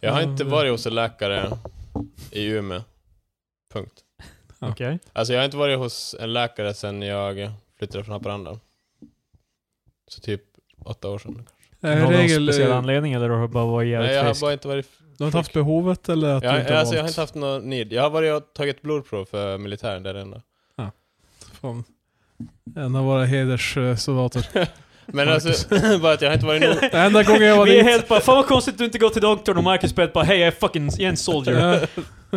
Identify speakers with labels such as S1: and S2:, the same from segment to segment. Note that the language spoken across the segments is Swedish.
S1: Jag har inte varit hos en läkare i Umeå. Punkt.
S2: Okej.
S1: Alltså jag har inte varit hos en läkare sedan jag flyttade från Haparanda. Så typ åtta år sedan. kanske.
S2: Har du
S3: Äh,
S2: någon
S3: regel,
S2: speciell
S3: eh,
S2: anledning eller har du bara varit jävligt
S1: Nej, jag har
S2: frisk?
S1: bara inte varit...
S3: du har inte haft typ behovet eller att du
S1: Jag,
S3: inte har
S1: alltså, jag har
S3: valt?
S1: inte haft någon need. Jag har varit och tagit blodprov för militären, det är det enda.
S3: Fan. En av våra hederssoldater.
S1: Men alltså, bara att jag har inte varit nog...
S3: Den enda gången jag var
S2: Vi är
S3: dit.
S2: helt bara, fan vad konstigt att du inte går till doktorn och Marcus Pett bara hej jag är fucking, jag är en soldier.
S3: Eh,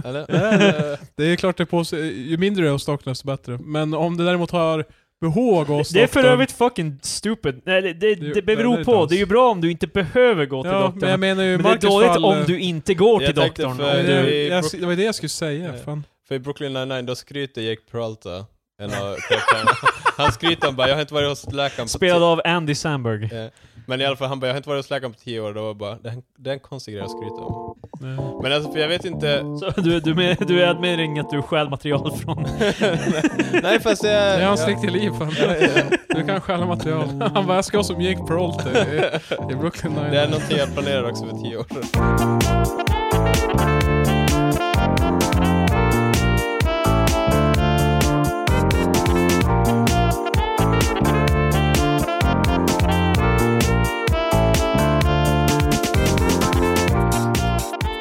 S1: Eller? Eller?
S3: Det är klart det är på Ju mindre du är hos doktorn desto bättre. Men om du däremot har behov av att gå hos
S2: Det är för
S3: doktorn-
S2: övrigt fucking stupid. Nej, det, det,
S3: Det-
S2: det beror
S3: nej, det är
S2: på.
S3: dans.
S2: Det är ju bra om du inte behöver gå till
S3: Ja,
S2: doktorn.
S3: men jag menar ju
S2: Men det är
S3: Marcus
S2: dåligt
S3: fall,
S2: om du inte går till
S1: Jag tänkte
S2: doktorn.
S1: för-
S2: Om
S3: Det,
S2: du,
S1: i
S3: jag,
S1: Brook-
S3: det var ju det jag skulle säga. Fan.
S1: För i Brooklyn Nine-Nine då skryter Jake Peralta, en av karaktärerna. Han skryter, han bara 'Jag har inte varit hos läkaren på
S2: spelad av Andy Samberg.
S1: tio-" Eh, Men i alla fall, han bara 'Jag har inte varit hos läkaren på tio år' då var jag bara, det är, en, det är en konstig grej att skryta om. Men alltså, för jag vet inte...
S2: Så du, du, med, du är med ring att du stjäl material från...
S1: Nej fast jag...
S3: Det är hans
S1: jag-
S3: riktiga liv. Fan. Du kan stjäla material.
S2: Mm.
S3: Han bara, jag ska vara som Jake Peralta i, i Brooklyn Nine.
S1: Det är någonting jag planerar också för tio år.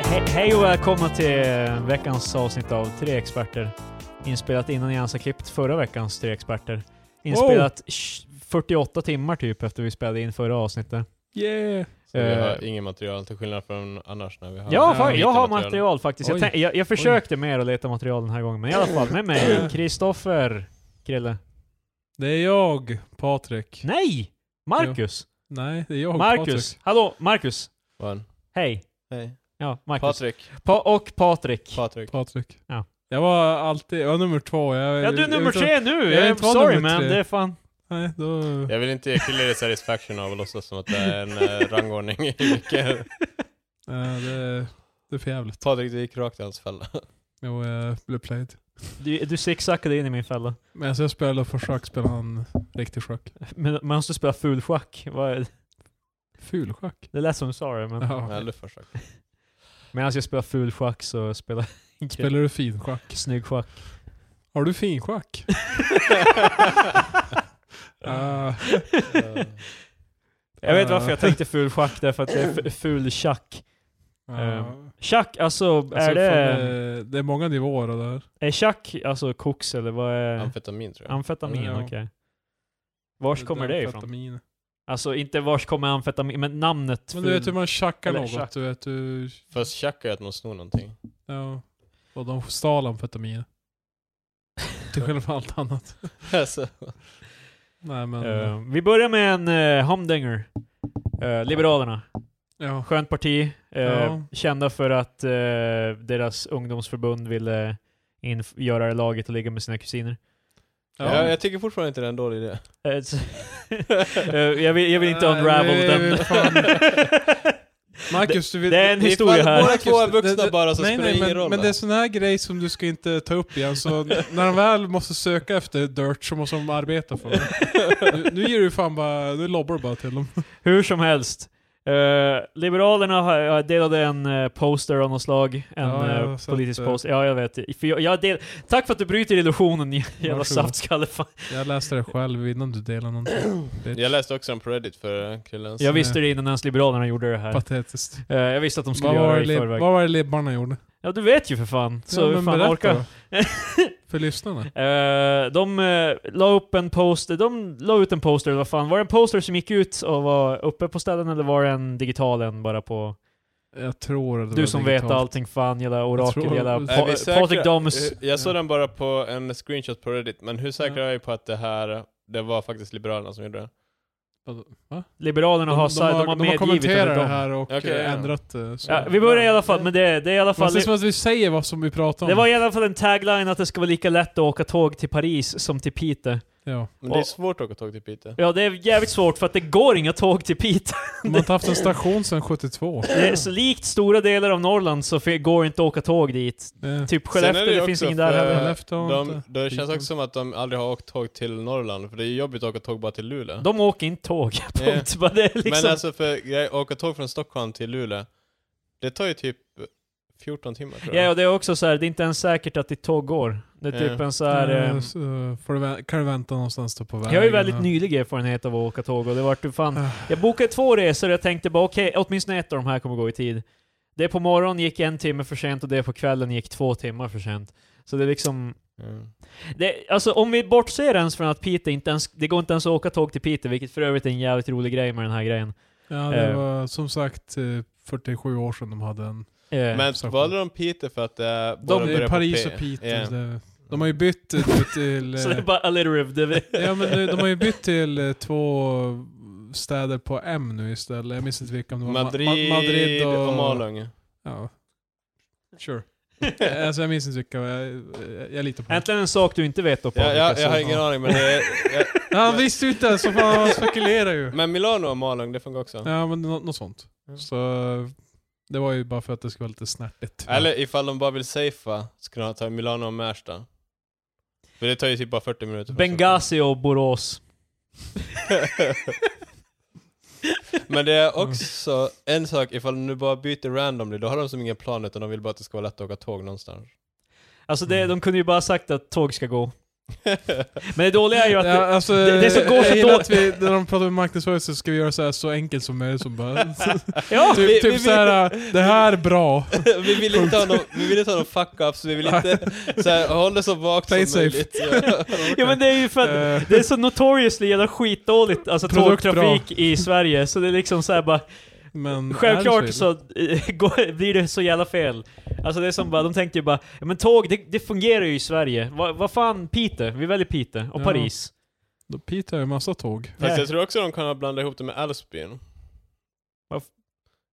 S2: He, hej och välkomna till veckans avsnitt av Tre Experter. Inspelat innan Jens har klippt förra veckans Tre Experter. Inspelat sh- 48 timmar typ efter vi spelade in förra avsnittet.
S3: Yeah.
S1: Så vi har
S2: Eh.
S1: inget material till skillnad från annars när vi har...
S2: Ja,
S3: Ja,
S2: fan,
S1: lite
S2: jag har material faktiskt. Jag,
S3: Oj.
S2: tänk- jag, jag försökte mer att leta material den här gången, men i alla fall med mig, Kristoffer Krille.
S3: Det är jag, Patrik.
S2: Nej! Marcus!
S3: Nej, det är jag,
S2: Marcus! Hallå, Marcus!
S1: Van.
S2: Hej!
S1: Hej.
S2: Ja, Marcus.
S1: Patrik.
S2: Pa- och
S1: Patrik.
S2: Patrik.
S3: Patrik. Patrik.
S2: Ja.
S3: Jag var alltid, jag var nummer två. Jag,
S2: ja, du är
S3: jag-
S2: nummer
S3: jag-
S2: tre nu!
S3: jag
S2: Jag
S3: är
S2: är
S3: inte van
S2: sorry
S3: nummer
S2: man,
S3: tre.
S2: det är fan...
S3: Nej, då...
S1: Jag vill inte ge killar det satisfaction av att låtsas som att det är en eh, rangordning i vilken...
S3: Nej, det, det är för jävligt.
S1: Patrik, du gick rakt i hans fälla.
S3: Jo, jag blev played.
S2: Du, du zigzackade in i min fälla.
S3: Men alltså jag spelade för schack, spelade han riktig schack.
S2: Men man måste spela full schack. Vad är det?
S3: Ful schack.
S2: det lät som sorry, men...
S1: Jag
S3: Ja.
S1: hade försökt.
S2: Medan jag spelar full schack så spelar jag
S3: Spelar du fin schack?
S2: snygg schack.
S3: Har du fin schack? Ah,
S2: Jag vet varför jag tänkte ful schack, därför att det är f- ful schack.
S3: ah.
S2: Eh, Schack, alltså,
S3: Alltså,
S2: är det...
S3: fan, det, det är många nivåer av det här.
S2: Är schack alltså koks eller vad är...
S1: Amfetamin tror jag.
S2: Amfetamin,
S3: Ja.
S2: okej. Vars kommer det ifrån?
S3: Amfetamin.
S2: Alltså inte vars kommer amfetamin, men namnet.
S3: Men du vet hur man tjackar
S2: Eller
S3: något.
S2: tjack.
S3: Du vet hur...
S1: Fast tjack är att man snor någonting.
S3: Ja. Och de stal amfetamin. Till skillnad från allt annat.
S1: alltså,
S3: Nej men...
S2: Eh, vi börjar med en uh, humdinger. Eh, Liberalerna.
S3: ja.
S2: Skönt parti. eh,
S3: Ja.
S2: Kända för att eh, deras ungdomsförbund ville inf- göra det laget och ligga med sina kusiner.
S3: Ja.
S1: jag, jag tycker fortfarande inte det är en dålig idé.
S2: Eh, så- eh, jag, vill, jag vill inte
S3: Nej,
S2: unravel
S3: vi- vi-
S2: den.
S3: fan. Marcus, du vill...
S2: det är en historia
S1: Ifall
S2: här.
S1: Båda två är
S3: Det-
S1: vuxna
S3: det-
S1: bara så
S3: nej,
S1: spelar det
S3: nej,
S1: ingen
S3: men,
S1: roll.
S3: Men det är sån här grej som du ska inte ta upp igen, så när de väl måste söka efter dirt så måste de arbeta för det. Nu, nu ger du fan bara, nu lobbar du bara till dem.
S2: Hur som helst. Eh, Liberalerna har- jag delade en eh, poster av något slag. En
S3: Ja, jag har
S2: eh,
S3: sett
S2: politisk
S3: det.
S2: poster. Ja, jag vet. För jag, jag del- Tack för att du bryter illusionen, jävla
S3: Varsågod.
S2: saftskalle. Fan.
S3: Jag läste det själv innan du delade någonting. Bitch.
S1: Jag läste också den på Reddit för eh, Krillens.
S2: Jag
S3: Nej.
S2: visste det innan ens Liberalerna gjorde det här.
S3: Patetiskt.
S2: Eh, jag visste att de skulle
S3: Vad var,
S2: göra
S3: det
S2: det i
S3: lib-
S2: förväg.
S3: vad var det libbarna gjorde?
S2: Ja, du vet ju för fan. Så
S3: Ja,
S2: hur
S3: men
S2: fan
S3: berätta
S2: orkar.
S3: då. För lyssnarna.
S2: Eh, de uh, la upp en poster, de la ut en poster, eller vad fan. Var det en poster som gick ut och var uppe på ställen eller var det en digital en bara på...
S3: Jag tror att det
S2: Du
S3: var
S2: som
S3: digitalt.
S2: vet allting fan, jävla orakel,
S3: tror-
S2: jävla
S3: Är
S1: Är
S2: pa-
S1: vi säkra?
S2: Patrik Damus.
S1: Eh, Jag såg den bara på en screenshot på Reddit, men hur säkra är vi på att det här, det var faktiskt Liberalerna som gjorde det?
S2: Liberalerna har, sa- de har
S3: de har
S2: medgivit att det
S3: kommenterat
S2: är
S3: det
S2: de.
S3: här och
S1: Okej,
S3: eh,
S1: ja.
S3: ändrat eh, så.
S2: Ja, vi börjar i alla fall med det. Det är i alla fall...
S3: Fast det är som att vi säger vad som vi pratar om.
S2: Det var i alla fall en tagline att det ska vara lika lätt att åka tåg till Paris som till Piteå.
S3: ja.
S1: Men det är
S2: Och-
S1: svårt att åka tåg till Piteå.
S2: Ja, det är jävligt svårt för att det går inga tåg till Piteå.
S3: De har inte haft en station sedan 72.
S2: Det är så likt stora delar av Norrland så fi- går inte att åka tåg dit.
S3: Eh,
S2: Typ
S1: Sen är
S2: Skellefteå, det,
S1: ju
S2: finns
S1: också
S2: ingen där
S1: för-
S2: heller.
S3: Skellefteå har
S1: De,
S3: inte.
S1: det känns
S3: Piteå.
S1: också som att de aldrig har åkt tåg till Norrland, för det är jobbigt att åka tåg bara till Luleå.
S2: De åker inte tåg,
S1: Ja. alltså-
S2: punkt. Bara det är liksom...
S1: Men alltså för grej- åka tåg från Stockholm till Luleå, Det tar ju typ 14 timmar tror jag.
S2: Ja, och det är också så här, det är inte ens säkert att ditt tåg går. Det är
S1: Ja.
S2: typ en så här...
S3: Eh,
S2: ehm,
S3: så får du vä- kan du vänta någonstans då på vägen. eh?
S2: jag har ju väldigt nylig erfarenhet av att åka tåg och det vart ju fan...
S3: Ah.
S2: Jag bokade två resor och jag tänkte bara okej, åtminstone ett av de här kommer gå i tid. Det på morgonen gick en timme för sent och det på kvällen gick två timmar för sent. Så det är liksom...
S1: Mm.
S2: Det, alltså om vi bortser ens från att Piteå inte ens... Det går inte ens att åka tåg till Piteå, vilket för övrigt är en jävligt rolig grej med den här grejen.
S3: Ja, det
S2: Eh.
S3: var som sagt eh, 47 år sedan de hade en.
S2: Eh,
S1: Men
S3: så-
S1: valde de Peter för att det bara
S3: De,
S1: börjar på
S3: Paris
S1: P?
S3: och Piteå.
S1: Ja.
S3: det- De har ju bytt eh, till... till
S2: så
S3: eh,
S2: det är bara alliterative.
S3: Ja men eh, de har ju bytt till eh, två städer på M nu istället. Jag minns inte vilka om det var Ma-
S1: Madrid,
S3: Ma- Madrid och...
S1: och Malung.
S3: Ja. Sure. Eh, alltså jag minns inte vilka, jag, jag, jag litar på det.
S2: Äntligen en sak du inte vet då
S1: Jag, jag, jag har
S2: Patrik. alltså.
S1: ingen aning men det är, jag,
S3: Ja, han visste ju inte så fan han spekulerar ju.
S1: Men Milano och Malung, det funkar också.
S3: Ja men nå- något sånt. Så det var ju bara för att det skulle vara lite snärtigt.
S1: Eller ifall de bara vill safea, så kan de ta Milano och Märsta. För det tar ju typ bara 40 minuter. från
S2: Benghazi och Borås.
S1: Stockholm. Men det är också en sak, ifall de nu bara byter randomly, då har de som ingen plan utan de vill bara att det ska vara lätt att åka tåg någonstans.
S2: Alltså det,
S3: Mm.
S2: de kunde ju bara sagt att tåg ska gå. Men det dåliga är ju att...
S3: Ja,
S2: det,
S3: alltså,
S2: det är så går
S3: jag
S2: så
S3: gillar
S2: då-
S3: att vi, när de pratar om marknadsföring så ska vi göra så här så enkelt som möjligt som bara...
S2: ja!
S1: Vi- vi
S3: typ typ
S1: vet-
S3: såhär, det här är bra.
S1: vi vill inte ha någon, vi vill inte ha någon fuck-ups, vi vill inte... Så här, håll det så vagt
S3: Play
S1: som
S3: safe.
S1: möjligt. Ja.
S2: Ja men det är ju för att
S3: Eh,
S2: det är så notoriously jävla skitdåligt, alltså
S3: Produkt bra.
S2: tågtrafik i Sverige, så det är liksom såhär bara,
S3: men är det
S2: självklart
S3: så
S2: så eh, går, blir det så jävla fel. Alltså det är som bara, de tänker ju bara, ja men tåg, det, det fungerar ju i Sverige. Vad vad fan, Piteå? Vi väljer Piteå, och
S3: Ja.
S2: Paris.
S3: Då Piteå har ju massa tåg.
S1: Fast jag tror också de kan blanda ihop det med Älvsbyn.
S2: Varför?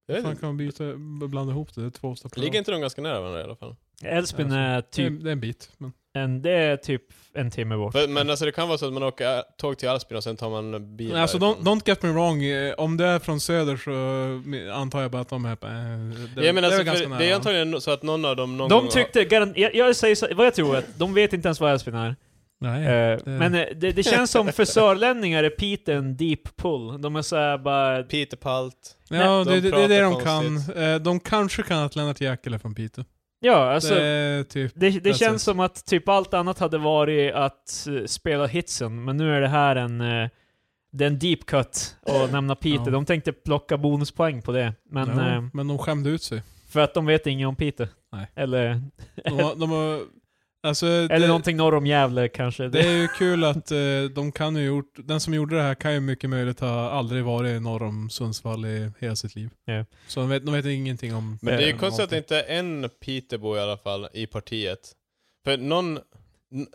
S1: Jag vet
S3: Man
S1: inte.
S3: kan byta, blanda ihop det, det är två stationer.
S1: Ligger inte de ganska nära varandra i alla fall?
S2: Älvsbyn
S3: Ja,
S2: är
S3: Det är-
S2: typ,
S3: Det är en bit. Men,
S2: en, det är typ en timme bort.
S1: För, men alltså det kan vara så att man åker tåg till Aspin och sen tar man bil
S3: Nej, alltså, don't,
S1: därifrån.
S3: don't get me wrong, eh, om det är från söder så eh, antar jag bara att de är på... eh, Det,
S1: ja, men
S3: det
S1: alltså,
S3: är ganska
S1: för
S3: nära.
S1: det är antagligen no- så att någon av dem någon gång
S2: De
S1: har-
S2: tyckte, garan- jag, jag säger så, vad jag tror, att de vet inte ens vad Älvsbyn är.
S3: Nej.
S2: Eh, Men eh, det, det känns som för sörlänningar är Piteå en deep pull. De är såhär bara...
S1: Peter Palt.
S3: ja,
S1: de
S3: det, det, det är det de
S1: pratar
S3: kan.
S1: konstigt.
S3: Eh, De kanske kan att Lennart Jäkel är från Piteå.
S2: Ja, alltså...
S3: det är typ...
S2: Det, det
S3: Precis.
S2: känns som att typ allt annat hade varit att eh, spela hitsen, men nu är det här en, eh, det är en deep cut och nämna Peter.
S3: Ja.
S2: De tänkte plocka bonuspoäng på det, men
S3: ja,
S2: eh,
S3: men de skämde ut sig.
S2: för att de vet inget om Peter.
S3: Nej.
S2: Eller,
S3: De, har- de har... Alltså,
S2: eller
S3: det,
S2: någonting norr om Gävle kanske.
S3: det är ju kul att eh, de kan ju gjort... Den som gjorde det här kan ju mycket möjligt ha aldrig varit norr om Sundsvall i hela sitt liv.
S2: Ja.
S3: Så de vet, de vet ingenting om...
S1: Men det är ju
S3: om
S1: konstigt att det
S3: någonting.
S1: inte är en Peterbo i alla fall i partiet. För någon... n-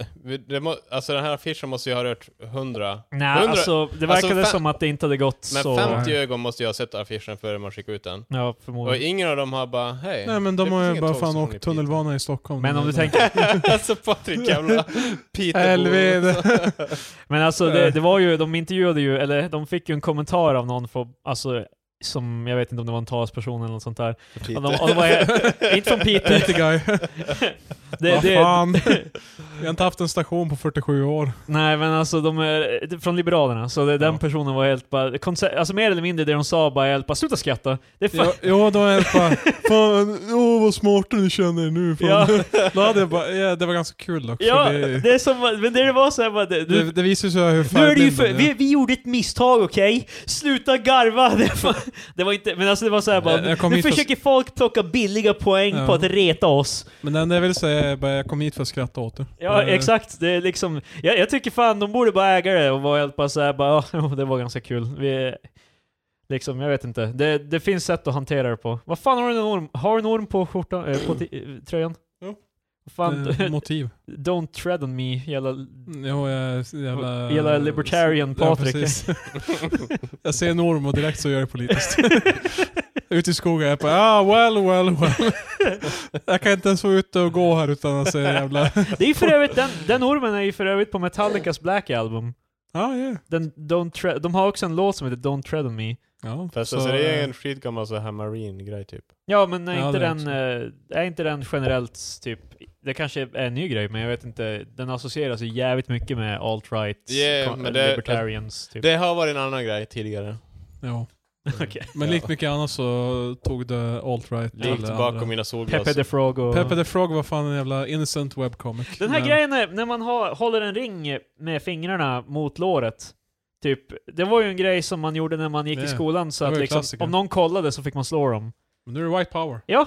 S1: Det må, alltså den här affischen måste ju ha rört hundra.
S2: Nej,
S1: Hundra-
S2: alltså det verkade
S1: fem-
S2: som att det inte hade gått
S1: Men
S2: så...
S1: 50 ögon måste ju ha sett affischen före man skickade ut den.
S2: Ja,
S1: Och
S2: förmodligen.
S1: ingen av dem har bara hej.
S3: Nej men
S1: det
S3: de har
S1: finns
S3: ju
S1: inget
S3: bara
S1: tåg
S3: fan
S1: som går i
S3: åkt tunnelbana i Stockholm. Eh,
S2: Men om du
S3: Eller-
S2: tänker...
S1: alltså Patrik jävla Peterbo.
S3: Helvete.
S2: Men alltså det, det var ju, de intervjuade ju, eller de fick ju en kommentar av någon, för, alltså som, jag vet inte om det var en talsperson eller något sånt där. Och de, och de var, inte från Peter.
S3: Lite guy.
S2: Det,
S3: Vad
S2: det,
S3: fan. Vi har inte haft en station på 47 år.
S2: nej men alltså de är det är från Liberalerna, så det, den
S3: Ja.
S2: personen var helt bara, konce- alltså mer eller mindre det de sa bara helt bara sluta skratta. Det är fan,
S3: Jo, jo då är jag bara, fan, åh vad smarta ni känner er nu. Fan.
S2: ja,
S3: Då hade jag bara, ja, det var ganska kul dock. för
S2: ja,
S3: det,
S2: det är som, men det var såhär bara,
S3: det,
S2: det, du,
S3: det visar sig hur
S2: nu är det ju
S3: färgblinda
S2: för,
S3: ni
S2: vi, vi gjorde ett misstag okej? Sluta garva! Det var, det var inte, men alltså det var såhär bara,
S3: Jag- jag kom
S2: nu
S3: hit och-
S2: försöker folk plocka billiga poäng
S3: Ja.
S2: på att reta oss.
S3: Men det enda jag vill säga är bara, jag kom hit för att skratta åt er.
S2: Ja,
S3: Eh,
S2: exakt. Det är liksom, jag, jag tycker fan de borde bara äga det och vara helt bara såhär, bara, "Ah, jo, det var ganska kul. Vi, liksom, jag vet inte. Det, det finns sätt att hantera det på. Vad fan har du en orm, har du en orm på skjortan, eh, på ti- eh, tröjan?
S3: Jo.
S2: Vad Fan,
S3: eh, Motiv.
S2: don't tread on me, jävla,
S3: Jo, jag är jävla...
S2: jävla libertarian Patrik.
S3: Ja, precis. jag ser en orm och direkt så gör jag politiskt. Ute i skogen, jag bara ah, well, well, well. jag kan inte ens vara ute och gå här utan att se jävla...
S2: det är ju för övrigt, den, den ormen är ju för övrigt på Metallicas Black Album.
S3: Ah, yeah.
S2: Den, don't tre- de har också en låt som heter Don't tread on me.
S3: Ja,
S1: Fast
S3: så,
S1: alltså det är
S3: eh,
S1: en skitgammal så här marine grej typ.
S2: Ja, men är,
S3: Ja,
S2: inte
S3: det är
S2: den, eh, är inte den generellt typ... Det kanske är en ny grej, men jag vet inte. Den associeras ju jävligt mycket med alt-right,
S1: Yeah,
S2: kon-
S1: men det-
S2: libertarians typ.
S1: Det har varit en annan grej tidigare.
S3: Ja.
S2: Okej.
S3: Men
S1: Ja.
S3: likt mycket annat så tog det alt-right.
S1: Likt
S3: eller
S1: bakom
S3: andra.
S1: mina solglasögon.
S2: Pepe the Frog och...
S3: Pepe the Frog var fan en jävla innocent webcomic.
S2: Den här
S3: Men-
S2: grejen är, när man har, håller en ring med fingrarna mot låret. Typ, det var ju en grej som man gjorde när man gick
S3: Ja,
S2: i skolan, så
S3: det var
S2: att
S3: ju
S2: liksom,
S3: klassiker.
S2: om någon kollade så fick man slå dem.
S3: Men nu är det white power.
S2: Ja,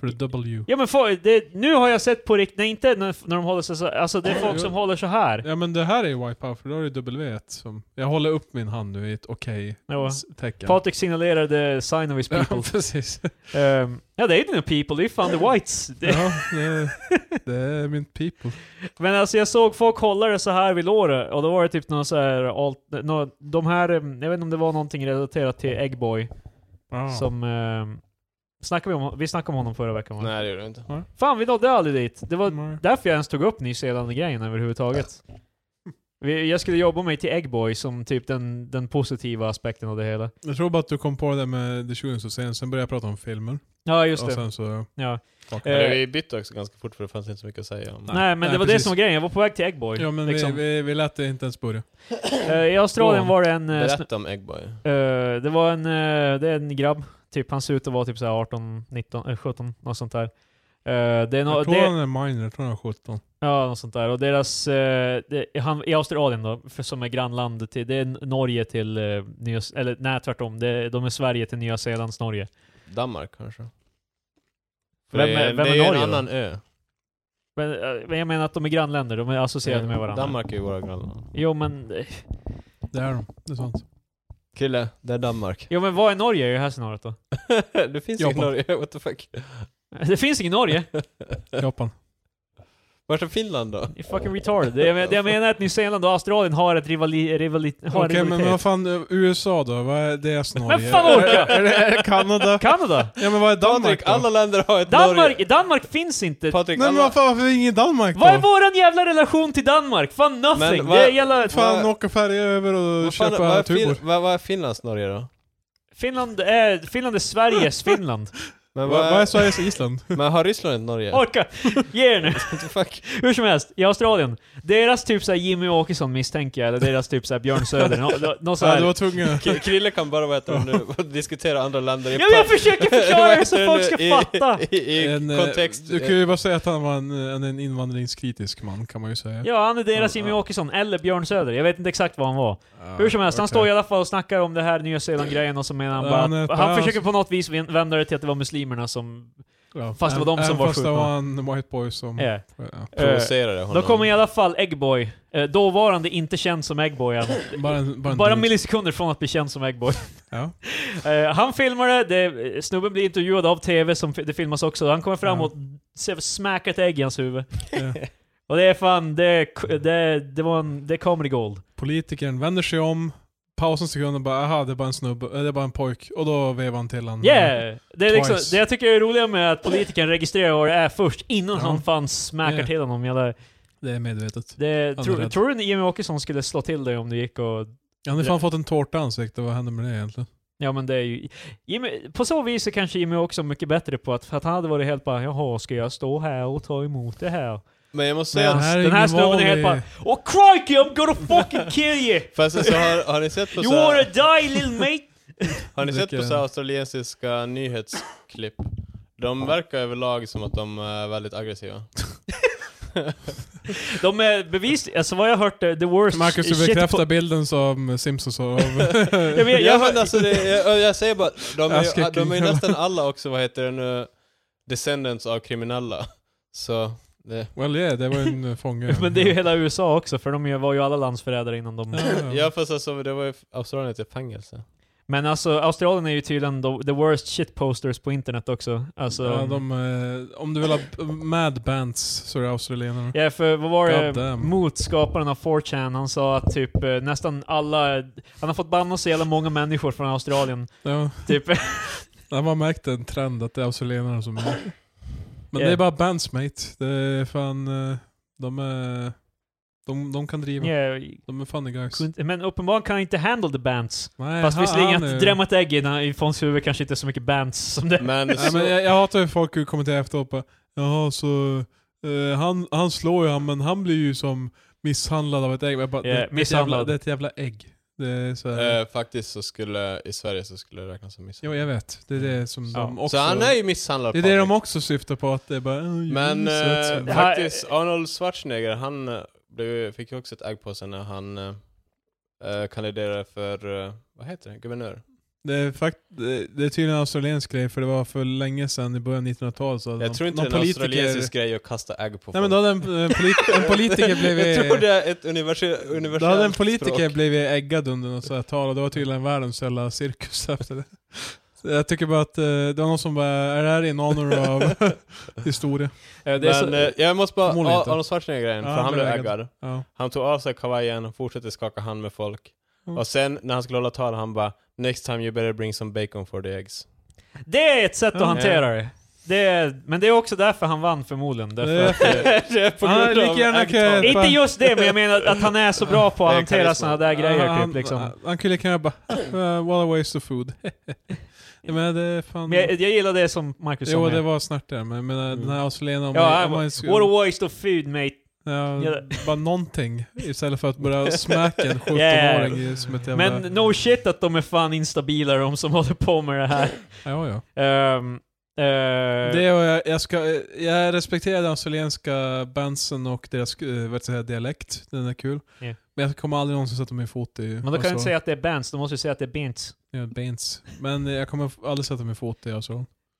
S3: För det är W.
S2: ja men för, det, nu har jag sett på riktigt, nej inte när, när de håller sig så, alltså det är
S3: Ja,
S2: folk
S3: ja.
S2: som håller så här.
S3: Ja men det här är ju white power, för då är det W som... Jag håller upp min hand nu i ett
S2: Ja.
S3: okej-tecken.
S2: Patrik signalerade sign of his people.
S3: ja, precis.
S2: Ehm, ja det är dina people, det är fan the whites. Det,
S3: Ja, det, det är min people.
S2: Men alltså jag såg folk hålla det så här vid låret, och då var det typ någon så här, alt, nå- de här, em, jag vet inte om det var någonting relaterat till Eggboy. Som... Eh, snackade vi, om, vi snackade om honom förra veckan va?
S1: Nej, det gjorde jag inte.
S2: Fan, vi nådde aldrig dit. Det var
S3: Nej.
S2: därför jag ens tog upp Ny Zeeland-grejen överhuvudtaget. Vi, jag skulle jobba mig till Eggboy som typ den, den positiva aspekten av det hela.
S3: Jag tror bara att du kom på det där med The Shooting så sen, sen började jag prata om filmer.
S2: Ja, just
S3: och
S2: det.
S3: sen så...
S2: Ja.
S3: Fuck.
S2: Eh,
S1: Men vi bytte också ganska fort för det fanns inte så mycket att säga om.
S2: Nej, men
S3: nej,
S2: det var det
S3: precis.
S2: som var grejen. Jag var på väg till Eggboy.
S3: Ja men
S2: liksom.
S3: vi, vi, vi lät det inte ens börja.
S2: Eh, I Australien
S3: Gå.
S2: var det en... eh, snu-
S1: Berätta om Eggboy.
S2: Eh, det var en, eh, det är en grabb, typ, han ser ut att vara typ så här 18, 19, eh, 17, något sånt där. Eh, det är nå-
S3: jag tror
S2: det,
S3: han är minor, jag tror han är 17.
S2: Ja, något sånt där. Och deras... Eh, det, han, I Australien då, för, som är grannland till... Det är Norge till eh, Nya... Eller nej, tvärtom. Det, de är Sverige till Nya Zeelands Norge.
S1: Danmark kanske? För
S2: Vem
S1: det
S2: är, vem
S1: det
S2: är,
S1: ju
S2: Norge
S1: en annan
S2: då?
S1: ö.
S2: Men, eh, men jag menar att de är grannländer, de är associerade med varandra.
S1: Danmark är ju våra grannland.
S2: Jo men, eh,
S3: Det är de, det är sant.
S1: Krille, det är Danmark.
S2: jo men vad är Norge i det här scenariot då?
S1: det finns ingen
S3: Japan.
S1: Norge, what the fuck.
S2: Det finns ingen Norge!
S3: Japan.
S1: Vart är Finland då?
S2: You're fucking retarded. Det jag, men- det jag menar är att Nya Zeeland och Australien har ett rivali, rivali, har
S3: Okej
S2: okay,
S3: men
S2: rivalitet.
S3: vad fan, eh, USA då? Vad är deras Norge?
S2: Men fan orka!
S3: Är, det- är det Kanada?
S2: Kanada!
S3: Ja men vad är Danmark
S1: Patrik,
S3: då?
S1: alla länder har ett Norge.
S2: Danmark, Danmark finns inte!
S1: Patrik,
S3: Nej men
S1: alla...
S3: vad fan, varför är det ingen Danmark då?
S2: Vad är våran jävla relation till Danmark? Fan nothing!
S1: Men vad-
S2: det är jävla...
S3: Fan
S1: vad-
S3: åka färja över och
S1: vad fan-
S3: köpa
S1: vad är
S3: tubor.
S1: Fin- vad, vad är Finlands Norge då?
S2: Finland är, Finland är Sveriges Finland.
S1: Men,
S3: Vad
S1: vad
S3: vad är Sveriges Island?
S1: men har Ryssland ett Norge?
S2: Orka! Ge er nu!
S1: What the fuck?
S2: Hur som helst, i Australien. Deras typ såhär Jimmy Åkesson misstänker jag, eller deras typ såhär Björn Söder. Nå, nå, nå
S3: Ja, du var
S2: såhär.
S3: tvungen.
S1: K- Krille kan bara vad heter det nu, och diskutera andra länder i
S2: Ja, men jag
S1: pa-
S2: försöker
S1: vad
S2: förklara det
S1: heter
S2: så
S1: det
S2: folk
S1: nu?
S2: ska
S1: I-
S2: fatta!
S1: I, i,
S3: En, eh,
S1: kontext.
S3: Du kan ju bara säga att han var en, en, en invandringskritisk man kan man ju säga.
S2: Ja, han är deras Jimmy Åkesson, eller Björn Söder. Jag vet inte exakt vad han var. Hur som helst, han
S3: okej.
S2: står i alla fall och snackar om det här Nya Zeeland-grejen och så menar han
S3: Ja,
S2: bara
S3: han är
S2: att,
S3: ett
S2: Han
S3: pass.
S2: försöker på något vis vända det till att det var muslimerna som...
S3: Ja.
S2: fast det var de
S3: Även
S2: som var
S3: fast det
S2: skjutna.
S3: var en white boy som...
S2: är.
S3: Ja.
S2: Eh,
S1: Provocerade honom.
S2: Då kommer i alla fall Eggboy, eh, dåvarande inte känd som Eggboy än.
S3: Bara en, bara en
S2: Bara
S3: dude.
S2: millisekunder från att bli känd som Eggboy.
S3: Ja.
S2: Eh, han filmar det, det, eh, snubben blir intervjuad av TV, som fi- det filmas också. Han kommer fram
S3: Ja.
S2: och ser- smackar ett ägg i hans huvud.
S3: Ja.
S2: Och det är fan, det, är k- det, det var en, det är comedy gold.
S3: Politikern vänder sig om, pausar en sekund och bara aha, det är bara en snubbe, eh, det är bara en pojk. Och då vevar han till en...
S2: Yeah! Det, är liksom,
S3: Mm. Twice.
S2: det jag tycker är roligt med att politikern registrerar vad det är först, innan
S3: Ja.
S2: han fan smackar
S3: Yeah.
S2: till honom. Jävla,
S3: Det är medvetet.
S2: det,
S3: Han är
S2: tro,
S3: rädd.
S2: tror du Jimmy Åkesson skulle slå till dig om du gick och
S3: Han har fan fått en tårta i ansiktet, vad händer med det egentligen?
S2: Ja men det är ju... Jimmy, på så vis är kanske Jimmy också mycket bättre på att, för att han hade varit helt bara Jaha, ska jag stå här och ta emot det här?
S1: Men jag måste
S3: Men
S1: säga
S3: det
S1: att...
S3: här är
S2: Den här
S3: ingen
S2: snubben är helt
S3: vanlig-
S2: bara Åh crikey I'm gonna fucking kill you!
S1: Fast alltså, har, har ni sett på
S2: You
S1: så här-
S2: wanna die little mate!
S1: Har ni sett på
S3: Vilken-
S1: så här australiensiska nyhetsklipp? De verkar överlag som att de är väldigt aggressiva.
S2: De är bevis... Alltså vad jag har hört, eh, the worst
S3: Marcus, du
S2: shit
S3: bekräftar
S2: på-
S3: bilden som Simpsons av...
S2: jag, vet,
S1: ja,
S2: jag,
S1: men alltså, det, jag, jag säger bara, de är, ju,
S3: Askicking.
S1: de är ju nästan alla också, vad heter det nu, descendants av kriminella. Så, det,
S3: well yeah, det var ju en eh, fånge.
S2: men det är ju hela USA också, för de ju- var ju alla landsförrädare innan de...
S3: Ja, ja.
S1: ja fast alltså, det var ju Australien till fängelse.
S2: Men alltså, Australien är ju tydligen the, the worst shit posters på internet också. Alltså...
S3: Ja,
S2: Ja,
S3: de, eh, om du vill ha b- mad bands så är det australienarna.
S2: för vad var
S3: God
S2: det?
S3: damn.
S2: Mot skaparen av 4chan, han sa att typ eh, nästan alla... Han har fått banna så jävla många människor från Australien.
S3: Ja,
S2: Typ,
S3: där man märkt en trend att det är australienarna som är... Men
S2: Yeah.
S3: det är bara bands mate. Det är fan... eh, De är... De, de kan driva.
S2: yeah,
S3: De är funny guys.
S2: kunde- men uppenbarligen kan han inte handle the bands.
S3: Nej,
S2: Fast
S3: Eh, han-
S2: visserligen
S3: han
S2: att
S3: är- Mm.
S2: drämma ett ägg i den här- i Fons huvud kanske inte är så mycket bands som det.
S1: Men,
S3: Nej,
S1: så,
S3: men jag, jag hatar hur folk kommenterar efteråt bara, Jaha, så... eh, han, han slår ju han, men han blir ju som misshandlad av ett ägg. Jag bara,
S2: Yeah,
S3: det, det, är ett jävla,
S2: misshandlad.
S3: det är ett jävla ägg. Det är så här.
S1: Eh, faktiskt så skulle, i Sverige så skulle det räknas som
S3: Jo,
S1: misshandel.
S3: jag vet. Det är det som de
S2: Ja.
S3: också...
S1: så han är ju misshandlad
S3: det är det de
S1: Patrik.
S3: också syftar på, att det är bara... "Åh, jag
S1: Men
S3: minns rätt så."
S1: eh, faktiskt, Arnold Schwarzenegger, han eh, blev, fick ju också ett ägg på sig när han eh, kandiderade för, eh, vad heter det, guvernör?
S3: Det är, fakt det det är tydligen en australiensk grej, för det var för länge sedan, i början av 1900-talet, så hade
S1: Jag
S3: någon-
S1: tror inte
S3: någon
S1: det är en australiensisk grej att kasta ägg på
S3: Nej men då hade en, en, polit- en politiker blivit...
S1: Jag tror det är ett universe- universellt
S3: Då hade en politiker
S1: språk.
S3: blivit äggad under något sånt här tal och det var tydligen världens jävla cirkus efter det. Så jag tycker bara att eh, det var någon som bara, är det här in honor av historia?
S2: Eh, Det är
S1: Men
S2: så,
S1: eh, jag måste bara,
S3: Förmodligen
S1: Ar-
S3: inte.
S1: Arnold Schwarzenegger-grejen,
S3: Ja,
S1: för
S3: han
S1: han blev
S3: blev
S1: äggad.
S3: Ja.
S1: Han tog av sig kavajen, fortsatte skaka hand med folk.
S3: Mm.
S1: Och sen när han skulle hålla tal, han bara Next time you better bring some bacon for the eggs.
S2: det är ett sätt att
S3: Ja.
S2: hantera det. det är, men det är också därför han vann förmodligen. Därför
S3: Det-
S2: att, eh,
S1: det är på
S3: Han hade lika gärna kunnat-
S1: äggtalet.
S2: inte just det, men jag menar att han är så bra på
S1: Det är
S2: att
S1: karisma.
S2: hantera sådana där grejer
S3: han,
S2: typ. Liksom.
S3: han, han kunde kunna bara, "Ah, what a waste of food. jag menar det är fan...
S2: Men jag, jag gillar det som Marcus sa.
S3: jo
S2: med.
S3: det var snart det, men, men den här australienaren... om man-
S2: ja,
S3: om
S2: han-
S3: man
S2: what a waste of food mate.
S3: Ja,
S2: Ja.
S3: bara någonting. Istället för att börja smäcka en 17-åring i- som ett jävla...
S2: Men no shit att de är fan instabila de som håller på med det här.
S3: Ja, ja.
S2: Ehm, eh,
S3: Det och jag, jag, ska, jag respekterar den australienska bandsen och deras eh, vad ska jag säga, dialekt. Den är kul.
S2: Ja.
S3: Men jag kommer aldrig någonsin sätta min fot i...
S2: men då kan du inte säga att det är bands, då måste du säga att det är bints.
S3: Ja, Baines. Men jag kommer aldrig sätta min fot i alltså.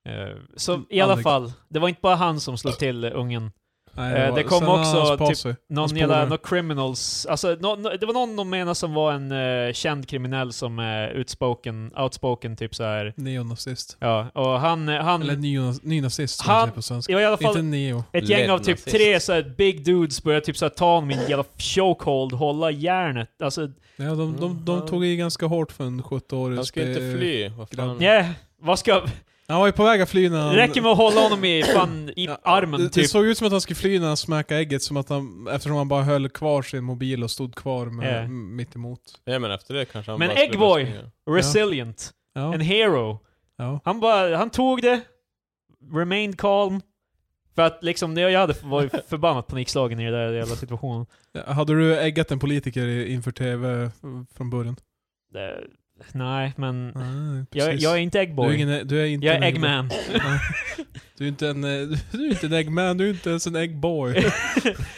S2: Eh, Så
S3: Mm,
S2: i alla
S3: aldrig.
S2: fall, det var inte bara han som slog till eh, ungen.
S3: Nej,
S2: Eh,
S3: var-
S2: det kom
S3: sen har
S2: också
S3: hans
S2: typ-
S3: posse. Hans
S2: Någon jävla,
S3: polare.
S2: någon criminals, alltså nå- nå- det var någon de menade som var en eh, känd kriminell som är utspoken, outspoken typ så här.
S3: Neonazist.
S2: Ja, och han, eh, han,
S3: Eller nyona- nynazist som
S2: Han-
S3: man säger på svenska.
S2: det var i alla
S3: Inte
S2: fall
S3: neo.
S2: ett gäng av typ
S1: Led-nazist.
S2: tre så här big dudes började typ så här ta honom i en jävla chokehold, hålla järnet, alltså
S3: Ja, de, de,
S1: Mm.
S3: de tog i ganska hårt för en 70-årig
S1: Han ska
S3: spe-
S1: inte fly. Vad fan?
S2: nej, vad ska,
S3: Han var ju på väg att fly när han...
S2: räcker med att hålla honom i fan i
S3: Ja,
S2: armen
S3: det, det
S2: typ.
S3: såg ut som att han skulle fly när han smäckade ägget, som att han, eftersom han bara höll kvar sin mobil och stod kvar med,
S2: Ja.
S3: m- mitt emot.
S1: Ja men efter det kanske han
S2: Men
S1: bara skulle
S2: Eggboy!
S1: börja springa.
S2: Resilient,
S3: Ja,
S2: en hero.
S3: ja.
S2: Han bara, han tog det, remained calm. För att liksom, det- jag hade varit förbannat panikslagen i den där jävla situationen.
S3: Ja, Hade du äggat en politiker i- inför TV från början?
S2: Eh, nej, men
S3: Nej,
S2: jag,
S3: precis.
S2: jag är inte
S3: du är,
S2: Eggboy.
S3: ingen, du är inte
S2: Jag är
S3: en
S2: Eggman.
S3: Eggboy. Nej. Du är inte en, eh, du är inte en eggman, du är inte ens en eggboy.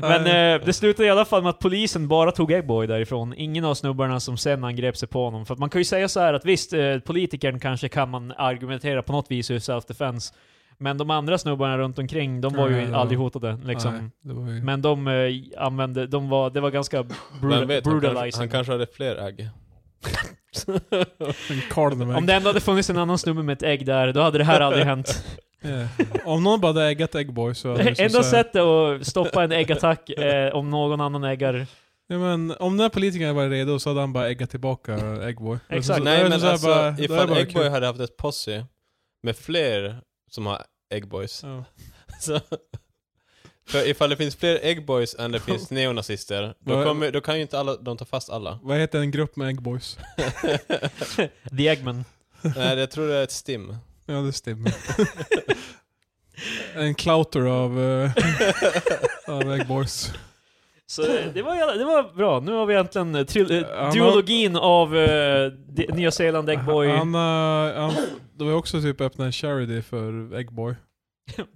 S2: men
S3: Nej.
S2: eh, det slutade i alla fall med att polisen bara tog Eggboy därifrån. Ingen av snubbarna som sen angrep sig på honom. För att man kan ju säga så här att visst, eh, politikern kanske kan man argumentera på något vis ur self-defense. Men de andra snubbarna runt omkring, de var ju
S1: Mm,
S3: Ja.
S2: aldrig hotade liksom.
S3: Nej, det var ju...
S2: Men de eh, använde, de var, det var ganska brutal,
S1: Vem vet, han kanske,
S2: brutalizing.
S1: han kanske hade fler ägg.
S3: En cardinal
S2: Om det ändå hade funnits en annan snubbe med ett ägg där, då hade det här aldrig hänt.
S3: Ja. Om någon bara hade äggat eggboy så... hade det som
S2: Enda
S3: så här-
S2: sättet att stoppa en äggattack eh, om någon annan äggar...
S3: Ja, men om den här politikern var redo så hade han bara äggat tillbaka Eggboy.
S2: Exakt.
S3: Så- så- då är
S1: Nej
S3: det
S1: men
S3: så här
S1: alltså,
S3: bara- då är det
S1: ifall
S3: bara
S1: Eggboy
S3: kul.
S1: hade haft ett posse med fler som har Eggboys.
S3: Ja.
S1: Så, för ifall det finns fler Eggboys än det finns neonazister, då,
S3: Vad-
S1: kommer, då kan ju inte alla, de ta fast alla.
S3: Vad heter en grupp med Eggboys?
S2: The Eggman.
S1: Nej, jag tror det är ett stim.
S3: Ja, det stämmer. en clouter av, eh, av Eggboys.
S2: Så eh, det var, jävla- det var bra, nu har vi äntligen eh, tri- eh,
S3: Ja, men-
S2: duologin av eh, de, Nya Zeeland Eggboy...
S3: Han, eh, han, det var ju också typ öppna en charity för Eggboy.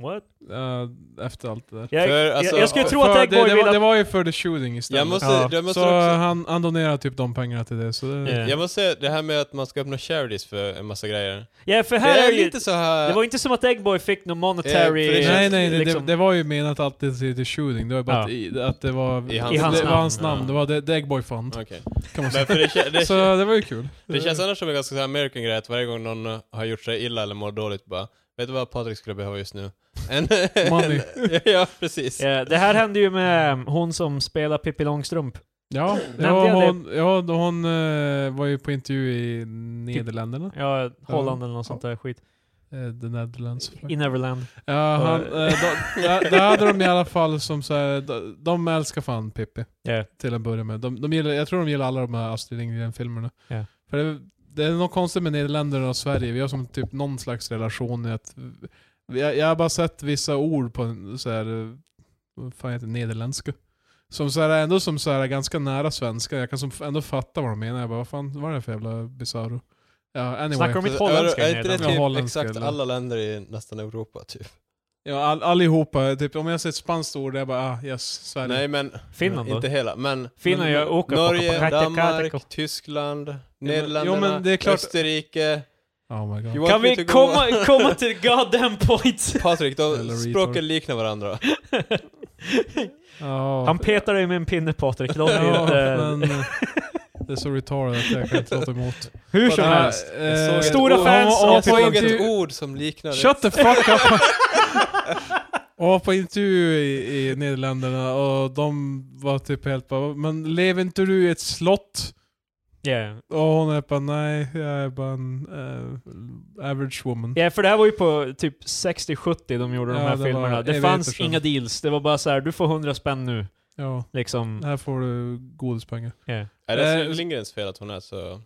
S2: What?
S3: eh, efter allt det där.
S2: Jag,
S1: För, alltså,
S2: jag, jag skulle
S1: ja,
S2: tro att
S3: För
S2: Eggboy
S3: det, det,
S2: vill
S3: var, det
S2: att...
S3: var ju för the shooting istället.
S1: Jag måste,
S2: Ja.
S1: jag måste
S3: så
S1: också,
S3: han, han donerar typ de pengarna till det. Så det
S2: Ja.
S1: jag måste säga, det här med att man ska öppna charities för en massa grejer.
S2: Ja, för
S1: Det
S2: här
S1: är
S2: är ju,
S1: lite så här...
S2: det var inte som att Eggboy fick någon monetary...
S1: Eh, för det känns-
S3: Nej nej, det,
S2: liksom-
S3: det, det var ju menat alltid till The Shooting, det var bara
S2: Ja.
S3: att, i, att det var
S1: I hans
S3: det,
S2: namn.
S3: det var hans
S1: Ja.
S3: namn, det var The, the Eggboy Fund
S1: Okej.
S3: kan man
S1: Men
S3: säga.
S1: för det, kä- det,
S3: Så det var ju kul.
S1: det känns annars som en ganska så här American grej att varje gång någon eh, har gjort sig illa eller mår dåligt bara Vet du vad Patrik skulle behöva just nu? En,
S3: Money.
S1: en- ja, precis.
S2: Eh, det här hände ju med eh, hon som spelar Pippi Långstrump.
S3: Ja,
S2: Nämnde
S3: ja,
S2: jag
S3: hon, ja då hon eh, var ju på intervju i Nederländerna.
S2: Ja, Holland eller något sånt där skit.
S3: Eh, the Netherlands.
S2: I Neverland.
S3: Ja, han, eh, då, där, där hade de i alla fall som så här, de, de älskar fan Pippi.
S2: Ja.
S3: Till en början med. De, de gillar, jag tror de gillar alla de här Astrid Lindgren-filmerna.
S2: Ja.
S3: För det, det är något konstigt med Nederländerna och Sverige. Vi har som typ någon slags relation i att... vi- Jag, jag har bara sett vissa ord på en så här, eh, vad fan heter det, nederländska. Som så här, ändå som så här, ganska nära svenska. Jag kan som ändå fatta vad de menar. Jag bara, vad fan vad är det för jävla bisarro? Ja,
S2: Snackar
S3: anyway.
S2: de- Mitt
S1: Så är,
S2: holländska
S1: är inte det
S2: nedan.
S3: Ja,
S1: typ
S3: holländska
S1: exakt
S3: eller-
S1: alla länder i nästan Europa typ?
S3: Ja, all, allihopa, typ, om jag ser ett spanskt ord, jag bara ah, yes, Sverige.
S1: Nej men...
S2: Finland
S1: men,
S2: då?
S1: Inte hela, men...
S2: Finland
S1: men,
S2: gör åka på
S1: Norge,
S2: kapakateka-
S1: Danmark, Tyskland, Nederländerna,
S3: jo, men det är klart-
S1: Österrike.
S3: Oh my god.
S1: You want
S2: Kan
S1: me
S2: vi
S1: to go-
S2: komma, komma till goddamn point?
S1: Patrik,
S3: Eller
S1: då
S3: retard.
S1: språken liknar varandra.
S3: Ja.
S2: Han petar dig med en pinne Patrik, låt
S3: ja,
S2: inte...
S3: men, eh, det är så retarded att jag kan inte låta emot. eh,
S2: Hur som
S1: Ja,
S2: helst.
S1: jag såg ett
S2: Stora
S1: ord-
S2: fans
S3: av
S1: Jag
S2: på
S1: såg ett
S3: intervju-
S1: ord som liknade...
S3: Shut the fuck up! Jag var på intervju i, i Nederländerna och de var typ helt bara Men lever inte du i ett slott?
S2: Yeah.
S3: Och hon är bara nej, jag är bara en eh, average woman.
S2: Ja, för det här var ju på typ 60-70 de gjorde de
S3: Ja,
S2: här
S3: det
S2: filmerna.
S3: var
S2: det
S3: evigheter
S2: fanns
S3: sedan.
S2: inga deals, det var bara så här: du får 100 spänn nu.
S3: Ja,
S2: Liksom.
S3: här får du godispengar.
S2: Yeah.
S1: Är det
S3: Eh,
S1: Astrid Lindgrens fel att hon är så...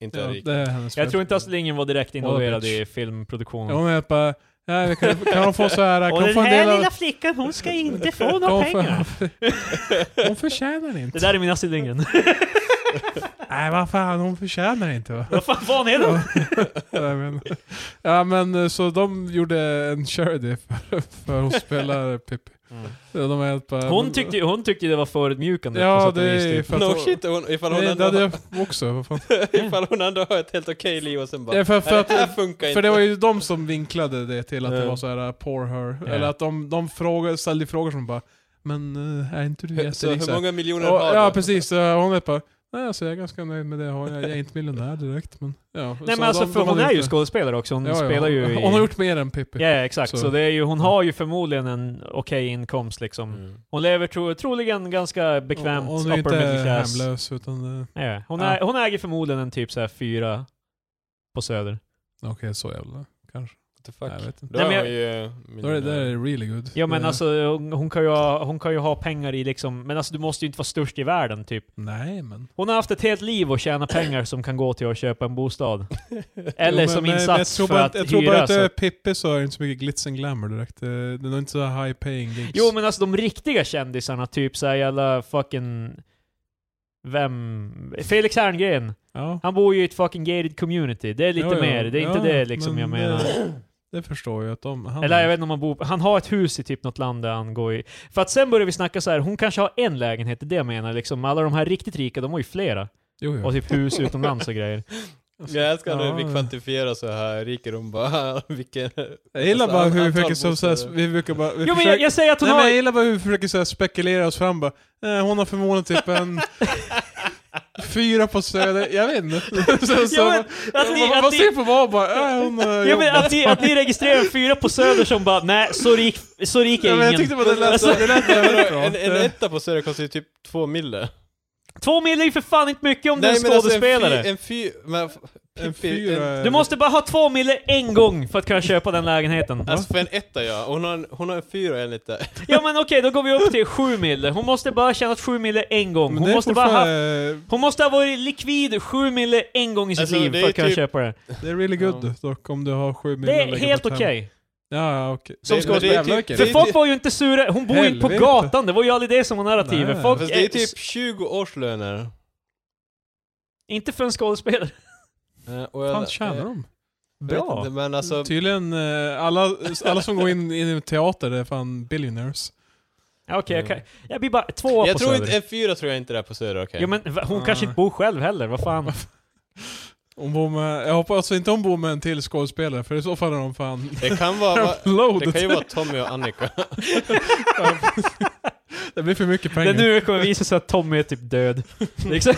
S1: Inte
S3: Ja,
S1: rik?
S3: det är hennes
S2: Jag
S3: fel.
S2: tror inte Astrid Lindgren var direkt involverad
S3: bitch.
S2: i filmproduktionen.
S3: Ja, hon är bara nej, kan, kan hon få så här, kan
S2: Och
S3: hon
S2: den
S3: få en
S2: här
S3: del av...
S2: lilla flickan, hon ska inte få
S3: Kan
S2: några
S3: hon få-
S2: pengar.
S3: Hon förtjänar
S2: Det
S3: inte.
S2: där är min Astrid Lindgren.
S3: Nej, vad fan, hon förtjänar inte va?
S2: Vad fan var är den?
S3: Ja, men, ja men eh, så de gjorde en charity för, för att spela Pippi. Ja, De är helt bara,
S2: Mm. Hon tyckte, hon tyckte det var förödmjukande på
S3: Ja
S2: sätt och
S3: det
S2: vis,
S3: är ju
S2: typ.
S3: för att
S1: no
S3: hon,
S1: shit, hon, ifall, hon
S3: Nej,
S1: ändå,
S3: det hade jag också. Vad fan.
S1: ifall hon ändå har ett helt okej liv och sen bara...
S3: Ja, för, för,
S1: Nej, det här
S3: att,
S1: funkar
S3: för
S1: inte.
S3: det var ju de som vinklade det till att det
S1: Ja.
S3: var så här uh, poor her.
S2: Ja.
S3: Eller att de, de frågade, ställde frågor som bara Men eh, är inte du
S1: Hur- så
S3: jätterik?
S1: hur
S3: Så här.
S1: många miljoner
S3: Och,
S1: har
S3: ja
S1: du?
S3: precis, eh, hon är bara Nej alltså jag är ganska nöjd med det jag har. Jag jag är inte miljonär direkt men... Ja,
S2: Nej
S3: så
S2: men alltså
S3: de-
S2: för
S3: de
S2: hon
S3: hade
S2: är ju
S3: gjort det.
S2: skådespelare också, hon
S3: Ja, ja,
S2: spelar ju
S3: hon,
S2: i...
S3: hon har gjort mer än Pippi.
S2: Ja, exakt.
S3: Så-
S2: Så, det är ju, hon har ju förmodligen en okej inkomst liksom.
S1: Mm.
S2: Hon lever tro, troligen ganska bekvämt
S3: Hon- Hon är ju
S2: upper middle
S3: inte
S2: class.
S3: hemlös utan... eh,
S2: Ja, hon,
S3: Ja.
S2: Är, hon äger förmodligen en typ så här fyra på Söder.
S3: Okej, så jävla kanske.
S1: What the fuck?
S3: Nej, jag vet inte.
S1: Då
S2: Nej,
S1: är
S2: men
S1: hon ju
S3: Då är det, det
S1: miljonär.
S3: är really good.
S2: Ja men
S3: Det-
S2: alltså hon, hon, kan ju ha, hon kan ju ha pengar i liksom, men alltså du måste ju inte vara störst i världen typ.
S3: Nej men.
S2: Hon har haft ett helt liv och tjäna pengar som kan gå till att köpa en bostad. Eller
S3: Jo, men-
S2: som
S3: men
S2: insats
S3: jag tror
S2: för
S3: bara
S2: att
S3: Jag tror bara
S2: hyra. alltså.
S3: att
S2: så
S3: det är
S2: att-
S3: Pippi så är det inte så mycket glitz and glamour direkt. Eh, Det är nog inte så high paying gigs.
S2: Jo men alltså de riktiga kändisarna, typ såhär jävla fucking... Vem? Felix Herngren.
S3: Ja.
S2: Han bor ju i ett fucking gated community. Det är lite
S3: Ja, ja.
S2: mer, det är
S3: Ja,
S2: inte det liksom
S3: men
S2: jag menar.
S3: Det, det förstår jag att de... Han,
S2: Eller jag vet inte om han bor... Han har ett hus i typ något land där han går i... För att sen börjar vi snacka så här. hon kanske har en lägenhet, det är det jag menar liksom. Alla de här riktigt rika, de har ju flera.
S3: Jo, jo.
S2: Och typ hus utomlands och grejer.
S1: Jag älskar när vi
S3: Alltså, Ja.
S1: kvantifierar så här rikedom bara, vilken...
S3: Jag gillar bara
S1: Alltså,
S3: hur vi
S1: antal
S3: försöker som såhär,
S1: bostäder.
S3: vi brukar bara... Vi
S2: Jo men
S3: försöker,
S2: jag, jag säger att hon
S3: nej, men
S2: har...
S3: jag gillar bara hur vi försöker såhär spekulera oss fram bara, eh, Hon har förmodligen typ en... fyra på Söder, jag vet inte. så, så,
S2: Ja, men, att ni,
S3: vad
S2: att
S3: vad
S2: ni,
S3: ser på vad bara, äh, hon eh,
S2: ja,
S3: jobbar.
S2: men alltså, att, ni, att ni registrerar fyra på Söder som bara nej, så rik, så rik är
S3: Ja, men jag
S2: ingen. Alltså,
S3: tyckte bara det lät, det lät jävligt bra.
S1: en, en etta på Söder kostar ju typ två mille.
S2: Två mil är ju för fan inte mycket om du är en
S1: alltså en
S2: skådespelare.
S1: fy- en fy... Men, f-
S3: En
S1: Pippi- en-
S3: fyra...
S2: Du måste bara ha två mille en gång för att kunna köpa den lägenheten.
S1: Alltså för en etta ja, hon har en, hon har en fyra enligt det.
S2: Ja men okej, då går vi upp till sju mille. Hon måste bara ha tjänat sju mille en gång. Hon måste, bara ha,
S3: ha...
S2: hon måste ha varit likvid sju mille en gång i sitt
S1: Alltså,
S2: liv
S1: det är
S2: för att kunna
S1: typ-
S2: köpa det.
S3: Det är really good
S1: Ja.
S3: dock om du har sju miljoner
S2: Det
S3: att
S2: är
S3: lägga på
S2: helt
S3: ett hem.
S2: okej.
S3: Ja, ja, okej.
S2: Som
S3: Det-
S2: ska-
S3: men det är
S1: jävla
S3: typ-
S1: okej.
S2: För
S1: Det är
S2: folk
S1: typ-
S2: var ju inte sura, hon bor ju inte på
S3: Helvete.
S2: gatan, det var ju aldrig det som var narrativet.
S3: Nej,
S2: Folk
S1: Fast det är
S2: är-
S1: typ 20 årslöner.
S2: Inte för en skådespelare.
S1: Eh, och
S3: Fan
S1: jag-
S3: tjänar
S1: eh,
S3: de?
S1: jag vet
S2: Bra.
S1: inte, Men alltså,
S3: Tydligen, eh, alla, alla som går in i teater är fan billionaires.
S2: Ja, Okej, jag, kan- jag blir bara två
S1: jag
S2: på
S1: tror
S2: Söder.
S1: inte, en fyra tror jag inte det är på Söder okej.
S2: Jo men va- hon
S3: Ja.
S2: kanske inte bor själv heller, vad fan.
S3: Hon bor med, jag hoppas alltså inte hon bor med en till skådespelare, för i så fall är de fan
S1: Det kan vara... va- Det
S3: loaded.
S1: kan
S3: Det,
S1: ju vara Tommy och Annika.
S3: blir för mycket
S2: Det
S3: pengar.
S2: är nu det kommer visa sig att Tommy är typ död. Liksom.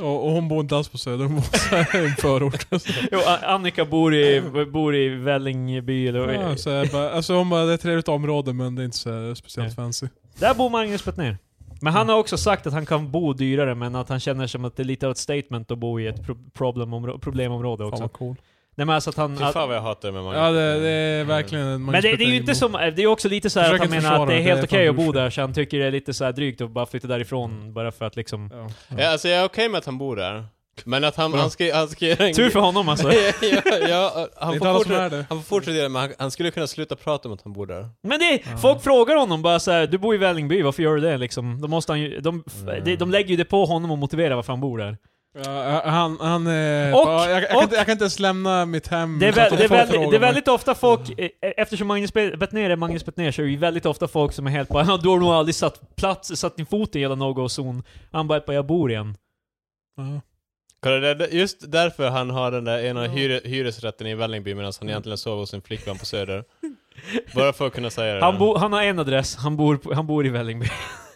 S3: Och, och hon bor inte alls på Söder, hon bor så här i en förort.
S2: Jo, A- Annika bor i, bor i Vällingby eller vad
S3: Ja, så jag bara, alltså hon bara, det är ett trevligt område men det är inte så här speciellt
S2: Nej.
S3: fancy.
S2: Där bor Magnus ner. Men han har också sagt att han kan bo dyrare, men att han känner som att det är lite av ett statement att bo i ett pro- problemområ- problemområde
S3: Fan
S2: också.
S3: vad cool.
S2: Nej men alltså att han...
S1: Fy fan
S2: Att,
S1: vad jag hatar det med Magnus.
S3: Ja, det, det är verkligen en
S2: men det, det är ju inte som... Det är ju också lite så här att
S3: Försök
S2: han
S3: inte
S2: menar att
S3: försvara
S2: det är
S3: det,
S2: helt
S3: det är
S2: okej
S3: fan
S2: att bo
S3: bullshit.
S2: där, så han tycker det är lite så här drygt att bara flytta därifrån bara för att liksom...
S3: Ja,
S1: Ja, alltså jag är okej med att han bor där. Men att han,
S3: Bra.
S1: han, ska, han ska göra en...
S2: Tur för honom alltså.
S1: ja, ja, ja,
S3: Det är
S1: han, får
S3: inte alla som
S1: fortsätta,
S3: är det.
S1: han får fortsätta göra det, men han, han skulle kunna sluta prata om att han bor där.
S2: Men det,
S3: Ja.
S2: folk frågar honom bara så här, du bor i Vällingby, varför gör du det liksom? Då måste han ju, de, f-
S1: Mm.
S2: de, de lägger ju det på honom och motiverar varför han bor där.
S3: Ja, han, han eh,
S2: Och-
S3: bara, jag, jag, kan
S2: och-
S3: inte, jag kan inte ens lämna mitt hem.
S2: Det är,
S3: utan
S2: väl,
S3: att
S2: det, är
S3: folk
S2: väldigt,
S3: frågar
S2: det är
S3: mig.
S2: väldigt ofta folk, eh, eftersom Magnus Bet- Bettner är Magnus Bettner så är det ju väldigt ofta folk som är helt bara "Ja, du har nog aldrig satt plats, satt din fot i hela no-go-zon. Han bara, "Bara, jag bor i en.
S3: Ja.
S1: Kolla, det, det- just därför han har den där ena
S2: Ja.
S1: hyre, hyresrätten i Vällingby medan han egentligen sover hos sin flickvän på Söder. Bara för att kunna säga det.
S2: Han, bo, han har en adress, han bor, på- han bor i Vällingby.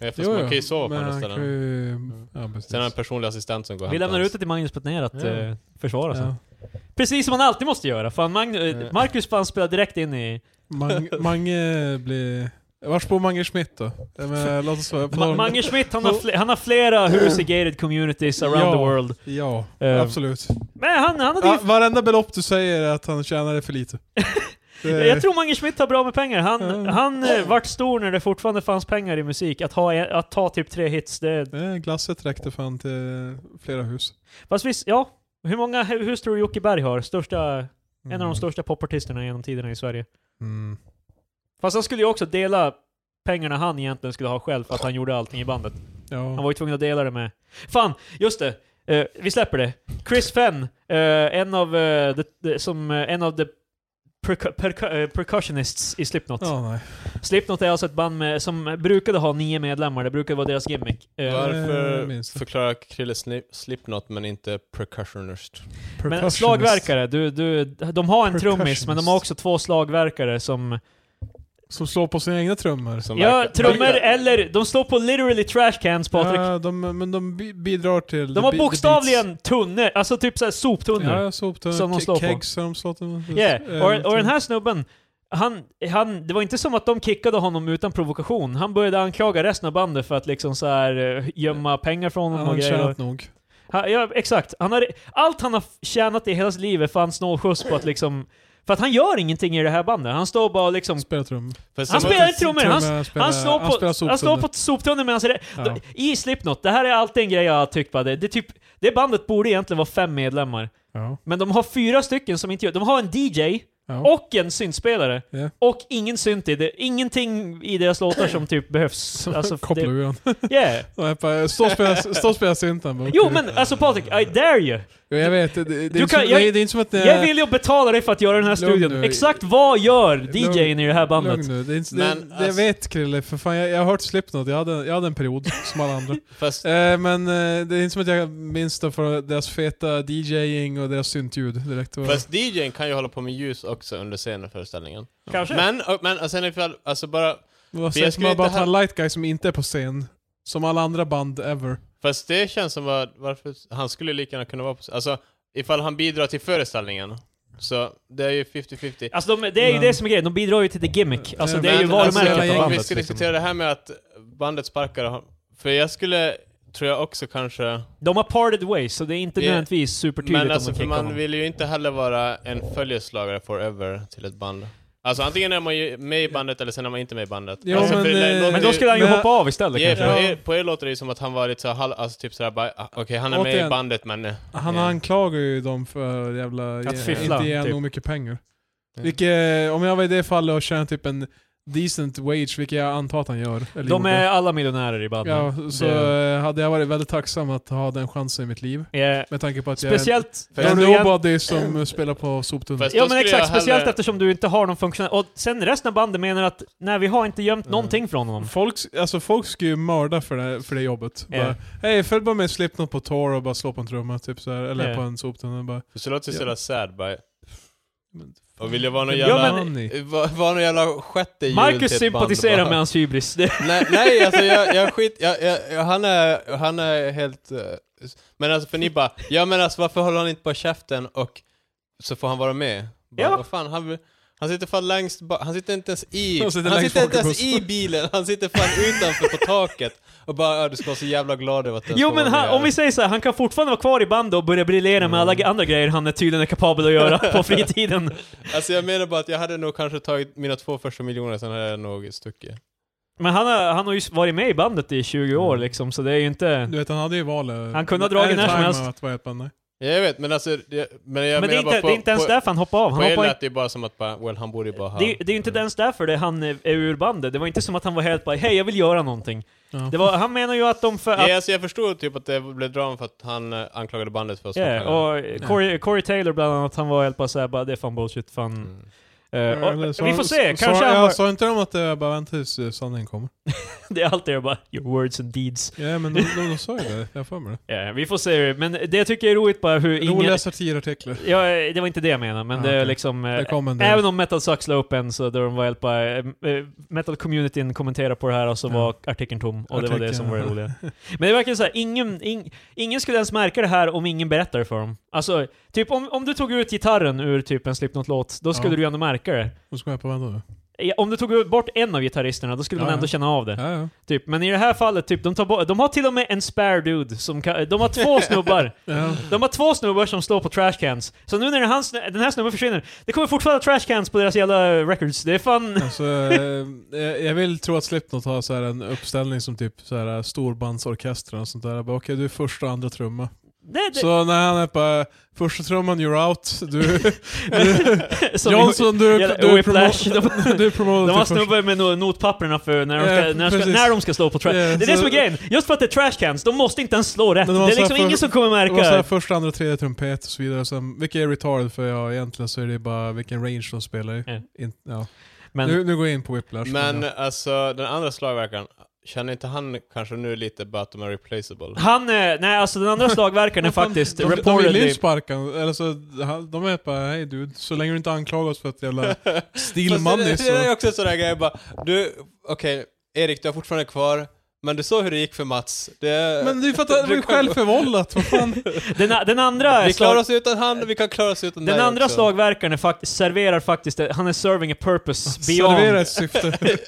S1: ja, fast man kan ju sova på
S3: men
S1: andra
S3: han
S1: ställen. Mm.
S3: kan ju- Ja, precis.
S1: Sen har han en personlig assistent som går och
S2: Vi
S1: hämtar
S2: lämnar
S1: hans-
S2: ut det till Magnus Bettner att
S1: Ja.
S2: eh, försvara sig.
S3: Ja.
S2: Precis som man alltid måste göra, fan Magn-
S1: Ja.
S2: eh, Marcus fan spelar direkt in i...
S3: Mang, Mange blir... Vars bor Mange Schmidt då? Jag menar, låt oss vara...
S2: Ma- Mange Schmidt, han har, fle- han har flera hus i gated communities around
S3: Ja.
S2: the world.
S3: Ja,
S2: Eh,
S3: absolut.
S2: Men han, han hade ju
S3: Ja, varenda belopp du säger är att han tjänade för lite. Det-
S2: Jag tror Mange Schmidt har bra med pengar. Han,
S3: Eh, Ja.
S2: han eh, vart stor när det fortfarande fanns pengar i musik. Att, ha, en- att ta typ tre hits, det...
S3: Eh, Glasset räckte fan till flera hus.
S2: Fast visst, ja. Hur många hu- hus tror du Jocke Berg har? Största,
S3: Mm.
S2: En av de största popartisterna genom tiderna i Sverige.
S3: Mm.
S2: Fast han skulle ju också dela pengarna han egentligen skulle ha själv för att han gjorde allting i bandet. Han
S3: Ja.
S2: var ju tvungen att dela det med... Fan, just det! Eh, vi släpper det. Chris Fenn, eh, en av eh, the, the, som, eh, en av the percu- percu- eh, percussionists i Slipknot.
S3: Ja, nej.
S2: Slipknot är alltså ett band med, som brukade ha nio medlemmar, det brukade vara deras gimmick. Eh,
S3: Jag
S1: Varför
S3: minns det.
S1: förklarar Krille sni- Slipknot men inte percussionist?
S2: men
S3: Percussionist.
S2: slagverkare, du, du, de har en trummis
S3: Percussionist.
S2: men de har också två slagverkare som...
S3: Som slår på sina egna trummor.
S1: Som
S2: Ja,
S1: verkar-
S2: trummor
S1: verkar-
S2: eller... De står på literally trash cans Patrik.
S3: Ja, de, men de bi- bidrar till...
S2: de har bokstavligen tunnor, alltså typ såhär soptunnor.
S3: Ja, soptunnor.
S2: Som de slår på.
S3: Kegs har de slått. en-
S2: Yeah. Och,
S3: eh,
S2: och den här snubben, han, han, det var inte som att de kickade honom utan provokation. Han började anklaga resten av bandet för att liksom så här eh, gömma pengar från honom
S3: Han
S2: och
S3: har
S2: grejer.
S3: tjänat nog.
S2: Han, ja, exakt. Han har, allt han har f- tjänat i hela sitt liv är fan snålskjuts på att liksom... För att han gör ingenting i det här bandet. Han står bara och liksom...
S3: Spelar trum.
S1: Fast
S2: Han
S1: sen var-
S2: spelar inte trummor! Han,
S3: Trummor, spelar-
S2: han slår
S3: han
S2: på,
S3: spelar
S2: han slår
S3: soptunnor.
S2: på soptunnor medan han...
S3: Ja.
S2: I Slipknot, det här är alltid en grej jag har tyckt bara, det, det, är typ, det bandet borde egentligen vara fem medlemmar.
S3: Ja.
S2: Men de har fyra stycken som inte gör... De har en DJ,
S3: Ja.
S2: och en syntspelare.
S3: Ja.
S2: Och ingen synt i det. Ingenting i deras låtar som typ behövs. Alltså,
S3: Kopplar
S2: det,
S3: ur den.
S2: yeah.
S3: Nej, bara, Stå och spela- stå och spela synten. bara,
S2: Jo
S3: okej.
S2: men alltså Patrik, I dare you!
S3: Jo, jag vet. Det, det, det, är,
S2: Du kan-
S3: inte,
S2: jag-
S3: jag, det är inte som att... Det,
S2: Jag vill ju betala dig för att göra den här
S3: Lugn
S2: studion.
S3: nu.
S2: Exakt vad gör DJn i det här bandet?
S3: Lugn nu. Det är inte,
S1: Men,
S3: det, det, jag
S1: alltså-
S3: vet Krille, för fan jag, jag har hört Slipknot. Jag hade, jag hade en period som alla andra.
S1: Fast
S3: Eh, men eh, det är inte som att jag minns det för deras feta DJing och deras syntljud direkt. Det var-
S1: Fast DJn kan ju hålla på med ljus också under scenföreställningen.
S2: Kanske?
S1: Men, och, men och sen ifall, alltså bara,
S3: det var
S1: för jag
S3: säkert
S1: skulle
S3: man bara
S1: inte
S3: ta en
S1: ha-
S3: light guy som inte är på scen. Som alla andra band ever.
S1: fast det känns som att, varför, han skulle lika gärna kunna vara på, alltså ifall han bidrar till föreställningen, så det är ju 50-50.
S2: Alltså de, det är ju
S3: Men-
S2: det som är grejen, de bidrar ju till the gimmick. Alltså
S3: Eh,
S2: det är ju
S1: Men, alltså,
S2: varumärket
S3: hela
S2: av
S3: gänget-
S1: Vi
S2: bandet.
S1: ska
S2: Liksom.
S1: diskutera det här med att bandet sparkar, har- för jag skulle, tror jag också kanske,
S2: De har parted ways, så det är inte
S1: Det-
S2: nödvändigtvis supertydligt
S1: men alltså
S2: om de
S1: för
S2: kickar
S1: man
S2: honom.
S1: vill ju inte heller vara en följeslagare forever till ett band. Alltså antingen är man ju med i bandet eller sen är man inte med i bandet.
S3: Jo,
S1: alltså,
S3: men,
S1: för det
S3: eh,
S1: låter
S2: Men
S1: ju-
S2: då skulle han ju
S3: Men-
S2: hoppa av istället
S1: Ja, på,
S2: kanske.
S3: Ja.
S1: er, på er låter det ju som att han var lite så halv, alltså typ sådär bara, ah, okej han är med
S3: Återigen.
S1: i bandet men... eh,
S3: Han
S1: eh,
S3: anklagar ju dem för jävla... eh,
S2: Att fiffla,
S3: Inte ge
S2: typ.
S3: nog mycket pengar.
S1: Mm.
S3: Vilket, eh, om jag var i det fallet och tjänade typ en decent wage, vilket jag antar att han gör. Eller
S2: De
S3: gjorde.
S2: är alla miljonärer i bandet.
S3: Ja, så eh, hade jag varit väldigt tacksam att ha den chansen i mitt liv.
S2: Yeah.
S3: Med tanke på att
S2: Eh, Speciellt...
S3: jag är en
S2: Då du igen-
S3: nobody som eh, spelar på soptunnor.
S1: Fast-
S2: Ja
S1: Då skulle
S2: men
S1: jag
S2: exakt,
S1: hellre-
S2: speciellt eftersom du inte har någon funktion. Och sen resten av bandet menar att nej, vi har inte gömt
S1: Mm.
S2: någonting från honom.
S3: Folk, alltså folk ska ju mörda för det, för det jobbet.
S2: Ja.
S3: Bara, Hej, följ bara med Slipknot på tour och bara slå på en trumma typ så här, eller
S2: Ja.
S3: på en soptunna. Bara,
S1: Så låter det
S3: Ja.
S1: sådär sad bara.
S3: men fan,
S1: Och vill jag vara någon
S3: vilken
S1: jävla...
S3: man ni.
S1: eh, va- Vara någon jävla sjätte hjul till ett
S2: Marcus
S1: band,
S2: sympatiserar
S1: bara.
S2: med hans hybris. Det,
S1: Nej, nej alltså jag, jag skit... Jag, jag, jag, han, är, han är helt... eh, s- Men alltså för ni bara, ja men alltså varför håller han inte bara käften och så får han vara med? Bara,
S2: Ja.
S1: Vad fan, han, vill- han sitter fan längst ba- han sitter inte ens i...
S3: Han
S1: Han
S3: sitter
S1: sitter,
S3: längst bak
S1: inte
S3: i
S1: ens i
S3: bussen.
S1: bilen, han sitter fan utanför på taket. Och bara, ja, du ska vara så jävla glad över att den
S2: jo
S1: ska
S2: men
S1: vara
S2: han,
S1: med
S2: om
S1: här."
S2: vi säger så här, han kan fortfarande vara kvar i bandet och börja briljera med alla
S1: Mm.
S2: andra grejer han är tydligen är kapabel att göra på fritiden.
S1: Alltså jag menar bara att jag hade nog kanske tagit mina två första miljoner, sen hade jag nog stuckit.
S2: Men han har, han har ju varit med i bandet i 20
S1: Mm.
S2: år liksom, så det är ju inte...
S3: Du vet, han hade ju valet.
S2: Han kunde ha dragit
S3: Anytime
S2: när som helst.
S3: Att, vad heter han? Nej.
S1: Jag vet, men alltså... Det, men jag
S2: Men det är
S1: menar bara
S2: inte,
S1: på,
S2: det är inte ens
S1: på,
S2: därför han hoppade av.
S1: På
S2: Han
S1: er
S2: hoppade
S1: lät det ju bara som att bara, well, han borde ju bara ha...
S2: Det, det är ju inte ens därför det han är är ur bandet. Det var inte som att han var helt bara hej jag vill göra någonting.
S3: Ja.
S2: Det var, han menar ju att de för att,
S1: Ja, alltså jag förstod typ att det blev drama för att han eh, anklagade bandet för att
S2: Ja,
S1: snacka.
S2: och Corey, Corey Taylor bland annat, han var helt bara såhär bara det är fan bullshit, fan.
S1: Mm.
S2: Eh, och,
S3: Eller så-
S2: vi får
S3: så-
S2: se, kanske
S3: så,
S2: han
S3: ja,
S2: var,
S3: Sa inte de att det var bara vänta tills eh, sanningen kommer?
S2: Det är alltid bara your words and deeds.
S3: Ja men de, de, de sa ju det, jag har för mig det.
S2: Ja, Eh, vi får se, men det jag tycker är roligt bara hur
S3: Roliga
S2: ingen...
S3: satirartiklar.
S2: Ja, eh, det var inte det jag menade, men
S3: Ah,
S2: det är
S3: okej.
S2: liksom... eh,
S3: Det kom en del.
S2: Även om Metal Sucks la upp en så där de var helt bara, eh, eh, Metal-communityn kommenterade på det här och så
S3: Ja.
S2: var artikeln tom och det var det som var det
S3: Artikeln,
S2: roliga. Men det verkar såhär, ingen, ing, ingen skulle ens märka det här om ingen berättade för dem. Alltså, typ om, om du tog ut gitarren ur typ en Slipknot-låt, då skulle
S3: Ja.
S2: du ju ändå märka det.
S3: Då ska jag på vänta nu.
S2: Eh, Om du tog ut- bort en av gitarristerna, då skulle man
S3: Ja,
S2: ändå
S3: ja.
S2: känna av det.
S3: Ja, ja.
S2: Typ. Men i det här fallet, typ, de, tar bort, de har till och med en spare dude som kan, De har två snubbar.
S3: ja.
S2: De har två snubbar som står på trashcans. Så nu när den, här snu- den här snubben försvinner, det kommer fortfarande trashcans på deras jävla records. Det är fan...
S3: Alltså, eh, jag- jag vill tro att Slipknot har så här en uppställning som typ så här storbandsorkestrar och sånt där. Jag bara, Okej, du är första och andra trumma.
S2: Nej, det,
S3: Så när han är på första trumman, you're out. Du, du,
S2: som
S3: Johnson, du, du,
S2: jävla
S3: är
S2: Whiplash.
S3: promo- du är promoted
S2: de har
S3: till första.
S2: snubbar med no- notpapperna för när de
S3: typ. Ja,
S2: ska, när de ska,
S3: precis.
S2: när de ska slå på trash.
S3: Ja,
S2: det är det
S3: så-
S2: som är grejen. Just för att det är trashcans, de måste inte ens slå
S3: Men
S2: rätt. Det
S3: de har
S2: är
S3: så här
S2: liksom
S3: för-
S2: ingen som kommer
S3: Det var så här
S2: märka...
S3: första, andra, tredje trumpet och så vidare. Och sen, vilka är retarded? För ja, egentligen så är det bara vilken range de spelar i.
S2: Ja.
S3: In, ja.
S2: Men,
S3: nu, nu går jag in på Whiplash.
S1: Men
S3: ja.
S1: alltså, den andra slagverkan, känner inte han kanske nu lite bara att de är replaceable?
S2: han... eh, Nej, alltså den andra slagverkaren är faktiskt
S3: de, de vill ju
S2: reportedly...
S3: sparka Eller så, de är bara hej du, så länge du inte anklagar oss för att jävla steal
S1: Fast
S3: money
S1: det, det är
S3: så...
S1: också en sån där grej bara, du, okej, Erik du har fortfarande kvar, men du såg hur det gick för Mats. Det,
S3: Men det är för att det är ju självförvållat, vad fan.
S2: Den, a- den andra...
S1: vi
S2: slag-
S1: klarar oss utan han, vi kan klara oss utan
S2: Den
S1: dig
S2: andra
S1: också.
S2: slagverkaren är fakt- serverar faktiskt, han är serving a purpose
S3: Servera
S2: beyond.
S3: ett syfte.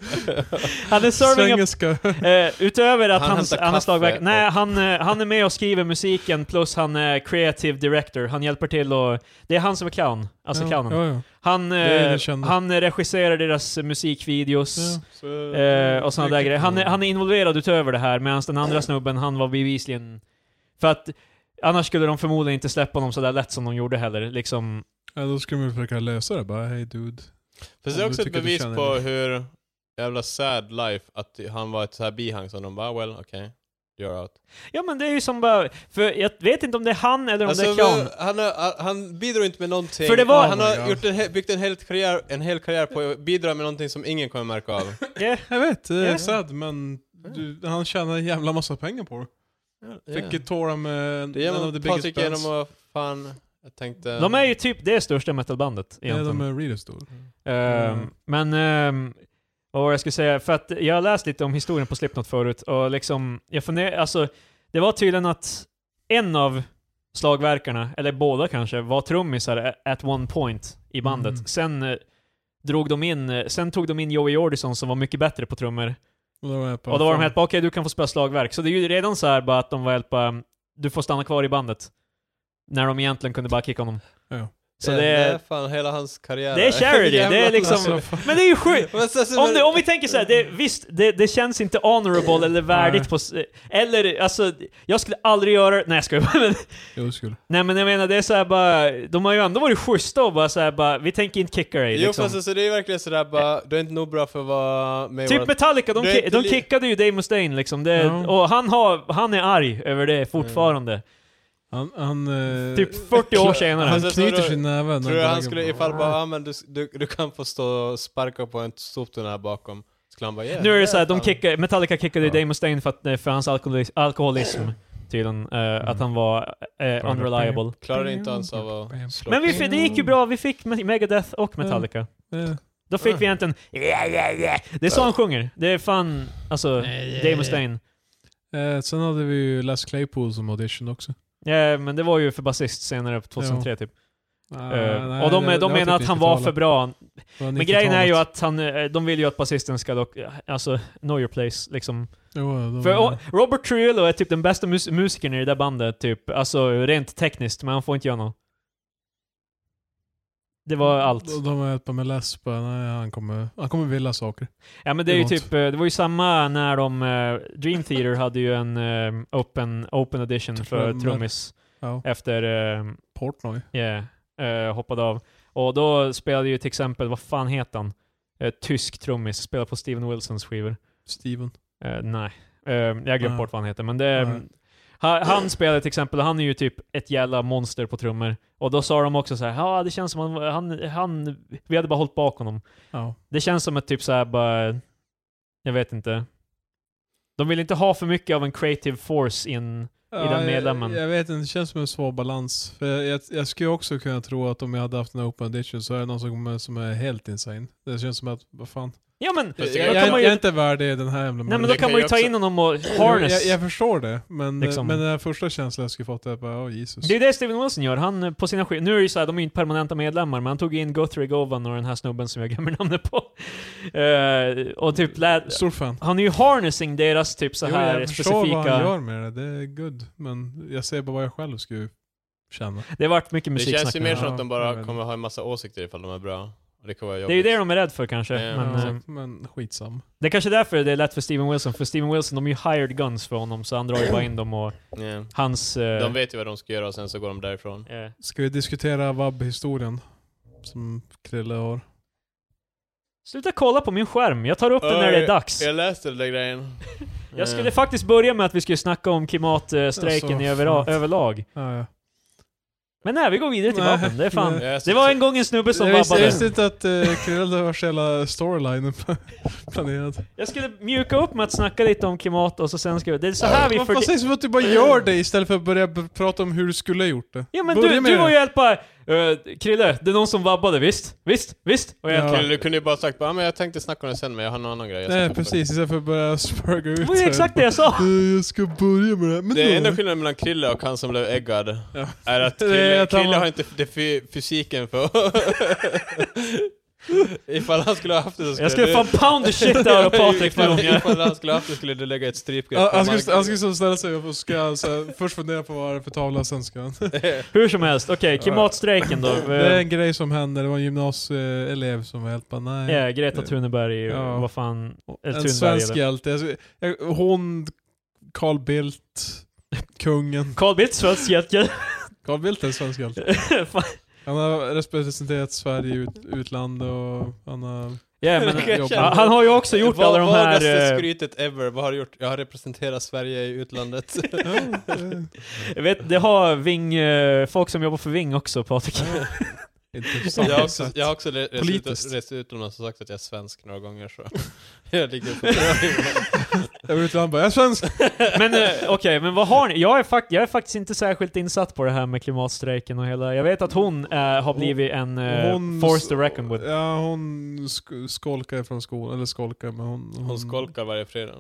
S2: Han är serving a,
S3: Svengelska.
S2: eh, utöver att
S1: Han
S2: han, han,
S1: hämtar
S2: är
S1: kaffe
S2: slagverkare,
S1: och-
S2: nej han, eh, han är med och skriver musiken plus han är creative director, han hjälper till och, det är han som är clown, alltså
S3: Ja,
S2: clownen.
S3: ja, ja.
S2: Han,
S3: är det
S2: eh,
S3: jag kände.
S2: han regisserar deras eh, musikvideos.
S3: Ja.
S1: Så-
S2: Eh, och sådana där grejer. Han, är- han är involverad utöver det här, medan den andra snubben, han var bevisligen... För att annars skulle de förmodligen inte släppa honom sådär lätt som de gjorde heller. Liksom,
S3: Ja, då skulle man försöka lösa det bara, hej dude.
S1: Fast det är
S3: Om du
S1: också ett
S3: tycker du
S1: bevis
S3: känner
S1: på
S3: det.
S1: hur jävla sad life, att han var ett så här bihang som de bara, well, okej, you're out.
S2: Ja men det är ju som bara, för jag vet inte om det är han eller om
S1: Alltså,
S2: det är clown.
S1: vad- han, har- han bidrog inte med någonting.
S2: För det var-
S1: han
S3: Oh
S1: har
S3: my God.
S1: gjort en, he- byggt en hel, karriär, en hel karriär på att bidra med någonting som ingen kommer märka av.
S2: Yeah.
S3: Jag vet, det är
S2: Ja.
S3: sad men du, han tjänar en jävla massa pengar på det. Fick
S1: Yeah.
S3: ett tårar med
S1: Det gör
S3: en av the
S1: man
S3: biggest
S1: Patrik
S3: bands.
S1: genom att fan, jag tänkte...
S2: De är ju typ det största metalbandet
S3: Ja,
S2: egentligen.
S3: de är really stor.
S2: Ehm,
S3: Mm.
S2: Men, ehm, vad var det jag skulle säga? För att jag har läst lite om historien på Slipknot förut och liksom, jag funderar, alltså det var tydligen att en av slagverkarna, eller båda kanske, var trummisar a- at one point i bandet.
S3: Mm.
S2: Sen eh, drog de in, eh, sen tog de in Joey Jordison som var mycket bättre på trummor.
S3: Och då var, jag bara,
S2: Och då var de
S3: fan.
S2: helt bara, okej du kan få spela slagverk. Så det är ju redan så här bara att de var helt bara, du får stanna kvar i bandet. När de egentligen kunde bara kicka honom.
S3: Ja.
S2: Så
S1: det,
S2: det
S1: är
S2: är,
S1: fan hela hans karriär.
S2: det är charity, det är liksom...
S3: Alltså, fan.
S2: Men det är ju sjukt!
S1: alltså, Men så- så-
S2: Om, det, om vi tänker såhär, det, visst, det, det känns inte honorable eller värdigt på... s- Eller alltså, jag skulle aldrig göra Nej jag skojar bara, men,
S3: Jo, det skulle.
S2: Nej men jag menar det är såhär bara, de har ju ändå varit schyssta och bara såhär bara, vi tänker inte kicka dig
S1: Jo
S2: liksom.
S1: fast alltså, det är verkligen sådär bara, du är inte nog bra för att vara med i
S2: Typ
S1: vårat-
S2: Metallica, de,
S1: Det är
S2: ki-
S1: inte
S2: de
S1: li-
S2: kickade ju Dave Mustaine liksom. Det,
S3: Ja.
S2: Och han, har, han är arg över det fortfarande.
S1: Mm.
S3: Han, han, eh,
S2: Typ 40 år senare.
S3: Han
S1: Alltså, tror
S3: knyter
S1: du-
S3: sin näve. när
S1: Tror du han
S3: vägen-
S1: skulle, ifall bara, ah, men du, du, du kan få stå och sparka på en soptunna här bakom. Skulle han bara, yeah,
S2: Nu är det
S1: yeah,
S2: såhär, de
S1: fan.
S2: kickar, Metallica kickade ju
S1: Ja.
S2: Dave Mustaine för, att, för hans alkoholism, alkoholism tydligen. eh,
S1: Mm.
S2: Att han var eh, unreliable.
S1: Klarar inte ens av att slå.
S2: Men vi, fi- det gick ju bra, vi fick Me- Megadeth och Metallica.
S3: Eh,
S2: Då fick vi egentligen yeah, yeah, yeah. Det är så han sjunger. Det är fan, alltså, Dave Mustaine.
S3: eh, sen hade vi ju Les Claypool som audition också.
S2: Ja, men det var ju för basist senare, på 2003 typ.
S3: Ah,
S2: Eh,
S3: nej,
S2: och de,
S3: det- det
S2: de
S3: var
S2: menar
S3: typ
S2: att han var för
S3: 90-talet.
S2: bra.
S3: Det var
S2: Men grejen är ju
S3: 90-talet.
S2: att han, eh, de vill ju att basisten ska dock, alltså, know your place liksom.
S3: Jo, de-
S2: För o- Robert Trujillo är typ den bästa mus- musikern i det där bandet, typ. Alltså rent tekniskt, men han får inte göra något. Det var allt.
S3: De, de hjälper med läsp. Nej, han kommer, han kommer vilja saker.
S2: Ja men det är ju
S3: Det var
S2: typ, eh, det var ju samma när de, eh, Dream Theater hade ju en eh, open, open edition för
S3: Trummor.
S2: trummis
S3: Ja.
S2: efter eh,
S3: Portnoy.
S2: yeah, eh, hoppade av. Och då spelade ju till exempel, vad fan heter han? Eh, tysk trummis, spelade på Steven Wilsons skivor.
S3: Steven.
S2: Eh, nej, Eh, jag har glömt
S3: Nej.
S2: bort vad han heter. Men det,
S3: Nej.
S2: han, han spelade till exempel, han är ju typ ett jävla monster på trummor. Och då sa de också så här, ja det känns som han, han, han, vi hade bara hållit bak honom.
S3: Ja.
S2: Det känns som att typ så här bara... Jag vet inte. De vill inte ha för mycket av en creative force in... den
S3: jag-
S2: medlemmen.
S3: Jag, vet inte, det känns som en svår balans. För jag, jag, jag skulle också kunna tro att om jag hade haft en open edition så är det någon som, kommer- som är helt insane. Det känns som att, vad fan.
S2: Ja men!
S1: Fast
S3: Jag,
S1: det-
S2: då
S3: jag,
S2: kan man
S3: jag
S2: ju,
S3: är inte värdig den här jävla
S2: nej men då
S1: det
S2: kan
S1: kan
S2: man ju
S1: ju
S2: ta
S1: också-
S2: in honom och
S3: Jo,
S2: harness.
S3: Jag, jag förstår det, men,
S2: Liksom.
S3: men den här första känslan jag skulle fått är bara, oh Jesus.
S2: Det är det Steven Wilson gör. Han eh, på sina skivor, nu är det ju så här, de är ju inte permanenta medlemmar, men han tog in Guthrie Govan och den här snubben som jag glömmer namnet på. Eh, och typ lät,
S3: Stor fan.
S2: Han är ju harnessing deras typ så
S3: Jo,
S2: här
S3: jag förstår
S2: specifika...
S3: vad han gör med det, det är good. Men jag ser bara vad jag själv skulle känna.
S2: Det har varit mycket
S1: Det känns
S2: musiksnack.
S1: ju
S2: nu.
S1: mer som
S3: ja,
S1: att de
S3: jag vet
S1: bara
S3: inte.
S1: kommer ha en massa åsikter ifall de är bra. Och det kommer vara
S2: Det är ju det de är rädda för kanske.
S1: Ja,
S2: men,
S3: men,
S2: eh,
S3: men skitsam.
S2: Det är kanske därför det är lätt för Steven Wilson, för Steven Wilson de är ju hired guns för honom, så han drar ju bara in dem och
S1: Ja.
S2: hans... eh,
S1: De vet ju vad de ska göra och sen så går de därifrån.
S2: eh,
S3: Ska vi diskutera vab-historien? Som Krille har.
S2: sluta kolla på min skärm, jag tar upp den när det är
S1: Oj, Eh.
S2: dags.
S1: Jag läste den där grejen. Eh,
S2: Jag skulle faktiskt börja med att vi skulle snacka om klimatstrejken
S3: Alltså,
S2: i övera-
S3: fan.
S2: överlag.
S3: Ja, ja.
S2: Men nej, vi går vidare till
S3: Nej,
S2: vapen. Det är fan...
S3: nej.
S1: jag
S2: Det var en gång en snubbe som
S3: Jag visste, jag visste
S2: vabbade.
S3: inte att eh, Krille har hela storylinen planerad.
S2: Jag skulle mjuka upp med att snacka lite om klimat och så sen ska vi... Det är så här vi...
S3: Varför
S2: förde-
S3: sägs det som att du bara gör det istället för att börja b- prata om hur du skulle ha gjort det?
S2: Ja men
S3: Börja
S2: du,
S3: med
S2: du
S3: det.
S2: var ju helt bara... eh, Krille, det är någon som vabbade, visst? Visst? Visst? Och jag
S3: Ja.
S2: helt bara...
S1: Krille, Du kunde ju bara sagt bara, "Ja, men jag tänkte snacka om det sen men jag har någon annan grej. jag ska
S3: Nej
S1: kolla på."
S3: precis, istället för att börja spurga ut
S2: Det var ju exakt det jag sa!
S3: Eh, Jag ska börja med det här. Men
S1: Det är
S3: då-
S1: enda skillnaden mellan Krille och han som blev äggad
S3: Ja.
S1: är att
S3: Det är
S1: Krille,
S3: att han
S1: Krille
S3: var-
S1: har inte f- det fy, fysiken för Ifall han skulle ha haft det så skulle
S2: Jag skulle
S1: du-
S2: fan pound the shit out of Patrik nu om
S1: ifall,
S2: jag...
S1: ifall han skulle ha haft det skulle du lägga ett strypgrepp
S3: Ja,
S1: på
S3: Han skulle, han
S1: marken.
S3: skulle så ställa sig upp och ska så här, först fundera på vad det är för tavla, sen ska han...
S2: Hur som helst, okej, klimatstrejken då.
S3: Det är
S2: Eh,
S3: en grej som hände, det var en gymnasieelev som var helt bara nej.
S2: Ja, Greta Thunberg,
S3: Ja.
S2: vad fan...
S3: En
S2: Thunberg,
S3: svensk
S2: eller?
S3: hjälte. Jag skulle- jag- Hon, Carl Bildt, kungen.
S2: Carl Bildt, svensk hjälte.
S3: Carl Bildt är en svensk hjälte.
S2: Fan.
S3: Han har representerat Sverige i ut, utland och han har...
S2: Ja, men,
S1: Jag
S2: ja,
S1: känner-
S2: han har ju också gjort
S1: Vad-
S2: alla de
S1: Vagaste
S2: här... eh,
S1: skrytet ever, vad har du gjort? Jag har representerat Sverige i utlandet.
S3: Ja, eh,
S2: Jag vet, det har Ving, eh, folk som jobbar för Ving också, Patrik.
S3: Intressant.
S1: jag, har också, jag har också re- rest ut-
S3: Politiskt.
S1: rest utomlands och sagt att jag är svensk några gånger så. jag ligger på bra
S3: Jag var ute och han bara 'Jag är svensk!'
S2: Men eh, okej, men vad har ni? Jag är, fak- jag är faktiskt inte särskilt insatt på det här med klimatstrejken och hela... Jag vet att hon eh, har blivit en eh,
S3: Hon-
S2: force to reckon with.
S3: Ja, hon sk- skolkar från skolan, eller skolkar, men hon...
S1: Hon skolkar varje fredag.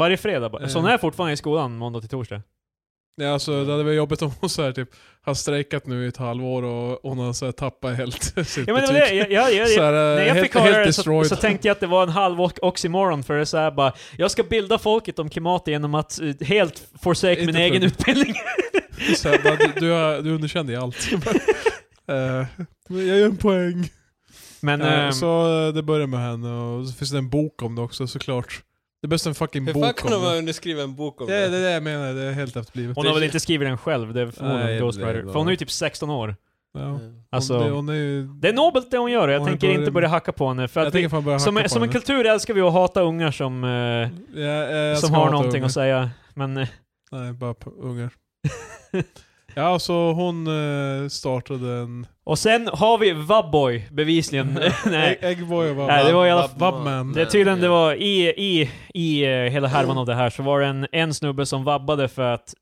S2: Varje fredag bara. Så hon är fortfarande i skolan måndag till torsdag?
S3: Ja, alltså, det hade varit jobbigt om hon så här, typ, har strejkat nu i ett halvår och hon har så här, tappat helt sitt
S2: Ja men det var
S3: betyg.
S2: det, jag, jag, jag,
S3: Så här,
S2: när jag
S3: Eh, helt,
S2: fick höra
S3: helt
S2: det så,
S3: destroyed.
S2: så tänkte jag att det var en halv o- oxymoron för det är så här bara, jag ska bilda folket om klimatet genom att eh, helt forsake min
S3: Inte
S2: egen
S3: plugga.
S2: utbildning.
S3: så här, bara, du, du, har- du underkände i allt. Eh, men jag gör en poäng.
S2: Men
S3: Eh,
S2: ehm,
S3: så eh, det börjar med henne och så finns det en bok om det också såklart. Det behövs en fucking
S1: Hur fan
S3: bok
S1: kan
S3: om
S1: de ha
S3: det.
S1: underskrivit en bok om
S3: Det är det
S1: det?
S3: är det jag menar, det är helt efterblivet.
S2: hon har väl inte skrivit den själv, det är
S3: Nej,
S2: förmodligen
S3: det
S2: Ghostwriter.
S3: var-
S2: För hon är ju typ 16 år.
S3: Ja.
S1: Eh.
S2: Alltså,
S3: hon, det, hon är ju...
S2: det är nobelt det hon gör och jag
S3: Hon är
S2: tänker
S3: början-
S2: inte börja hacka på henne. För
S3: jag
S2: att vi,
S3: tänker fan börja
S2: som,
S3: hacka på
S2: som en
S3: henne.
S2: kultur älskar vi att hata ungar som, eh,
S3: Ja, eh, jag
S2: som
S3: ska
S2: har
S3: hata
S2: någonting
S3: ungar.
S2: att säga. Men eh,
S3: Nej, bara på ungar. ja, så hon eh, startade en...
S2: och sen har vi Vabboy, bevisligen. Nej.
S3: Egg- Eggboy och
S2: Nej, det var i alla fall-
S3: Vabman.
S2: Det är tydligen det var i, i, i eh, hela härvan av det här så var det en, en snubbe som vabbade för att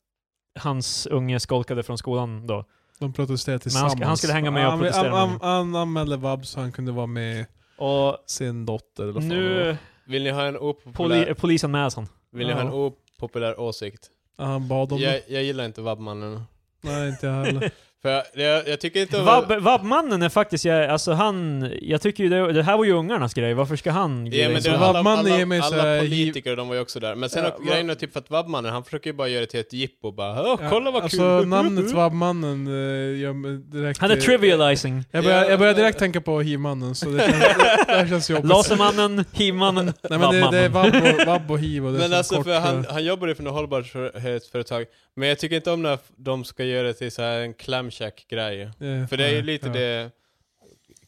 S2: hans unge skolkade från skolan då.
S3: De protesterade
S2: Men han
S3: tillsammans.
S2: ska- han skulle hänga med och
S3: han,
S2: protestera
S3: Han,
S2: med.
S3: han, han anmälde Vab så han kunde vara med
S2: Och
S3: sin dotter eller vad fan det var.
S2: nu
S1: Vill ni ha en
S2: poli,
S1: opopulär,
S2: eh, polisanmäls han.
S1: vill ni ha en
S3: Ja.
S1: opopulär åsikt?
S3: Ja, Han bad om det.
S1: Jag, jag gillar inte Vabbmannen.
S3: Nej, inte jag heller.
S1: För jag, jag, jag tycker inte om...
S2: Vab, vabbmannen är faktiskt, jag, alltså han, jag tycker ju det, det här var ju ungarnas grej, varför ska han liksom glida
S1: Ja,
S2: in
S1: men det,
S2: som-
S3: var-
S1: alla,
S3: Vabbmannen
S1: alla,
S3: ger mig så
S1: alla
S3: här-
S1: politiker, de var ju också där. Men sen
S3: Ja,
S1: ja, grejen är typ för att Vabbmannen, han försöker ju bara göra det till ett jippo bara Åh, kolla vad
S3: Alltså
S1: kul! Mm.
S3: namnet Vabbmannen eh, gör mig direkt...
S2: Han är
S3: eh,
S2: trivializing.
S3: Jag börjar,
S1: Ja.
S3: jag börjar direkt tänka på He-mannen, så det känns, det, det här känns jobbigt.
S2: Lasermannen, He-mannen,
S3: Nej men det, det är
S2: Vabbmannen.
S3: vabb och, vabb och hiv och det är
S1: Men
S3: så
S1: alltså,
S3: kort,
S1: för han,
S3: eh,
S1: han jobbar ju för något hållbarhetsföretag. Men jag tycker inte om när f- de ska göra det till så här en clamshack-grej.
S3: eh,
S1: För det är ju
S3: nej,
S1: lite
S3: ja.
S1: det...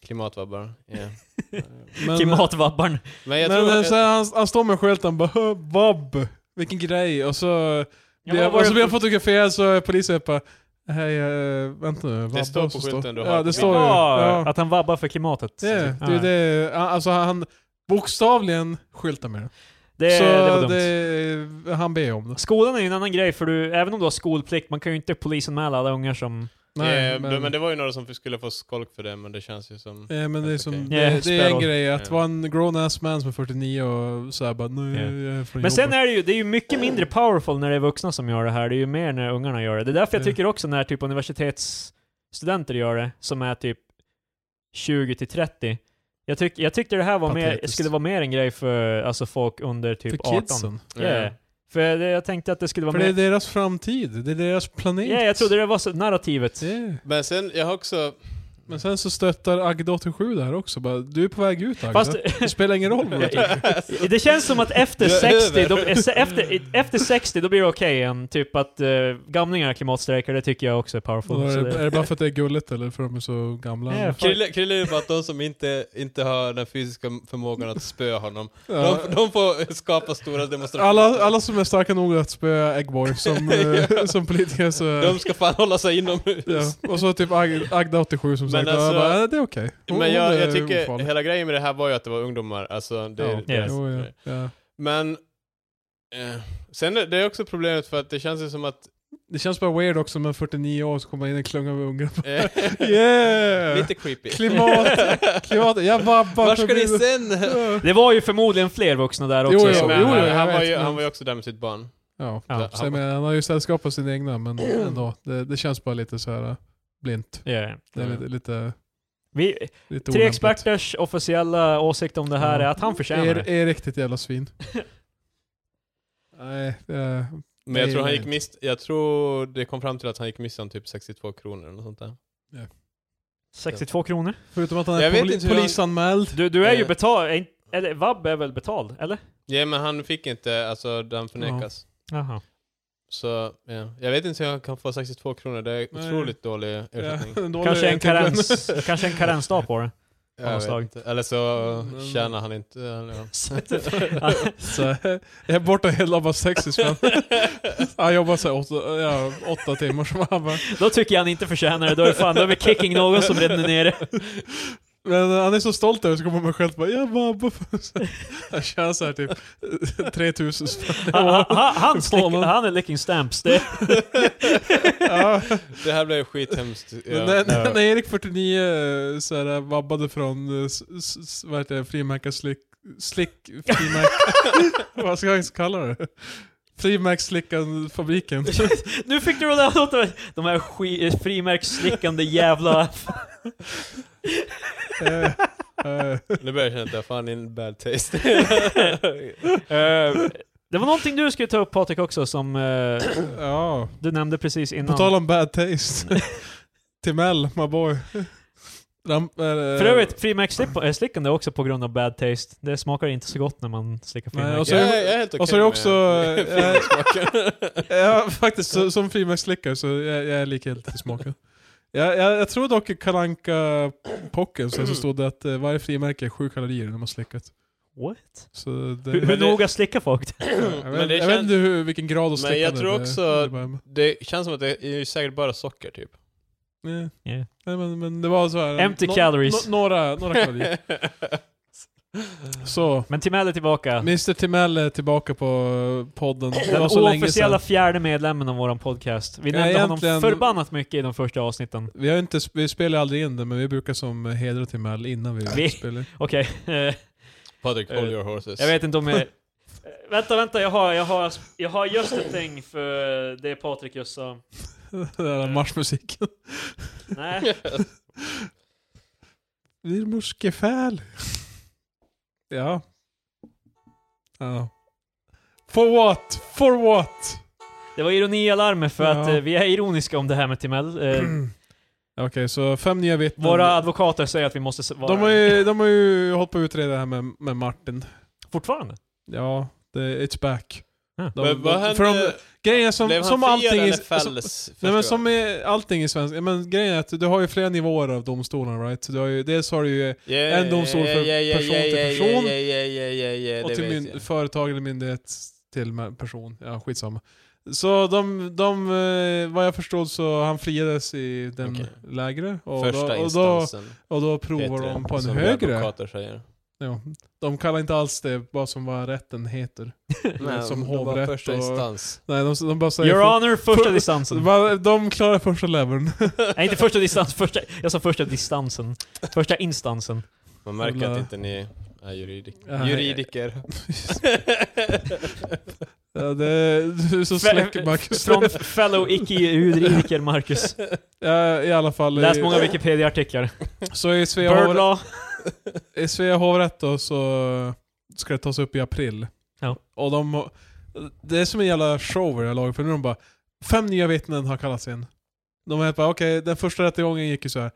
S1: Klimatvabbar. ja.
S3: Men,
S2: Klimatvabbarn.
S1: Men jag
S3: men, alltså,
S1: tror...
S3: men,
S1: att-
S3: så här, han, han står med skylten bara "Hö, vabb, vilken grej. Och så
S2: Ja,
S3: blir
S2: men
S3: jag,
S2: vad
S3: och så
S2: var
S3: blir
S2: det
S3: jag fotograferad så är polisen bara Hej, eh, vänta nu. vabb
S1: står på
S3: som
S1: skylten du har.
S3: Ja,
S1: Ja,
S3: det står ju.
S2: Ja,
S3: Ja,
S2: att han vabbar för klimatet.
S3: det, är-
S2: Ja.
S3: det, är det, han- alltså han bokstavligen skyltar med det.
S2: det,
S3: så
S2: det var dumt.
S3: det- han ber om det.
S2: Skolan är ju en annan grej, för du, även om du har skolplikt, man kan ju inte polisanmäla alla ungar som...
S1: eh, men... det var ju några som skulle få skolk för det, men det känns ju som...
S3: Ja, men det är, som,
S1: Okej.
S3: det,
S2: Yeah,
S3: det är en
S2: spärrad.
S3: grej att
S1: Ja.
S3: vara en grown-ass man som är 49 och såhär bara nu jag är från
S2: Men sen
S3: jobbet."
S2: är det ju, det är ju mycket mindre powerful när det är vuxna som gör det här, det är ju mer när ungarna gör det. Det är därför jag
S3: Ja.
S2: tycker också när typ universitetsstudenter gör det, som är typ 20 till 30. Jag, tyck, jag tyckte det här var mer,
S3: Patetiskt.
S2: skulle vara mer en grej för alltså folk under typ
S3: för
S2: 18.
S3: kidsen.
S1: Eh.
S2: Yeah. För det, jag tänkte att det skulle vara
S3: För det är
S2: mer...
S3: deras framtid, det är deras planet.
S2: Ja, jag trodde det var så, narrativet.
S3: Yeah.
S1: Men sen, jag har också...
S3: Men sen så stöttar Agda 87 det här också. Bara, du är på väg ut Agda.
S2: Fast
S3: Det spelar ingen roll vad du tycker.
S2: det känns som att efter
S1: Jag är
S2: 60, då,
S1: över.
S2: efter, efter 60 då blir det okej igen. Typ att uh, gamlingar klimatstrejkar, det tycker jag också är powerful.
S3: Vadå,
S2: så
S3: Är det, är
S2: det,
S3: det bara för att det är gulligt eller för att de är så gamla?
S2: Ja, fan.
S1: Krille, Krille är ju bara att de som inte, inte har den fysiska förmågan att spöa honom,
S3: Ja.
S1: de, de får skapa stora demonstrationer.
S3: Alla, alla som är starka nog att spöa Eggboy som, eh, som politiker så...
S1: De ska fan hålla sig inomhus.
S3: Ja. Och så typ Ag- Agda 87 som
S1: Men alltså-
S3: sagt, alltså, bara, "Eh, det är okej. Hon-
S1: Men
S3: hon
S1: jag,
S3: är
S1: jag tycker
S3: ofarlig."
S1: hela grejen med det här var ju att det var ungdomar. Alltså, det,
S3: Ja.
S1: det-
S2: Yes.
S3: Jo, ja. Ja.
S1: Men eh, sen är det är också problemet för att det känns ju som att...
S3: Det känns bara weird också med 49 år så kommer in en klunga med ungar.
S1: Eh,
S3: Yeah!
S1: lite creepy.
S3: Klimat, klimat, jag vabbar
S1: Var ska
S3: förbi-
S1: ni sen?
S3: Ja.
S2: det var ju förmodligen fler vuxna där också.
S3: Jo, jo,
S2: så-
S1: men,
S3: jo, jo, jag
S1: han, var
S3: vet,
S1: ju,
S3: men-
S1: han var ju också där med sitt barn.
S3: Ja,
S2: Ja,
S3: så jag menar, han har ju sällskap av sina egna men ändå. Det, det känns bara lite så här äh, blint.
S2: Ja.
S3: Det är lite, lite,
S2: Vi,
S3: lite
S2: tre
S3: olämpligt.
S2: experters officiella åsikt om det här
S3: Ja.
S2: är att han förtjänar
S3: Är,
S2: det.
S3: är riktigt jävla svin. Nej, det är,
S1: Men
S3: Det
S1: jag
S3: är
S1: tror han gick
S3: inte.
S1: miste, jag tror det kom fram till att han gick miste om typ 62 kronor eller något sånt där.
S2: 62 kronor.
S3: förutom att han
S1: Jag
S3: är
S1: vet
S3: poli-
S1: inte hur han-
S3: polisanmäld.
S2: Du, du är ju
S1: Eh.
S2: betald, är inte- eller vab är väl betald, eller?
S1: Ja men han fick inte, alltså den förnekas.
S2: Jaha.
S1: Så ja. jag vet inte hur han kan få 62 kronor, det är
S3: Nej.
S1: otroligt dålig ersättning.
S3: Ja, en dålig
S2: Kanske en,
S3: ersättning.
S2: karens, kanske en karensdag på det.
S1: Jag vet
S2: Avslag.
S1: inte. Eller så
S3: Mm.
S1: tjänar han inte. Ja.
S3: Så, jag är borta hela bara 60 spänn. Han jobbar såhär åtta, ja, åtta timmar som han bara.
S2: Då tycker jag han inte förtjänar det, då är fan, då är vi kicking någon som redan är nere.
S3: Men han är så stolt över det så kommer man själv bara jag vabbar. Han tjänar såhär typ 3000 spänn.
S2: Han, han, han, han, slick,
S3: Månen.
S2: han är licking stamps. Det,
S3: Ja.
S1: Det här blev ju skithemskt. Ja.
S3: Men när, när, när Erik 49 så här, vabbade från eh, s, s, s- vad heter det, frimärkarslick... Slick... Frimärk... vad ska jag kalla det? Frimärksslickan-fabriken.
S2: nu fick du rulla åt mig. De här ski- eh, frimärksslickande jävla...
S3: Eh, eh,
S1: Nu börjar jag känna att det är fan in bad taste.
S2: Eh, det var någonting du skulle ta upp Patrik också som eh,
S3: ja.
S2: du nämnde precis
S3: På tal
S2: innan.
S3: om bad taste. Timell, my boy. Ramp, eh,
S2: För övrigt, frimärksslickande är också på grund av bad taste. Det smakar inte så gott när man slickar
S3: Nej,
S2: frimärken.
S3: och så-
S1: jag, är- jag är helt okej
S3: och så är det också,
S1: med-
S3: eh,
S1: filmsmaken.
S3: Ja, faktiskt. Så, som frimärksslickare så jag, jag är likgiltig till smaken. Jag, jag, jag tror dock i Kalanka pocken så, så stod det att eh, varje frimärke är sju kalorier när man slickat.
S2: What?
S3: Så det,
S2: Hur,
S1: det-
S2: hur noga slickar folk?
S3: jag,
S1: Men
S3: vet,
S1: det
S3: jag vet
S1: känns-
S3: inte hur, vilken grad av
S1: Men jag
S3: slickande
S1: tror
S3: det-
S1: också-
S3: det var.
S1: Det känns som att det är ju säkert bara socker typ.
S3: Nej.
S2: Yeah.
S3: Nej, men, men det var så här. eh,
S2: Empty
S3: nå-
S2: calories.
S3: nå- några, några kalorier. Så.
S2: Men Timell är tillbaka.
S3: Mr Timell är tillbaka på podden. Det
S2: Den
S3: var så länge
S2: officiella
S3: sedan.
S2: fjärde medlemmen av våran podcast. Vi
S3: Ja,
S2: nämnde
S3: egentligen-
S2: honom förbannat mycket i de första avsnitten.
S3: Vi, har inte, sp- vi spelar aldrig in det, men vi brukar som hedra Timell innan vi,
S2: Vi-
S3: spelar.
S2: Okej, eh,
S1: Patrik,
S2: Eh,
S1: hold your horses.
S2: jag vet inte om jag... Eh, vänta, vänta, jag har, jag har, jag har just en ting för det Patrik just sa.
S3: Den där marschmusiken.
S2: Nej.
S3: Vi är muskefäl. Ja. Ja. For what? For what?
S2: Det var ironialarmet för att
S3: Ja.
S2: eh, vi är ironiska om det här med Timell. Eh,
S3: Okej, så fem nya vittnen.
S2: våra advokater säger att vi måste s- vara...
S3: de, har ju, de har ju hållit på att utreda det här med, med Martin.
S2: Fortfarande?
S3: Ja, det, it's back.
S2: Ja.
S3: De,
S1: Men vad hände?
S3: för de, grejen är
S1: Blev
S3: som,
S1: han
S3: som
S1: friad
S3: allting... i-
S1: eller
S3: som,
S1: fälls? första
S3: nej men
S1: gången?
S3: som i allting i svensk... Men grejen är att du har ju flera nivåer av domstolarna right? Du har ju, dels har du ju
S1: Yeah,
S3: en domstol för person till person.
S1: Yeah, yeah, yeah, yeah, yeah,
S3: och
S1: det
S3: till
S1: vet
S3: myn-
S1: jag.
S3: företag eller myndighet till mä- person. Ja, skitsamma. Så de, de eh, vad jag förstod så han friades i den
S1: Okej.
S3: lägre. Och
S1: Första
S3: då, och, då,
S1: instansen.
S3: och då
S1: heter
S3: provar
S1: det,
S3: de på en
S1: som vi
S3: högre.
S1: advokater säger.
S3: Ja, de kallar inte alls det vad som var rätten heter.
S1: Nej,
S3: som
S1: det var
S3: hovrätt
S1: första
S3: och-
S1: instans.
S3: Nej, de, de bara säger...
S2: Your honor, första
S3: för-
S2: distansen.
S3: Va- De klarar första leveln.
S2: Nej, inte första distans, första, jag sa första distansen. Första instansen.
S1: Man märker
S3: Jävla-
S1: att inte ni är juridiker.
S3: Nej.
S1: Juridiker.
S3: ja, det är så släcker Marcus.
S2: Från fellow icke-juridiker Marcus.
S3: Ja, I alla fall.
S2: Läs
S3: i-
S2: många Wikipedia-artiklar.
S3: Så i Svea,
S2: Bird
S3: hovrätt,
S2: law.
S3: i Svea hovrätt då så ska det tas upp i april.
S2: Ja.
S3: Och de, det är som en jävla show i det här laget, för nu är de bara Fem nya vittnen har kallats in. De är bara okej, den första rättegången gick ju så här.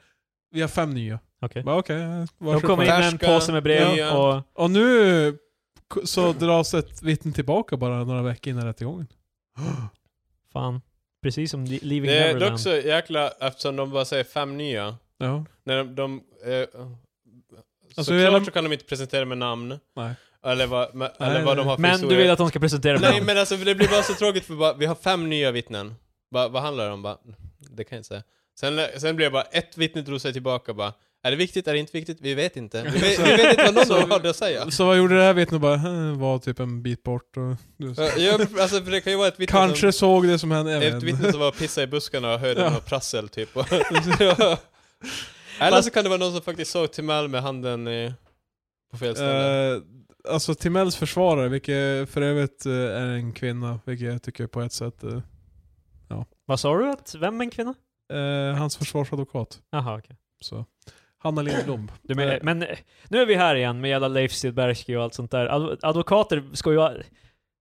S3: Vi har fem nya.
S2: Okej.
S3: Bara, okej,
S2: De
S3: varsågod.
S2: kom in med en
S1: Färska,
S2: påse med brev
S1: nya.
S2: och...
S3: Och nu k- så dras ett vittne tillbaka bara några veckor innan rättegången.
S2: Fan. Precis som Li- Leaving
S1: Det är dock
S2: Neverland.
S1: så jäkla, eftersom de bara säger fem nya.
S3: Ja.
S1: När de, de eh,
S3: Alltså,
S1: såklart
S3: hela-
S1: så kan de inte presentera med namn.
S3: Nej.
S1: Eller vad, men-
S3: Nej,
S1: eller vad
S3: nej.
S1: de har för
S2: Men du
S1: historia.
S2: vill att de ska presentera
S1: Nej
S2: mig?
S1: men alltså för det blir bara så tråkigt för bara, vi har fem nya vittnen. Bara, vad handlar det om? Bara, det kan jag inte säga. Sen, sen blir det bara ett vittne drog sig tillbaka bara. Är det viktigt? Är det inte viktigt? Vi vet inte. Vi vet, vi vet inte vad någon
S3: Så-
S1: av dem hade att säga.
S3: Så vad gjorde det här vittnet? Bara "Hm, var typ en bit bort. Och,
S1: Ja, alltså för det kan ju vara ett vittne som...
S3: Kanske såg det som hände. jag
S1: Ett
S3: vet.
S1: vittne som var och pissade i buskarna och hörde
S3: Ja.
S1: något prassel typ. Eller så kan det vara någon som faktiskt såg Timell med handen i, på fel ställe.
S3: Eh, alltså Timells försvarare, vilket för övrigt eh, är en kvinna, vilket jag tycker på ett sätt... eh,
S2: Vad sa du? Att, vem är en kvinna?
S3: eh, hans försvarsadvokat.
S2: Jaha, okej.
S3: Så. Hanna Lindblom.
S2: Du men,
S3: Eh,
S2: men eh, nu är vi här igen med jävla Leif Silbersky och allt sånt där. Adv- advokater ska ju...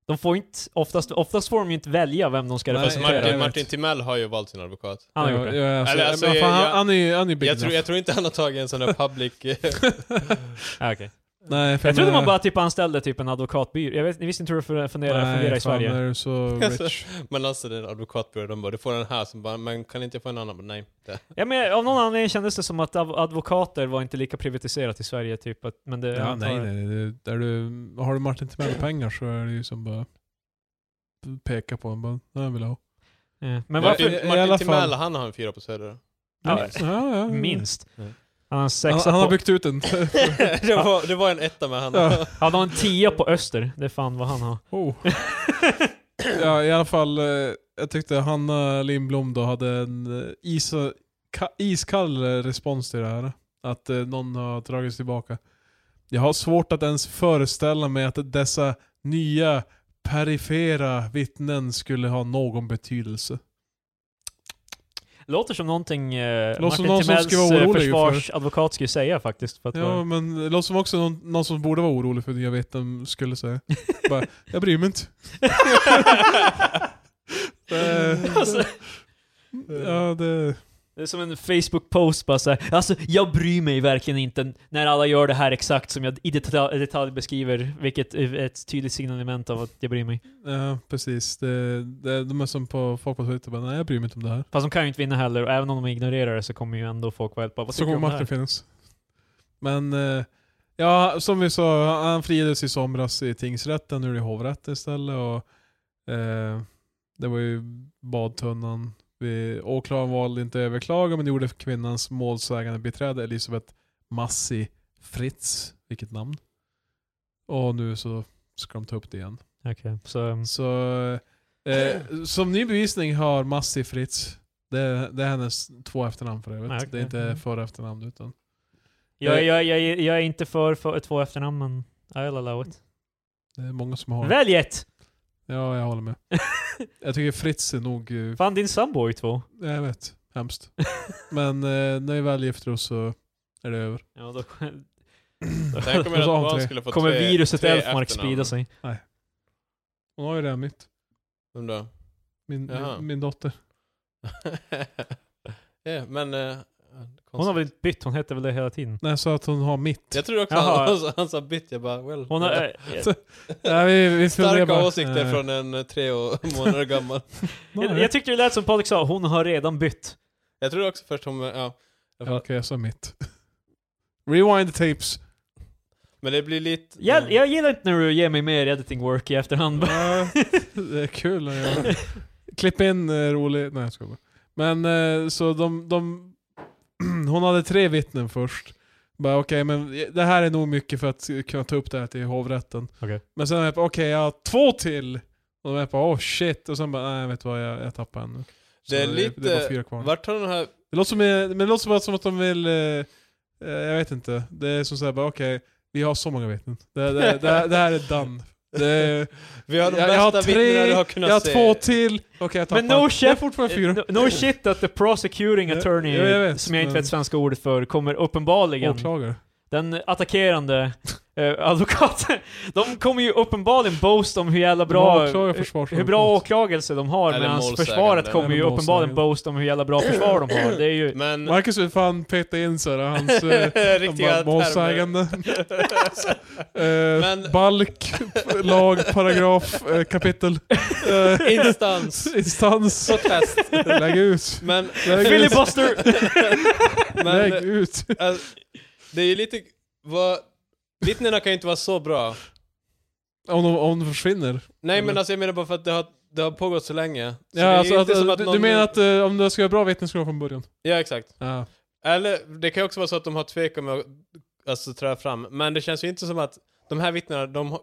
S2: De får inte... Oftast, oftast får de ju inte välja vem de ska
S3: Nej,
S1: Fast
S2: representera.
S3: jag
S1: Martin,
S3: vet.
S1: Martin Timell har ju valt sin advokat.
S2: Han har gjort
S3: ja,
S2: det.
S3: ja, alltså,
S1: Eller, alltså,
S3: men fan,
S1: jag-
S3: han, han är ju han är ju big
S1: Jag tror,
S3: enough.
S1: jag tror inte han har tagit en sån där public... eh,
S2: Ja, Ah, okej.
S3: Nej, för
S2: Jag trodde
S3: menar-
S2: man bara typ anställde typ en advokatbyrå. Jag vet, ni visste inte hur det fun- fungerar,
S3: Nej,
S2: fungerar i
S3: fan,
S2: Sverige.
S3: är du så rich.
S1: man anställer alltså, en advokatbyrå och de bara du får den här, som bara men kan inte jag få en annan? Bara, Nej. Det.
S2: Ja, men av någon anledning kändes det som att adv- advokater var inte lika privatiserat i Sverige. Typ, att, men det,
S3: ja,
S2: jag
S3: nej,
S2: antar-
S3: nej. Det, där du, har du Martin Timell-pengar så är det ju som bara peka på honom. Bara, "Nej, jag vill ha.
S2: Ja. Men
S3: Ja,
S2: varför?
S3: i-
S1: Martin,
S3: i alla
S1: Martin Timell,
S3: fall-
S1: han har en fyra på Söder.
S2: Ja,
S3: Ja, ja.
S2: minst.
S1: Mm.
S2: Han har en
S3: Han,
S2: sexa
S3: han har
S2: på...
S3: byggt ut den.
S1: det, var, det var en etta med han.
S3: Ja.
S2: Han har en tia på Öster. Det är fan vad han har.
S3: Oh. ja, i alla fall. eh, Jag tyckte Hanna Lindblom då hade en eh, is ka, iskall eh, respons till det här. Att eh, någon har dragits tillbaka. Jag har svårt att ens föreställa mig att dessa nya perifera vittnen skulle ha någon betydelse.
S2: Låter som någonting eh, Martin
S3: någon som
S2: Timells
S3: ska vara
S2: eh,
S3: orolig för.
S2: försvarsadvokat skulle säga faktiskt. För att
S3: Ja,
S2: vara-
S3: men det låter som också någon, någon som borde vara orolig för nya vittnen skulle säga. Bara, jag bryr mig inte. Eh,
S2: Alltså,
S3: ja, det...
S2: Det är som en Facebook-post bara såhär, alltså jag bryr mig verkligen inte när alla gör det här exakt som jag i detalj, detalj beskriver, vilket är ett tydligt signalement av att jag bryr mig.
S3: Ja, precis. Det, det, de är som på folk på Twitter bara, nej jag bryr mig inte om det här.
S2: Fast de kan ju inte vinna heller, och även om de ignorerar det så kommer ju ändå folk vara helt bara, vad
S3: så
S2: tycker du
S3: kommer
S2: om det
S3: Martin
S2: här?
S3: finnas. Men, eh, ja som vi sa, han friades i somras i tingsrätten, nu är det hovrätten istället. Och, eh, det var ju badtunnan. Vi, åklagaren valde inte att överklaga, men det gjorde kvinnans målsägande biträde Elisabeth Massi Fritz, vilket namn. Och nu så ska de ta upp det igen.
S2: Okej, så um,
S3: Så
S1: Äh.
S3: eh, som ny bevisning har Massi Fritz. Det, det är hennes två efternamn för övrigt.
S2: Ah, okej.
S3: Det är inte
S2: Mm.
S3: för efternamn utan.
S2: jag, jag, jag, jag är inte för, för två efternamn, men I'll allow it.
S3: Det är många som har.
S2: Välj ett!
S3: Ja, jag håller med. Jag tycker Fritz är nog... eh,
S2: Fan, din sambo har ju två.
S3: Jag vet. Hemskt. Men eh, när vi väl gifter oss så är det över.
S2: Ja, då
S1: Tänk om
S3: Och
S1: era
S3: så har hon
S1: barn
S3: tre.
S1: skulle få
S2: kommer
S1: tre,
S2: viruset
S1: tre
S2: Elfmark
S1: efternamn.
S2: sprida sig.
S3: Hon har ju redan mitt.
S1: Vem då?
S3: Min,
S1: Jaha.
S3: min, min dotter.
S1: ja, men... Eh,
S2: Hon har väl inte bytt, hon hette väl det hela tiden?
S3: Nej, så att hon har mitt.
S1: Jag tror också
S2: Jaha.
S1: han, han, sa- han sa bytt, jag bara well.
S2: Hon har, eh, eh,
S3: Nej, vi, vi funderar
S1: Starka
S3: bara,
S1: åsikter
S3: eh,
S1: från en eh, tre år- månader gammal.
S3: nej.
S2: jag, jag tyckte det lät som Patrik sa, hon har redan bytt.
S1: Jag tror också först hon, eh, ja.
S3: Ja, Okej, jag sa mitt. Rewind the tapes.
S1: Men det blir lite...
S2: Jag, jag gillar inte när du ger mig mer editing work i efterhand.
S3: Ja, det är kul att göra. Klipp in eh, rolig... Nej jag skojar bara. Men eh, så de... de hon hade tre vittnen först. Bara okej, men det här är nog mycket för att kunna ta upp det här till hovrätten.
S2: Okej.
S3: Men sen är jag bara, okej jag har två till! Och de är bara oh shit, och sen bara nej vet du vad jag, jag tappar en nu. Så
S1: Det är
S3: Det är bara
S1: lite-
S3: fyra kvar.
S1: Vart har den här...
S3: Det låter som, men det låter som, att, som att de vill... eh, eh, jag vet inte. Det är som såhär bara okej, vi har så många vittnen. Det, det, det, det här är done. Det är,
S1: Vi har de
S3: Jag- jag har
S1: bästa
S3: tre,
S1: vittnena du har kunnat
S3: jag har
S1: se.
S3: två till. Okej jag tappar.
S2: Men no
S3: jag är
S2: shit-
S3: fortfarande
S1: Eh,
S3: fyra.
S2: No, no shit att the prosecuting
S3: Ja,
S2: attorney,
S3: ja, jag vet,
S2: som jag inte
S3: men-
S2: vet svenska ordet för, kommer uppenbarligen,
S3: Åklagare.
S2: den attackerande eh, advokaten, de kommer ju uppenbarligen boast om hur jävla bra,
S3: Åklagare,
S2: hur-
S3: försvarare.
S2: hur bra åklagelse de har,
S1: Eller
S2: medan
S1: målsägande.
S2: försvaret kommer
S3: Eller
S2: ju
S3: Mm. målsägande.
S2: uppenbarligen boast om hur jävla bra försvar de har. Det är ju...
S1: Men...
S3: Marcus vill fan peta in såhär hans... eh,
S1: Riktiga
S3: bara, Målsägande. eh,
S1: Men-
S3: Balk, lag, paragraf, eh, kapitel. Eh,
S1: termer. Instans.
S3: instans.
S1: Protest.
S3: Lägg ut.
S1: Men...
S3: Lägg ut.
S2: Filibuster!
S1: men
S3: Lägg ut.
S1: alltså, det är ju lite... Vad, vittnena kan ju inte vara så bra.
S3: Om de, om de försvinner.
S1: Nej men
S3: Eller? alltså,
S1: alltså jag menar bara för att det har, det har pågått så länge. Så
S3: Ja,
S1: det är
S3: alltså,
S1: ju
S3: att,
S1: inte som att
S3: du,
S1: någon,
S3: du menar att eh, om du ska göra bra vittnen ska du ha från början?
S1: Ja exakt.
S3: Ja.
S1: Eller det kan ju också vara så att de har tvekat med att alltså, träda fram. Men det känns ju inte som att de här vittnena, de har-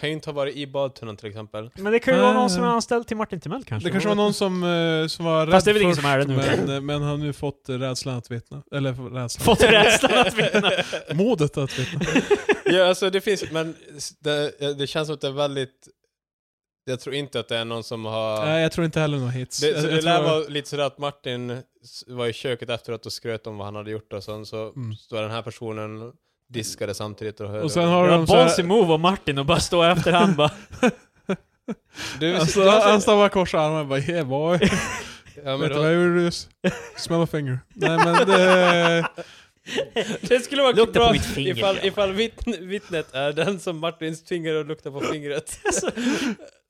S1: kan ju inte ha varit i badtunnan till exempel.
S2: Men det kan ju vara
S3: Ah.
S2: någon som är anställd till Martin Timell kanske.
S3: Det kanske var någon som, eh, som var rädd
S2: Fast det är väl ingen
S3: först,
S2: som är det nu.
S3: Men, eh, men han har nu fått eh, rädslan att vittna. Eller rädslan.
S2: Fått rädslan att vinna.
S3: Modet att vittna.
S1: ja, alltså det finns, men s- det, det känns som att det är väldigt... Jag tror inte att det är någon som har...
S3: Nej, jag tror inte heller någon hits.
S1: Det,
S3: jag,
S1: så det
S3: jag
S1: lär
S3: tror-
S1: vara lite sådär att Martin s- var i köket efteråt och skröt om vad han hade gjort och sen så
S3: Mm.
S1: står den här personen diskade samtidigt och hörde.
S3: Och sen har
S2: Det
S3: de
S2: var
S3: så här-
S2: ballsy move av Martin och bara stå efterhand bara.
S1: du,
S3: Alltså,
S1: du-
S3: han står bara korsar armarna och bara yeah boy.
S1: ja, men
S3: Vet du
S1: då,
S3: vad jag gjorde nyss? Smell a finger. Nej men det...
S1: det skulle vara
S2: Lukta
S1: bra
S2: på mitt finger,
S1: ifall,
S2: grabbar.
S1: ifall vittn, vittnet är den som Martins finger och luktar på fingret.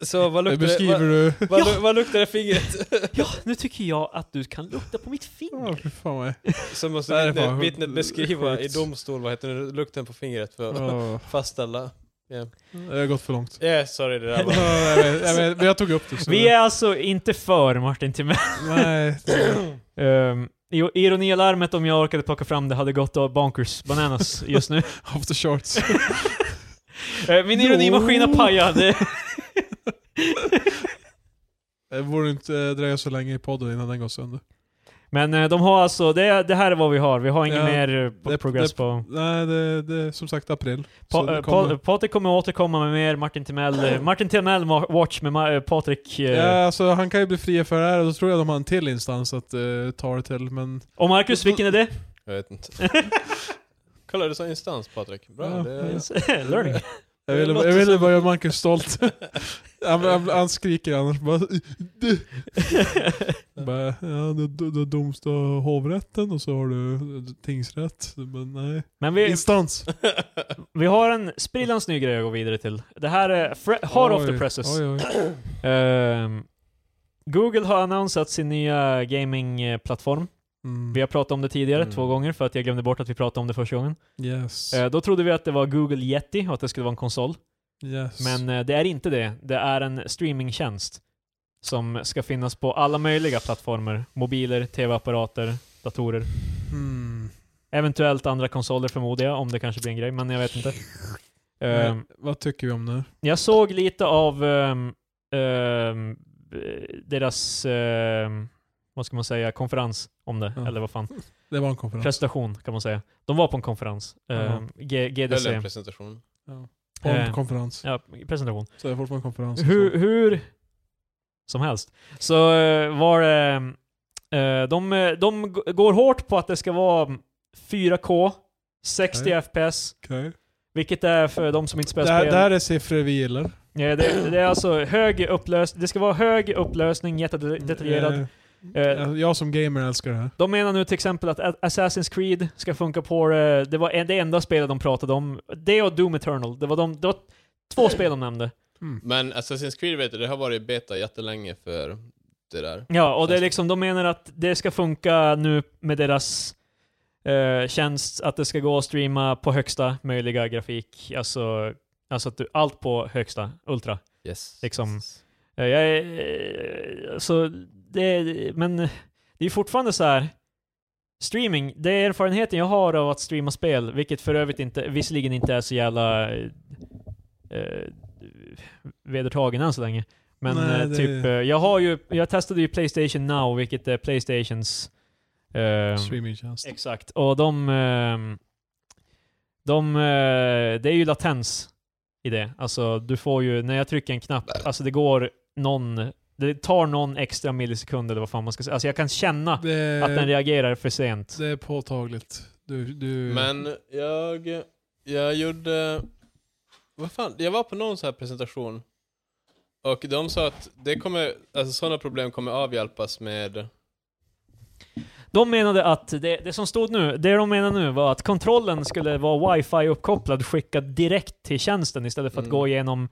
S1: så vad
S3: det
S1: luktar det,
S3: Alltså, beskriver
S1: vad,
S3: du...
S1: vad, lu- vad luktar det fingret?
S2: Ja, nu tycker jag att du kan lukta på mitt finger.
S3: Ja, fy fan vad...
S1: Så
S3: Det här
S1: måste
S3: är
S1: vittnet,
S3: fan
S1: vittnet beskriva i
S3: sjukt.
S1: domstol, vad heter det, lukten på fingret för att
S3: Oh,
S1: fastställa.
S3: det har gått för långt.
S1: Ja, yeah, sorry det där
S3: Ja,
S1: var...
S3: jag, vet, jag, vet, men jag tog upp det så...
S2: Vi är alltså inte för Martin Timell.
S3: Nej, det...
S2: Um, ironialarmet om jag orkade plocka fram det hade gått av bonkers bananas just nu.
S3: Off the charts.
S2: Eh, Min ironimaskin har
S3: Jo.
S2: pajat. Det-
S3: Det borde inte eh, dröja så länge i podden innan den går sönder.
S2: Men eh, de har alltså, det, det här är vad vi har. Vi har ingen
S3: Ja,
S2: mer eh, po-
S3: det-
S2: progress
S3: det-
S2: på...
S3: Nej, det, det är som sagt april.
S2: Pa-
S3: Så det
S2: eh,
S3: kommer-
S2: Pa- Patrik kommer återkomma med mer Martin Timell. eh, Martin Timell ma- Watch med Ma- eh, Patrik. eh,
S3: Ja, alltså, han kan ju bli fri för det här och då tror jag de har en till instans att eh, ta det till, men...
S2: Och Marcus, vilken är det?
S1: Jag vet inte. Kolla, du sa instans Patrik. Bra.
S3: Eh, Ja,
S1: det,
S2: Learning.
S3: Jag
S1: Det
S3: ville,
S1: låter
S3: jag ville
S1: som-
S3: bara göra Marcus stolt. han, han, han skriker annars bara... "Du." bara ja, du, du, du har domstol hovrätten och så har du eh, tingsrätt. Men nej.
S2: Men vi,
S3: Instans.
S2: vi har en sprillans ny grej att gå vidare till. Det här är fre- hot off the
S3: Oj,
S2: presses.
S3: Oj, oj.
S2: Ehm, Google har annonsat sin nya gamingplattform.
S3: Mm.
S2: Vi har pratat om det tidigare
S1: Mm.
S2: två gånger för att jag glömde bort att vi pratade om det första gången.
S3: Yes.
S2: Eh, då trodde vi att det var Google Yeti och att det skulle vara en konsol.
S3: yes.
S2: Men eh, det är inte det. Det är en streamingtjänst som ska finnas på alla möjliga plattformar. Mobiler, tv-apparater, datorer.
S3: Hmm.
S2: Eventuellt andra konsoler förmodar jag, om det kanske blir en grej, men jag vet inte. Ehm,
S3: Nej, vad tycker vi om det?
S2: jag såg lite av ehm, ehm, deras, ehm, vad ska man säga, konferens om det,
S3: Ja. Mm.
S2: eller vad fan,
S3: Det var en konferens.
S2: presentation kan man säga. De var på en konferens, ehm, G-
S1: eller
S2: GDC.
S1: en presentation.
S3: På en
S2: Eh.
S3: konferens.
S2: Ja, presentation.
S3: Så det är fortfarande en konferens.
S2: Hur, hur, som helst. Så eh, var det... eh, De, eh, de g- går hårt på att det ska vara 4K, 60
S3: Okej.
S2: FPS,
S3: Okej.
S2: vilket är för de som inte
S3: Det,
S2: spelar
S3: här-
S2: spel.
S3: det här är siffror vi gillar.
S2: Ja, det, det är alltså hög upplösning, det ska vara hög upplösning, jättedetaljerad.
S3: Eh,
S2: Eh,
S3: jag- Jag som gamer älskar det här.
S2: De menar nu till exempel att A- Assassin's Creed ska funka på eh, det, det var en- det enda spelet de pratade om. Det och Doom Eternal, det var, de, det var två spel de nämnde.
S1: Men Assassin's Creed vet du, det har varit beta jättelänge för det där.
S2: Ja, och det är liksom, de menar att det ska funka nu med deras eh, tjänst, att det ska gå att streama på högsta möjliga grafik, alltså, alltså att du, allt på högsta, ultra.
S1: Yes.
S2: Liksom. Eh, Jag är, eh, så det, men det är fortfarande så här. Streaming, det är erfarenheten jag har av att streama spel, vilket för övrigt inte, visserligen inte är så jävla eh, eh, vedertagen än så länge. Men
S3: Nej,
S2: eh,
S3: det-
S2: typ, eh, jag har ju, jag testade ju Playstation Now, vilket är Playstations eh,
S3: Streamingtjänst.
S2: Exakt, och de... ehm, de eh, det är ju latens i det. Alltså, du får ju... När jag trycker en knapp, alltså det går någon... Det tar någon extra millisekund eller vad fan man ska säga. Alltså jag kan känna
S3: Det,
S2: att den reagerar för sent.
S3: det är påtagligt. Du, du,
S1: Men jag, jag gjorde... Vad fan, jag var på någon sån här presentation. Och de sa att det kommer, alltså sådana problem kommer avhjälpas med...
S2: De menade att det, det som stod nu, det de menade nu var att kontrollen skulle vara wifi-uppkopplad, skickad direkt till tjänsten istället för att
S1: Mm.
S2: gå igenom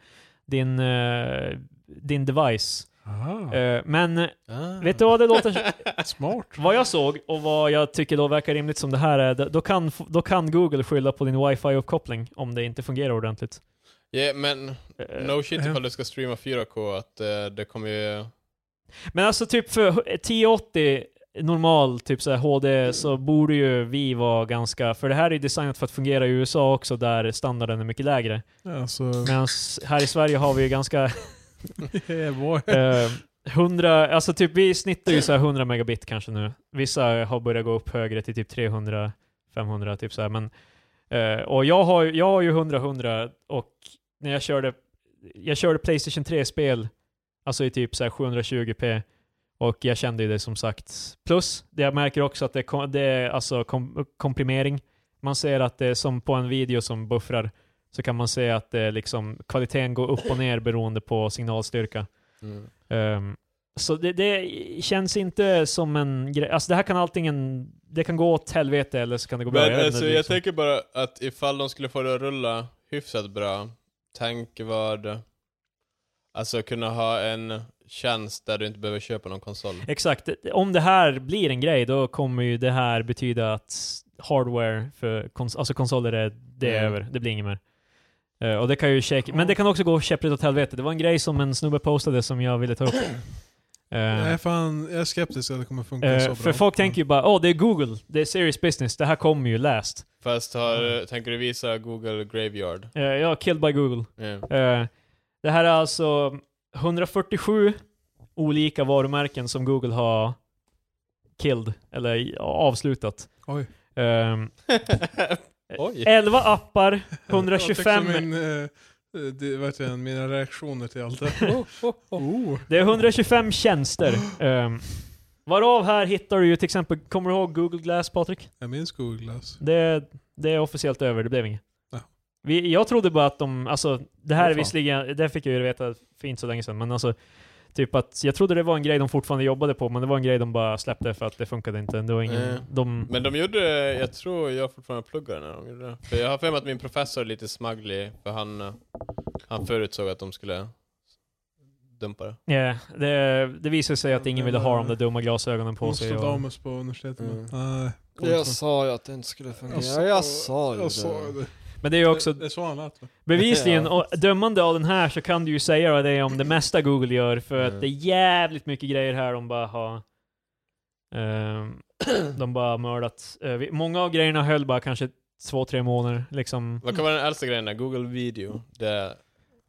S2: din, eh, din device.
S3: Aha,
S2: Eh, men vet du vad det låter...
S3: smart.
S2: Vad jag såg och vad jag tycker då verkar rimligt som det här är, då kan, då kan Google skylla på din wifi-uppkoppling om det inte fungerar ordentligt.
S1: Ja, men
S2: Eh,
S1: no shit
S3: eh.
S1: ifall du ska streama 4K att eh, det kommer ju...
S2: Men alltså typ för 1080 normal typ så här HD så borde ju vi vara ganska, för det här är ju designat för att fungera i USA också där standarden är mycket lägre.
S3: Alltså,
S2: Medan här i Sverige har vi ju ganska
S3: yeah, boy.
S2: eh, 100, alltså typ vi snittar ju så här 100 megabit kanske nu. Vissa har börjat gå upp högre till typ 300, 500 typ så här. Men, eh, och jag har, ju- jag har ju 100, 100 och när jag körde, jag körde Playstation 3-spel, alltså i typ så här 720p. Och jag kände ju det som sagt. Plus, det jag märker också att det, kom, det är alltså kom, komprimering. Man ser att det är som på en video som buffrar, så kan man se att det är liksom, kvaliteten går upp och ner beroende på signalstyrka.
S1: Mm.
S2: Ehm, så det, det känns inte som en grej. Alltså det här kan alltingen, det kan gå åt helvete eller så kan det gå bra.
S1: Men
S2: Jag vet
S1: alltså
S2: inte,
S1: jag
S2: liksom.
S1: tänker bara att ifall de skulle få det att rulla hyfsat bra, tänk vad... Alltså kunna ha en tjänst där du inte behöver köpa någon konsol.
S2: Exakt, om det här blir en grej då kommer ju det här betyda att hardware för kons- alltså konsoler är, det är
S1: Mm.
S2: över, det blir inget mer. Eh, och det kan ju check- men det kan också gå käpprätt åt helvete. Det var en grej som en snubbe postade som jag ville ta upp. Ehm,
S3: Jag är fan, jag är skeptisk att det kommer funka
S2: eh,
S3: så bra.
S2: för folk tänker ju bara åh det är Google, det är serious business, det här kommer ju läst.
S1: Fast har,
S2: Mm.
S1: tänker du visa Google Graveyard? Mm.
S2: Eh, ja, killed by Google.
S1: Ja.
S2: Eh, Det här är alltså 147 olika varumärken som Google har killed, eller avslutat.
S3: Oj.
S2: Ehm,
S1: Oj.
S2: 11 appar,
S3: Jag
S2: 125...
S3: fick som min, eh, det, vet jag, mina reaktioner till allt det här. oh.
S2: Det är 125 tjänster. Ehm, varav här hittar du ju till exempel, kommer du ihåg Google Glass Patrik?
S3: Jag minns Google alltså. Glass.
S2: Det, det är officiellt över, det blev inget.
S3: Ja.
S2: Vi, jag trodde bara att de, alltså det här
S3: Vad
S2: är
S3: fan.
S2: visserligen, det fick jag ju veta för inte så länge sedan, men alltså typ att jag trodde det var en grej de fortfarande jobbade på, men det var en grej de bara släppte för att det funkade inte. Det var ingen,
S1: Eh.
S2: de,
S1: Men de gjorde, jag tror jag fortfarande pluggar när de gjorde det. För jag har för mig att min professor är lite smagglig, för han, eh, han förutsåg att de skulle dumpa det.
S2: Ja, det, det visade sig att ingen ville ha de där dumma glasögonen på sig. Och,
S3: Nostradamus på universitetet.
S1: Mm.
S3: Nej.
S4: Jag sa ju att det inte skulle fungera.
S3: Jag sa-
S4: Jag, jag sa ju
S3: Jag
S4: det.
S3: sa det.
S2: men det är ju också
S3: Det är så han lät va?
S2: Bevisligen,
S4: Ja.
S2: och dömande av den här så kan du ju säga vad det är om det mesta Google gör, för
S1: Mm.
S2: att det är jävligt mycket grejer här de bara har... ehm, de bara har mördat. Eh, vi- många av grejerna höll bara kanske två, tre månader liksom.
S1: Vad kan vara den äldsta grejen där? Google Video. Det,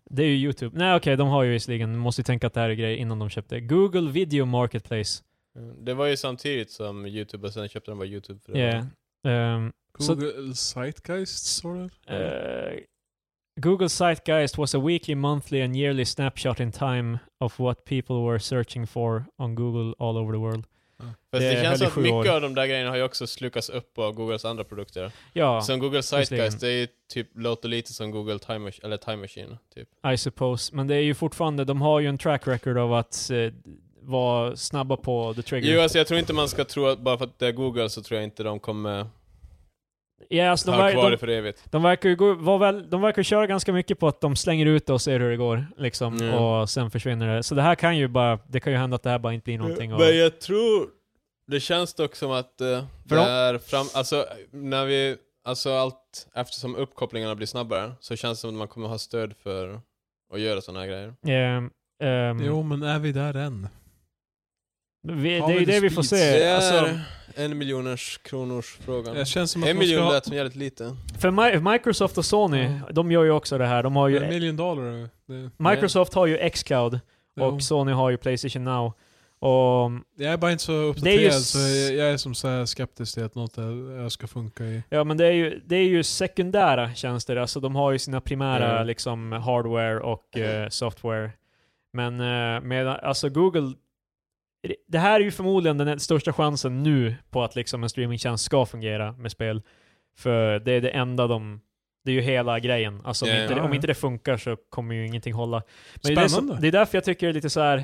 S2: Det är ju YouTube. Nej okej, de har ju visserligen, måste ju tänka att det här är grejer innan de köpte. Google Video Marketplace.
S1: Mm, det var ju samtidigt som YouTube, och sen köpte de bara YouTube för det.
S2: Yeah. Ehm, Så-
S3: Google Zeitgeist sa du?
S2: eh, Google Zeitgeist was a weekly, monthly, and yearly snapshot in time of what people were searching for on Google all over the world.
S1: Fast
S2: Det
S1: det,
S2: höll i
S1: känns som att
S2: sju
S1: mycket
S2: år.
S1: av de där grejerna har ju också slukats upp av Googles andra produkter.
S2: Ja,
S1: som Google
S2: visserligen.
S1: Zeitgeist, det är ju typ, låter lite som Google Time, Mach- eller Time Machine. Typ.
S2: I suppose. Men det är ju fortfarande, de har ju en track record av att eh, vara snabba på the trigger.
S1: Jo, alltså jag tror inte man ska tro att bara för att det är Google så tror jag inte de kommer
S2: ja, alltså, de,
S1: ha
S2: ver-
S1: kvar
S2: de,
S1: det för evigt.
S2: de verkar ju gå, vara väl, de verkar köra ganska mycket på att de slänger ut det och ser hur det går. Liksom,
S1: Mm.
S2: Och sen försvinner det. Så det här kan ju bara, det kan ju hända att det här bara inte blir någonting. Och,
S1: Men jag tror, det känns dock som att eh, det
S2: För de-
S1: är fram, alltså när vi, alltså allt eftersom uppkopplingarna blir snabbare så känns det som att man kommer ha stöd för att göra sådana här grejer.
S2: Ehm, ehm,
S3: Jo, men är vi där än?
S2: vi,
S3: har
S2: det är ju
S3: vi
S2: det vi
S3: the
S2: får
S3: speeds?
S1: Det
S2: se.
S1: är
S2: Alltså,
S1: en miljoners kronors frågan.
S3: Det känns som att
S1: En
S3: man ska
S1: miljon
S3: ha
S1: lät som jävligt lite.
S2: För Mi- Microsoft och Sony, de gör ju också det här. De har
S3: en
S2: ju,
S3: miljon dollar. eh, Det,
S2: Microsoft har ju Xcloud
S3: jo.
S2: och Sony har ju Playstation Now. Och
S3: Jag är bara inte så
S2: Det är ju
S3: uppdaterad,
S2: s-
S3: så jag, jag är som så här skeptisk till att något är- jag ska funka i.
S2: Ja men det är ju, det är ju sekundära tjänster, alltså de har ju sina primära
S1: Mm.
S2: liksom hardware och eh, software. Men eh, med, alltså Google, det här är ju förmodligen den största chansen nu på att liksom en streamingtjänst ska fungera med spel. För det är det enda de, det är ju hela grejen. Alltså om,
S1: Ja,
S2: inte,
S3: ja,
S2: om
S3: ja.
S2: inte det funkar så kommer ju ingenting hålla. Men det är, det, som,
S3: Spännande.
S2: det är därför jag tycker det är lite så här.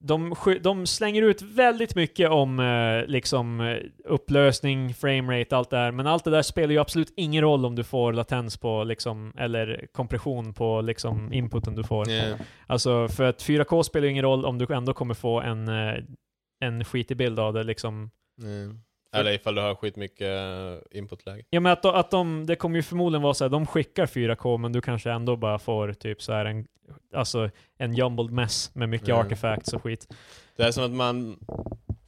S2: De, sky- de slänger ut väldigt mycket om eh, liksom, eh, upplösning, framerate, allt det här. Men allt det där spelar ju absolut ingen roll om du får latens på, liksom, eller kompression på liksom, inputen du får.
S1: Yeah.
S2: Alltså, för att 4K spelar ju ingen roll om du ändå kommer få en, eh, en skitig bild av det. Liksom.
S1: Mm. Eller ifall du har skitmycket eh, inputläge.
S2: Ja, men att, de- att de, det kommer ju förmodligen vara så här, de skickar 4K men du kanske ändå bara får typ så här en, alltså, en jumbled mess med mycket
S1: Mm.
S2: artifacts och skit.
S1: Det är som att man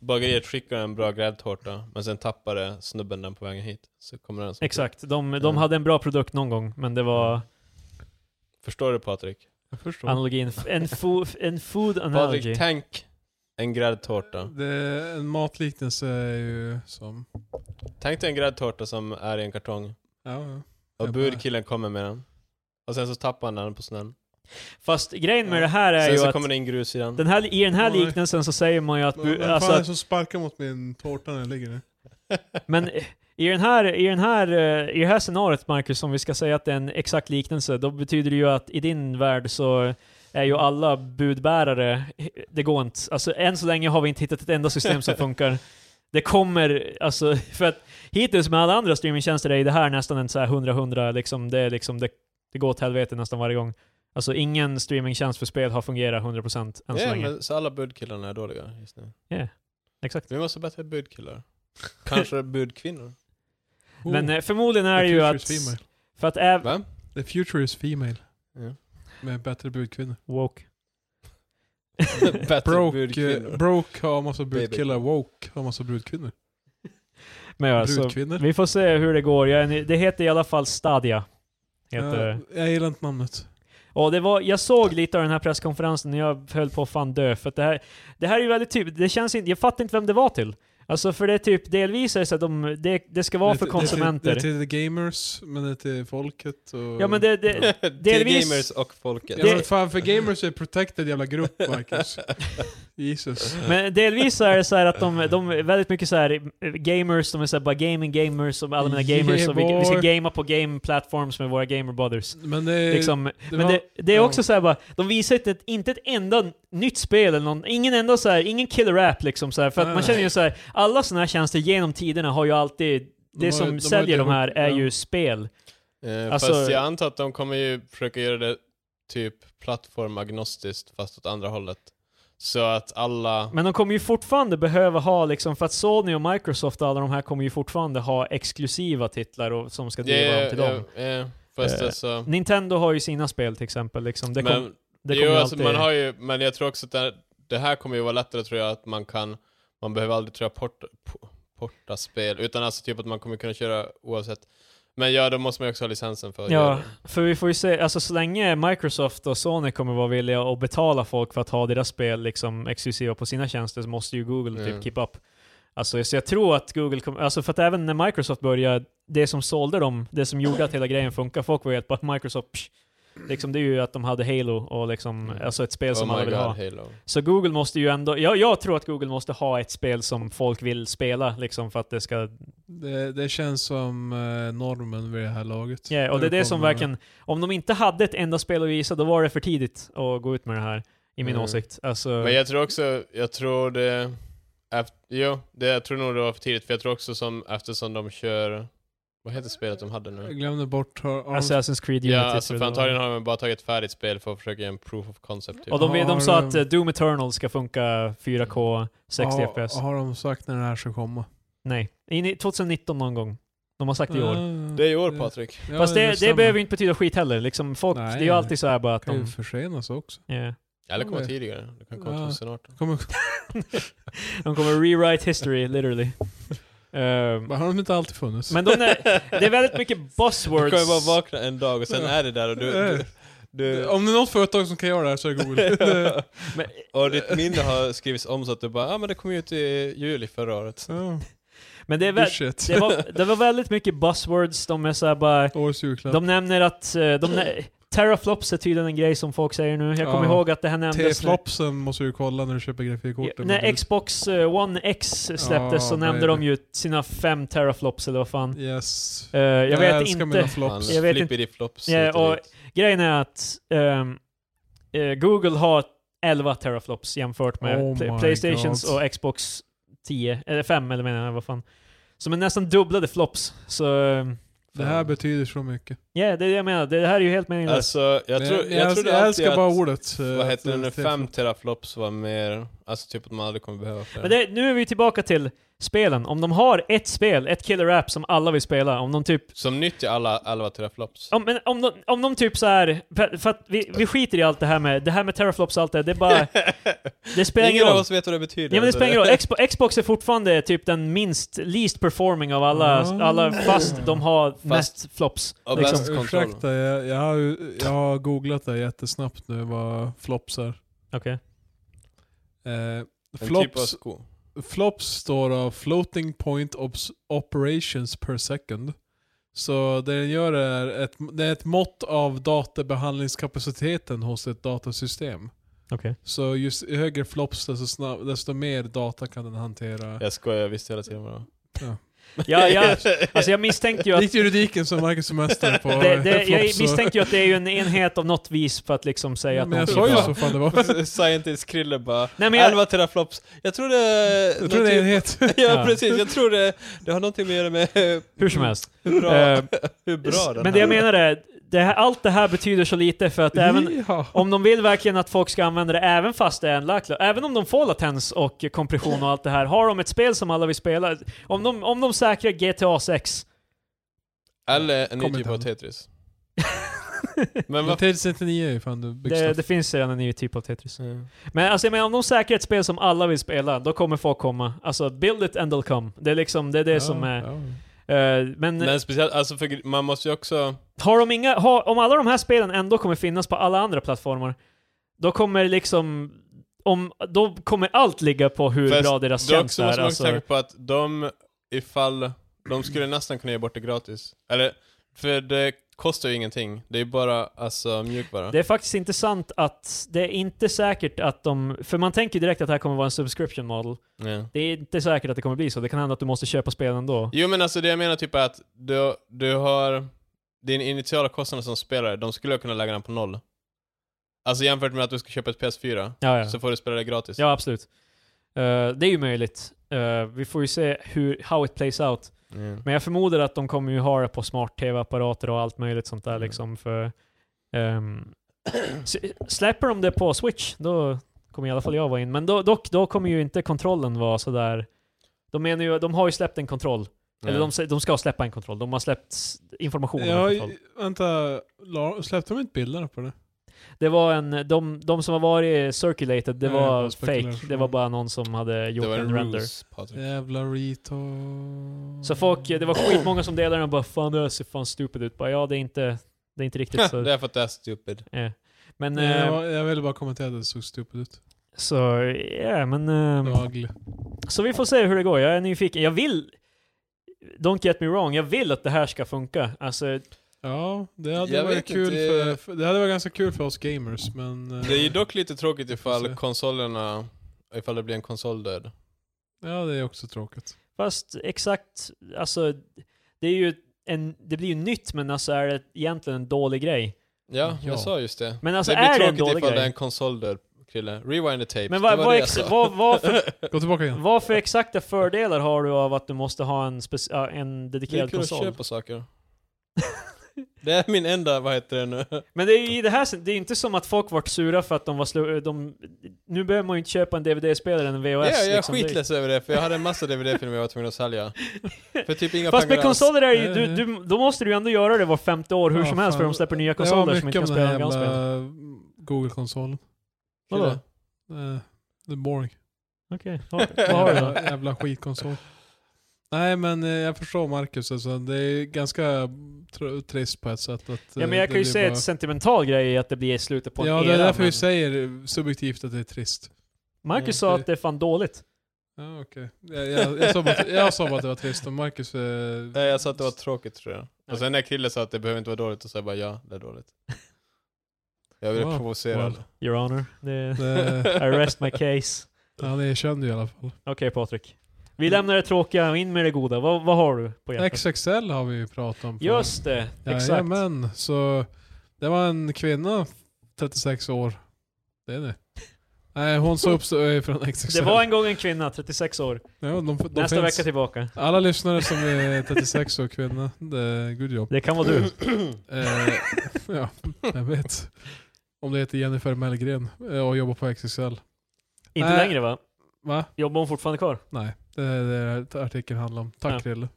S1: bageriet skickar en bra gräddtårta, men sen tappade snubben den på vägen hit. Så kommer den som
S2: Exakt, de, de
S1: Mm.
S2: hade en bra produkt någon gång, men det var
S1: Förstår du Patrik?
S3: Jag förstår.
S2: analogin. En, fo, en food analogy.
S1: Patrik, tänk en gräddtårta.
S3: Det, en matliknelse är ju som...
S1: Tänk dig en gräddtårta som är i en kartong.
S3: Ja, ja.
S1: Och
S3: Jag
S1: budkillen kommer med den. Och sen så tappar han den på snön.
S2: Fast grejen med
S3: Ja.
S2: det här är
S1: Sen
S2: ju
S1: så
S2: att
S1: kommer det in grus i den.
S2: den här, i den här
S3: Nej.
S2: liknelsen så säger man ju att...
S3: Vad
S2: Bu,
S3: fan
S2: alltså,
S3: är det
S2: att
S3: som sparkar mot min tårta när jag ligger nu?
S2: men i, den här, i, den här, eh, i det här scenariot, Marcus, om vi ska säga att det är en exakt liknelse, då betyder det ju att i din värld så är ju alla budbärare, det går inte. Alltså än så länge har vi inte hittat ett enda system som funkar. Det kommer, alltså, för att hittills med alla andra streamingtjänster är det här nästan en så här 100-100, liksom, det, är liksom, det, det går åt helvete nästan varje gång. Alltså ingen streamingtjänst för spel har fungerat 100% än så
S1: Ja,
S2: länge.
S1: men så alla budkillarna är dåliga just nu.
S2: Exakt.
S1: Vi måste ha bättre budkillar. Kanske budkvinnor.
S3: Oh,
S2: Men eh, förmodligen
S3: the
S2: är det ju
S3: future
S2: att...
S3: is female.
S2: För att även...
S1: Va?
S3: The future is female.
S1: Ja.
S3: Med bättre budkvinnor.
S2: Woke.
S1: bättre
S3: Broke, eh,
S1: budkvinnor.
S3: broke har massa brudkillar, woke har massa brudkvinnor.
S2: Men ja, så,
S3: Brudkvinnor.
S2: vi får se hur det går. Jag, är ny- det heter i alla fall Stadia. Heter det.
S3: Jag, jag gillar inte namnet.
S2: Och det var, jag såg lite av den här presskonferensen när jag höll på att fan dö, för att det här, det här är ju väldigt typ, det känns inte, jag fattar inte vem det var till. Alltså för det är typ, delvis är det så att de, det, det ska vara
S3: Det är
S2: för
S3: till- det är till-
S2: konsumenter.
S3: Det är till the gamers, men det är till folket och...
S2: Ja men det, det, delvis-
S1: Till gamers och folket.
S3: Ja, men
S2: det-
S3: fan, för gamers är protected jävla grupp, Marcus. Jesus.
S2: men delvis så är det så här att de, de är väldigt mycket så här eh, gamers, de är så här bara gaming gamers, och alla mina gamers, och vi, vi ska
S3: Yeah,
S2: gamea på game platforms med våra gamer brothers.
S3: Men det,
S2: Liksom,
S3: det
S2: men
S3: var-
S2: det, det är
S3: ja.
S2: också såhär bara, de visar inte ett, inte ett enda nytt spel eller någon, ingen enda såhär, ingen killer app liksom såhär, för att
S3: Nej,
S2: man
S3: nej.
S2: känner ju såhär, alla sådana här tjänster genom tiderna har ju alltid, det
S3: De har-
S2: som
S3: de har
S2: säljer
S3: ett
S2: de här
S3: ihop-
S2: är
S3: ja.
S2: ju spel.
S1: Eh,
S2: Alltså-
S1: fast jag antar att de kommer ju försöka göra det typ plattformagnostiskt fast åt andra hållet. Så att alla...
S2: Men de kommer ju fortfarande behöva ha liksom, för att Sony och Microsoft och alla de här kommer ju fortfarande ha exklusiva titlar och, som ska driva dem till
S1: Ja,
S2: dem.
S1: ja, ja, fast
S2: Eh,
S1: alltså...
S2: Nintendo har ju sina spel till exempel, liksom. det, kom,
S1: men,
S2: det kommer
S1: jo,
S2: ju
S1: alltså,
S2: alltid...
S1: man har ju, men jag tror också att det, det här kommer ju vara lättare tror jag att man kan... Man behöver aldrig tror jag porta, po- porta spel, utan alltså typ att man kommer kunna köra oavsett. Men ja, då måste man ju också ha licensen för att
S2: Ja,
S1: göra det.
S2: För vi får ju se, alltså så länge Microsoft och Sony kommer vara villiga att betala folk för att ha deras spel liksom exklusiva på sina tjänster så måste ju Google
S1: Mm.
S2: typ keep up. Alltså, så jag tror att Google kommer, alltså för att även när Microsoft började, det som sålde dem, det som gjorde att hela grejen funkar, folk var ju helt bara Microsoft, psh, liksom det är ju att de hade Halo och liksom, alltså ett spel som
S1: oh
S2: alla
S1: my
S2: vill
S1: god,
S2: ha.
S1: Halo.
S2: Så Google måste ju ändå, jag, jag tror att Google måste ha ett spel som folk vill spela liksom för att det ska,
S3: Det, det känns som eh, normen vid det här laget.
S2: yeah, och det är det som
S3: kommer-
S2: verkligen, om de inte hade ett enda spel att visa, då var det för tidigt att gå ut med det här, i min
S1: Mm.
S2: åsikt. Alltså,
S1: Men jag tror också, jag tror det... Efter, jo, det, jag tror nog det var för tidigt, för jag tror också som, eftersom de kör... Vad heter spelet de hade nu?
S3: Jag glömde bort... Har, har,
S2: Assassin's Creed Unity
S1: Ja, alltså
S2: tror jag
S1: för
S2: det var.
S1: antagligen har de bara tagit ett färdigt spel för att försöka göra en proof of concept. Typ.
S2: Och de, de sa
S3: Har,
S2: att eh, Doom Eternal ska funka 4K 60 FPS.
S3: har, har de sagt när det här ska komma?
S2: Nej, in i 2019 någon gång. De har sagt i år.
S3: Ah,
S1: Det är i år
S3: det-
S1: Patrik.
S3: ja,
S2: Fast det, det
S3: stämmer.
S2: behöver ju inte betyda skit heller. Liksom folk,
S3: Nej,
S2: det är ju alltid så här bara att
S3: kan ju
S2: de...
S3: försenas också.
S2: ja.
S1: Eller komma
S3: Kommer.
S1: tidigare. Det kan komma
S3: Ja.
S1: 2018.
S3: Kommer,
S2: De kommer rewrite history, literally. Ehm,
S3: har de inte alltid funnits?
S2: men de är, det är väldigt mycket
S1: Du
S2: buzzwords.
S1: kan ju bara vakna en dag och sen är det där och du... du, du
S3: Eh, Om det är något företag som kan göra det här så är det Google.
S2: Men-
S1: och ditt minne har skrivits om så att du bara ja ah, men det kom ut i juli förra året.
S3: Ja,
S2: Men det, är väl,
S3: bullshit.
S2: det, var, det var väldigt mycket buzzwords. De är så här bara...
S3: Årets julklapp.
S2: De nämner att... eh, De, nä- teraflops är tydligen en grej som folk säger nu. Jag kommer
S3: Ja.
S2: ihåg att det här nämndes... när-
S3: T-flopsen måste du kolla när du köper
S2: Ja,
S3: grafikkortet.
S2: när Xbox eh, One X släpptes
S3: Ja,
S2: så nämnde de
S3: baby.
S2: ju sina fem teraflops eller vad fan.
S3: Yes.
S2: Eh, jag vet
S3: älskar mina
S2: inte.
S3: flops.
S2: Jag vet inte.
S1: Flippity flops.
S2: Ja,
S1: hit
S2: och-
S1: dit.
S2: Grejen är att ehm, eh, Google har 11 teraflops jämfört med
S3: Oh
S2: pl-
S3: my
S2: Playstations
S3: God.
S2: och Xbox 10, eller 5 eller menar jag, vad fan. Som är nästan dubblade flops. Så ehm, ja,
S3: Det här betyder så mycket.
S2: det är det jag menar. Det här är ju helt meningslöst.
S1: Alltså jag
S3: Men
S1: tror,
S3: men
S1: jag, jag trodde
S3: jag
S1: alltid
S3: älskar bara
S1: att,
S3: ordet. eh,
S1: vad heter det
S3: att-
S1: nu, 5 teraflops var mer, alltså typ att man aldrig kommer behöva fler.
S2: Men det, nu är vi tillbaka till spelen. Om de har ett spel, ett killer app som alla vill spela, om de typ
S1: Som nyttjar alla 11 teraflops.
S2: Om, men om, de, om de typ så här, för, för att vi, vi skiter i allt det här med, det här med teraflops och allt det här, det är bara, det spelar ingen
S1: Ingen av
S2: roll.
S1: oss vet vad det betyder.
S2: Ja men det
S1: så
S2: spelar ingen roll, Xbox, Xbox är fortfarande typ den minst, least performing av alla,
S3: Ah.
S2: alla fast de har mest flops.
S1: Och
S2: liksom.
S1: bäst kontroll.
S3: Ursäkta, jag, jag, har, ju- jag har googlat det jättesnabbt nu vad flops är.
S2: Okej.
S3: Eh,
S1: En typ av
S3: flops,
S1: sko.
S3: flops står av floating point obs- operations per second. Så det den gör är ett, det är ett mått av databehandlingskapaciteten hos ett datasystem.
S2: Okej.
S3: Så ju s- högre flops desto, snabb, desto mer data kan den hantera.
S1: Jag skojar, jag visste hela tiden vad det var.
S2: Ja, ja, alltså jag misstänkte ju att
S3: Likt juridiken som Marcus är mästare på.
S2: det, det,
S3: flops
S2: jag
S3: så-
S2: misstänkte ju att det är ju en enhet av något vis för att liksom säga att
S3: Men jag
S2: någonting
S3: sa ju
S2: är bra.
S3: så fan det var.
S1: Scientist Krille bara
S2: Nej, men jag-
S1: 11 teraflops. Jag tror det...
S3: Jag tror det är enhet.
S1: Ja
S2: Ja.
S1: precis, jag tror det, det har någonting att göra med
S2: Hur som helst.
S1: hur
S2: Eh,
S1: bra, hur bra den
S2: Men det jag
S1: här-
S2: menar är, det här, allt det här betyder så lite för att även,
S3: Ja.
S2: Om de vill verkligen att folk ska använda det även fast det är en lacklo, även om de får latens och kompression och allt det här, har de ett spel som alla vill spela, om de, om de säkrar GTA 6,
S1: Eller en ny
S3: Kommer
S1: typ
S3: inte
S1: av
S3: än.
S1: Tetris. Men
S3: Men
S1: vad...
S3: Tetris 99 är ju fan det
S2: det,
S3: byggsta.
S2: det finns redan en ny typ av Tetris. Men alltså jag menar, om de säkrar ett spel som alla vill spela, då kommer folk komma. Alltså, build it and they'll come. Det är liksom, det är det som är... eh, men
S1: Men speciellt, alltså för gr- man måste ju också...
S2: har de inga, har, om alla de här spelen ändå kommer finnas på alla andra plattformar, då kommer liksom, om, då kommer allt ligga på hur
S1: Fast
S2: bra deras
S1: Då
S2: tjänst
S1: också
S2: är.
S1: måste man
S2: Alltså,
S1: också tänka på att de, ifall... De skulle nästan kunna ge bort det gratis. Eller, för det kostar ju ingenting. Det är ju bara alltså mjukvara.
S2: Det är faktiskt inte sant att det är inte säkert att de... För man tänker direkt att det här kommer vara en subscription model.
S1: Ja.
S2: Det är inte säkert att det kommer bli så. Det kan hända att du måste köpa spelen ändå.
S1: Jo men alltså det jag menar typ är att du, du har din initiala kostnad som spelare, de skulle kunna lägga den på noll. Alltså jämfört med att du ska köpa ett PS4,
S2: Ja, ja.
S1: så får du spela det gratis.
S2: ja absolut. Eh, det är ju möjligt. Eh, vi får ju se hur, how it plays out.
S1: Mm.
S2: Men jag förmodar att de kommer ju ha det på smart-tv-apparater och allt möjligt sånt där
S1: Mm.
S2: liksom. För, ehm, s- släpper de det på Switch, då kommer i alla fall jag vara in. Men då, dock, då kommer ju inte kontrollen vara sådär... De, menar ju, de har ju släppt en kontroll. Eller de, sä- de ska släppa en kontroll. De har släppt s- information om en
S3: Ja,
S2: kontroll.
S3: i- vänta, la- släppte de inte bilderna på det?
S2: Det var en, de, de som har varit circulated, det
S3: Nej,
S2: var
S3: bara spekulation.
S2: fake. Det var bara någon som hade
S1: det
S2: gjort
S1: var
S2: en
S1: en
S2: render.
S1: ruse, Patrik.
S3: Jävla reto...
S2: Så folk, det var skitmånga som delade den och bara 'Fan det här ser fan stupid ut' bara, Ja det är inte, det är inte riktigt så...
S1: det är för att det är stupid.
S2: Men
S3: Nej,
S2: eh,
S3: jag, jag ville bara kommentera att det såg stupid ut.
S2: Så ja, men... ehm,
S3: Nagel.
S2: Så vi får se hur det går. Jag är nyfiken. Jag vill... Don't get me wrong, jag vill att det här ska funka. Alltså,
S3: Ja, det hade
S1: Jag
S3: varit
S1: vet
S3: kul
S1: inte.
S3: för, för... Det hade varit ganska kul för oss gamers, men... eh,
S1: Det är ju dock lite tråkigt ifall
S3: se.
S1: konsolerna, ifall det blir en konsoldöd.
S3: Ja, det är också tråkigt.
S2: fast exakt, alltså... Det är ju en... Det blir ju nytt, men alltså är det egentligen en dålig grej?
S1: Ja,
S3: Ja.
S1: jag sa just det.
S2: Men alltså
S1: det blir
S2: är det en
S1: tråkigt
S2: dålig
S1: ifall det är
S2: grej?
S1: en konsoldöd, Krille. Rewind the tape.
S2: Men vad, vad,
S1: jag
S2: ex,
S1: sa.
S2: vad, vad, för,
S3: Gå tillbaka igen.
S2: vad för exakta fördelar har du av att du måste ha en, speci- ja, en
S1: Det är
S2: dedikerad
S1: kul att
S2: konsol?
S1: köpa saker. Det är min enda, vad heter det nu?
S2: Men det är ju i det här, sen- det är inte som att folk vart sura för att de var slu, de, Nu behöver man ju inte köpa en DVD-spelare än en VHS.
S1: Ja, jag är
S2: liksom. Det-
S1: skitless över det, för jag hade en massa DVD-filmer jag var tvungen att sälja. För typ inga pengar
S2: Fast med
S1: alls.
S2: konsoler är ju, du,
S3: Eh.
S2: du, då måste du ju ändå göra det var femte år hur
S3: Ja,
S2: som helst för
S3: fan.
S2: de släpper nya
S3: Det var
S2: konsoler som
S3: mycket
S2: inte kan
S3: om
S2: spela
S3: den
S2: gamla
S3: här
S2: spel.
S3: jävla Google-konsolen.
S2: Vadå?
S1: Krille.
S3: Eh, Det är boring.
S2: Okej, vad vad har du då?
S3: Jävla- Jävla skitkonsol. Nej men eh, jag förstår Marcus, alltså, det är ganska tr- trist på ett sätt att... eh,
S2: Ja men jag kan ju säga ett sentimental grej i att det blir i slutet på en
S3: Ja
S2: era.
S3: det är därför vi
S2: men
S3: säger Mm, subjektivt att det är trist.
S2: Marcus sa att det är fan dåligt.
S3: Ja okej. Jag, jag, jag, sa bara att- jag sa bara att det var trist och Marcus... Eh,
S1: Nej, jag sa att det var tråkigt tror jag. Och sen när Krille sa att det behöver inte vara dåligt, så sa jag bara ja, det är dåligt. Jag blev
S3: Wow.
S1: provocerad.
S2: Your honor. Det,
S3: det,
S2: I rest my case.
S3: han erkände i alla fall.
S2: Okej Patrik. Vi
S3: Mm.
S2: lämnar det tråkiga och in med det goda. Vad, vad har du på hjärtat?
S3: XXL har vi ju pratat om. förut.
S2: Just det, exakt.
S3: Jajamän, så det var en kvinna, 36 år. Det är det. Nej, hon såg upp sig från XXL.
S2: Det var en gång en kvinna, 36 år.
S3: ja, de, de
S2: Nästa
S3: finns.
S2: vecka tillbaka.
S3: Alla lyssnare som är 36 och kvinna, det, good job.
S2: Det kan vara du.
S3: Eh, ja, jag vet. Om det heter Jennifer Mellgren eh, och jobbar på XXL.
S2: Inte
S3: Nej.
S2: längre va?
S3: Va?
S2: Jobbar hon fortfarande kvar?
S3: Nej, det är det här artikeln handlar om. Tack
S2: Ja.
S3: Krille.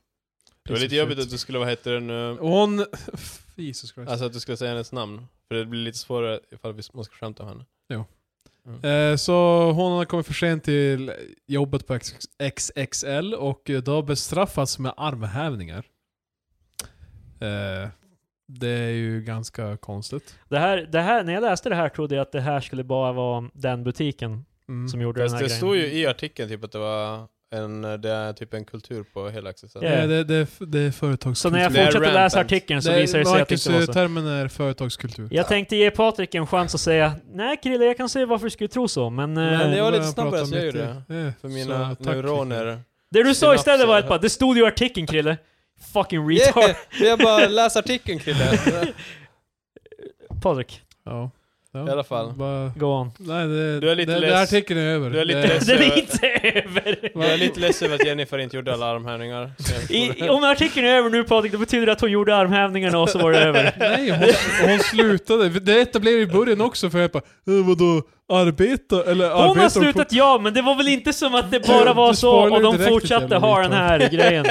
S1: Det var lite jobbigt att du skulle, vad heter det
S2: Oh,
S1: nu?
S3: Och Hon... Jesus Christ.
S1: Alltså att du skulle säga hennes namn. För det blir lite svårare ifall vi måste skämta om henne. Mm.
S3: Eh, Så hon har kommit för sent till jobbet på XXL och eh, då bestraffats med armhävningar. Eh, Det är ju ganska konstigt.
S2: Det här, det här, när jag läste det här trodde jag att det här skulle bara vara den butiken
S3: Mm.
S2: som gjorde
S1: Fast
S2: den
S1: det
S2: här
S1: stod
S2: grejen.
S1: ju i artikeln typ att det var en, det är typ en kultur på hela accessoaren.
S2: Ja.
S3: Nej, det, det, är f- det är företagskultur.
S2: Så när jag
S1: Det är
S2: fortsatte läsa
S1: rampant.
S2: artikeln så
S3: Det är-
S2: visade det sig att det
S3: Marcus, eh,
S2: inte var så.
S3: termen är företagskultur.
S2: Jag tänkte ge Patrik en chans att säga Nej Krille, jag kan se varför du skulle tro så, men... eh,
S1: Men jag var lite
S3: Börjar
S1: snabbare
S3: prata
S1: så jag
S3: mitt i.
S1: gjorde
S3: Eh,
S1: För mina
S3: så tack, Krille.
S1: neuroner.
S2: det du sa
S1: synapser
S2: istället var att
S1: här.
S2: bara, det stod ju i artikeln Krille. Fucking retard.
S1: Yeah, jag bara läs artikeln Krille.
S2: Patrik,
S3: Ja. Ja,
S1: I alla fall.
S3: Bara,
S2: go on.
S3: nej, det,
S1: Du är lite
S3: det, det
S1: less.
S3: artikeln är över.
S1: Du är lite
S3: det,
S1: less.
S2: Det är inte över.
S1: Jag är lite ledsen över att Jennifer inte gjorde alla armhävningar. Så jag-
S2: I, om artikeln är över nu Patrik, då betyder det att hon gjorde armhävningarna och så var det över.
S3: Nej, hon, hon slutade. Detta blev i början också för jag bara, "Eh, vadå, arbeta? Eller
S2: Hon har
S3: arbetar de på-
S2: slutat ja, men det var väl inte som att det bara var
S3: Du
S2: så
S3: spoilar
S2: och de
S3: direkt,
S2: fortsatte
S3: jävla
S2: ha den här grejen.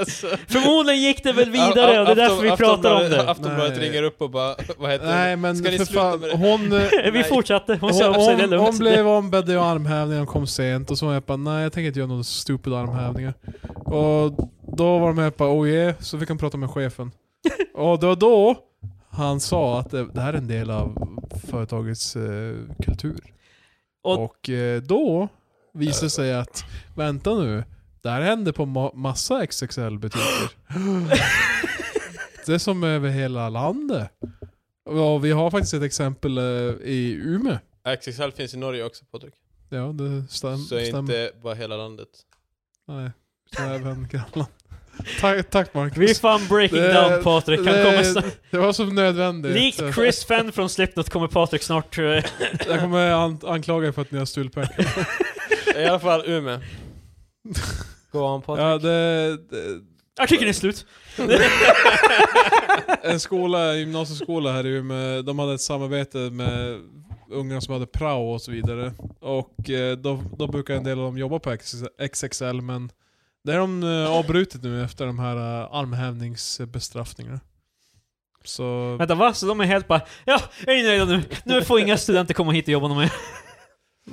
S1: Alltså,
S2: Förmodligen gick det väl vidare och det är därför vi
S1: Afton-
S2: pratar om
S1: Aftonbladet-
S2: det.
S1: Aftonbladet
S3: Nej.
S1: ringer upp och bara, vad heter
S3: Nej
S1: det?
S3: men
S1: Ska ni
S3: för
S1: sluta
S3: fan,
S1: med det?
S3: hon, eh,
S2: Vi
S1: Nej.
S2: fortsatte, hon sa upp sig, det är
S3: hon, hon, hon
S2: lugnt.
S3: blev ombedd att göra armhävningar, hon kom sent och så var jag bara nej jag tänker inte göra några stupid armhävningar. Och då var de här bara oh yeah, så fick han prata med chefen. och det var då han sa att det, det här är en del av företagets eh, kultur.
S2: Och-
S3: Och, eh, då visade det sig att, vänta nu, det här hände på ma- massa XXL-butiker. det är som över hela landet. Ja, vi har faktiskt ett exempel eh, i Umeå.
S1: XXL finns i Norge också Patrik.
S3: Ja, det stäm,
S1: Så är
S3: stämmer.
S1: inte bara hela landet.
S3: Nej, så även grannland. tack, tack Marcus.
S2: Vi är fan breaking
S3: Det-
S2: down Patrik, han
S3: det-
S2: kommer snart.
S3: Det var som nödvändigt.
S2: Likt Chris Fenn från Slipknot kommer Patrik snart... eh, tror jag.
S3: Jag kommer an anklaga er för att ni har stulpengar.
S1: I alla fall Umeå. Gå on Patrik.
S3: ja, det, det,
S2: Artikeln är slut.
S3: en skola, en gymnasieskola här i Umeå, de hade ett samarbete med unga som hade prao och så vidare. Och eh, då, då brukar en del av dem jobba på XXL, men det är de eh, avbrutit nu efter de här eh, armhävningsbestraffningarna. Så...
S2: Vänta va? Så de är helt bara Ja, jag är nöjda nu. Nu får inga studenter komma hit och jobba med.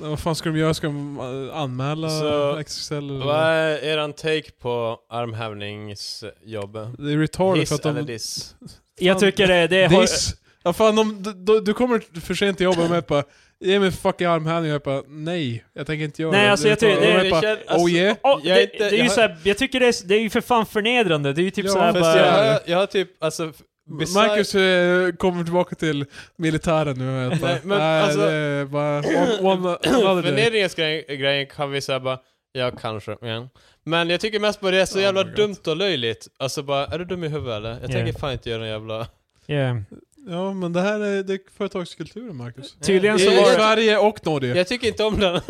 S3: Ja, Vad fan ska de göra? Ska de eh, anmäla
S1: Så-
S3: XXL? eller?
S1: Vad är eran take på armhävningsjobbet?
S3: Det är retarded
S1: Hiss
S3: för att
S1: eller
S3: de...
S1: diss?
S2: Jag tycker det, det har...
S3: Diss! Ja, fan, om, du- du, du kommer för sent till jobbet och jag bara Ge mig fucking armhävning och jag bara Nej, jag tänker inte göra
S2: Nej
S3: det.
S2: alltså jag
S3: Du tar- och
S2: tycker...
S3: jag
S2: Det, det,
S3: bara,
S2: kän- alltså,
S3: oh yeah.
S2: åh,
S1: Jag är
S2: det,
S1: inte-
S2: det är ju
S1: jag-
S2: så här, jag tycker det är, det är ju för fan förnedrande. Det är ju typ
S3: Ja,
S2: så här
S3: fast
S2: bara...
S1: jag,
S3: jag-
S1: har- jag har typ, alltså... f- bizarre-
S3: Marcus eh, kommer tillbaka till militären nu och jag bara,
S1: Nej,
S3: nej,
S1: men alltså-
S3: det är bara one, one, another day.
S1: Förnedringsgrejen kan vi säga bara, ja kanske, ja. Men jag tycker mest bara det är så
S3: Oh
S1: jävla
S3: my God.
S1: dumt och löjligt. Alltså bara, är du dum i huvudet eller? Jag
S2: Yeah.
S1: tänker fan inte göra en jävla...
S2: Yeah.
S3: Ja men det här är, det är företagskulturen Marcus.
S2: Tydligen
S3: I
S2: så
S1: Jag-
S2: var det...
S3: Sverige och Norge.
S1: Jag tycker inte om den.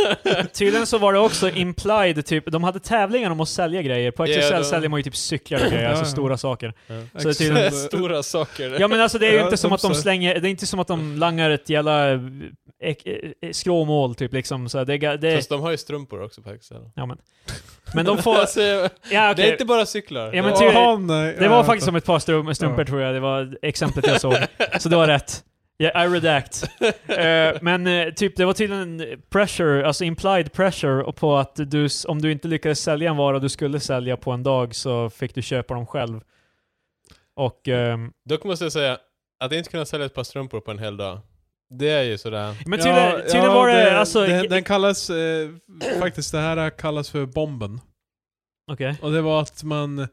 S2: Tydligen så var det också implied, typ, de hade tävlingar om att sälja grejer. På
S1: Ja,
S2: XXL
S1: de-
S2: säljer man ju typ cyklar och grejer, alltså
S3: Ja, ja.
S2: stora saker. Så det är
S3: Exakt.
S2: tydligen-
S1: Stora saker.
S2: Ja men alltså det är ju
S3: eh, Ja,
S2: inte som
S3: de
S2: att de
S3: sälj-
S2: slänger, det är inte som att de langar ett jävla eh, ek- eh, eh, skråmål typ liksom. Så det, är ga- det,
S1: Fast de har ju strumpor också på XL.
S2: ja, men. men de får,
S1: alltså,
S2: ja
S1: Det är
S2: okej.
S1: inte bara cyklar.
S2: Ja, men
S1: Det-
S2: ty- tydligen-
S3: Jaha, nej.
S2: Det
S3: eh, Ja,
S2: var
S3: jag
S2: faktiskt
S3: fattar.
S2: som ett par strum- strumpor tror jag, det var exemplet jag såg. Så det var rätt. Ja, I redact. Eh, men eh, typ, det var tydligen pressure, alltså implied pressure och på att du, s- om du inte lyckades sälja en vara du skulle sälja på en dag så fick du köpa dem själv. Och, ehm,
S1: Dock måste jag säga, att inte kunna sälja ett par strumpor på en hel dag, det är ju sådär.
S2: men tydligen,
S3: Ja,
S2: tydligen
S3: ja,
S2: var det, alltså...
S3: Den,
S2: Okej.
S3: den kallas, eh, faktiskt det här kallas för bomben. Och det var att man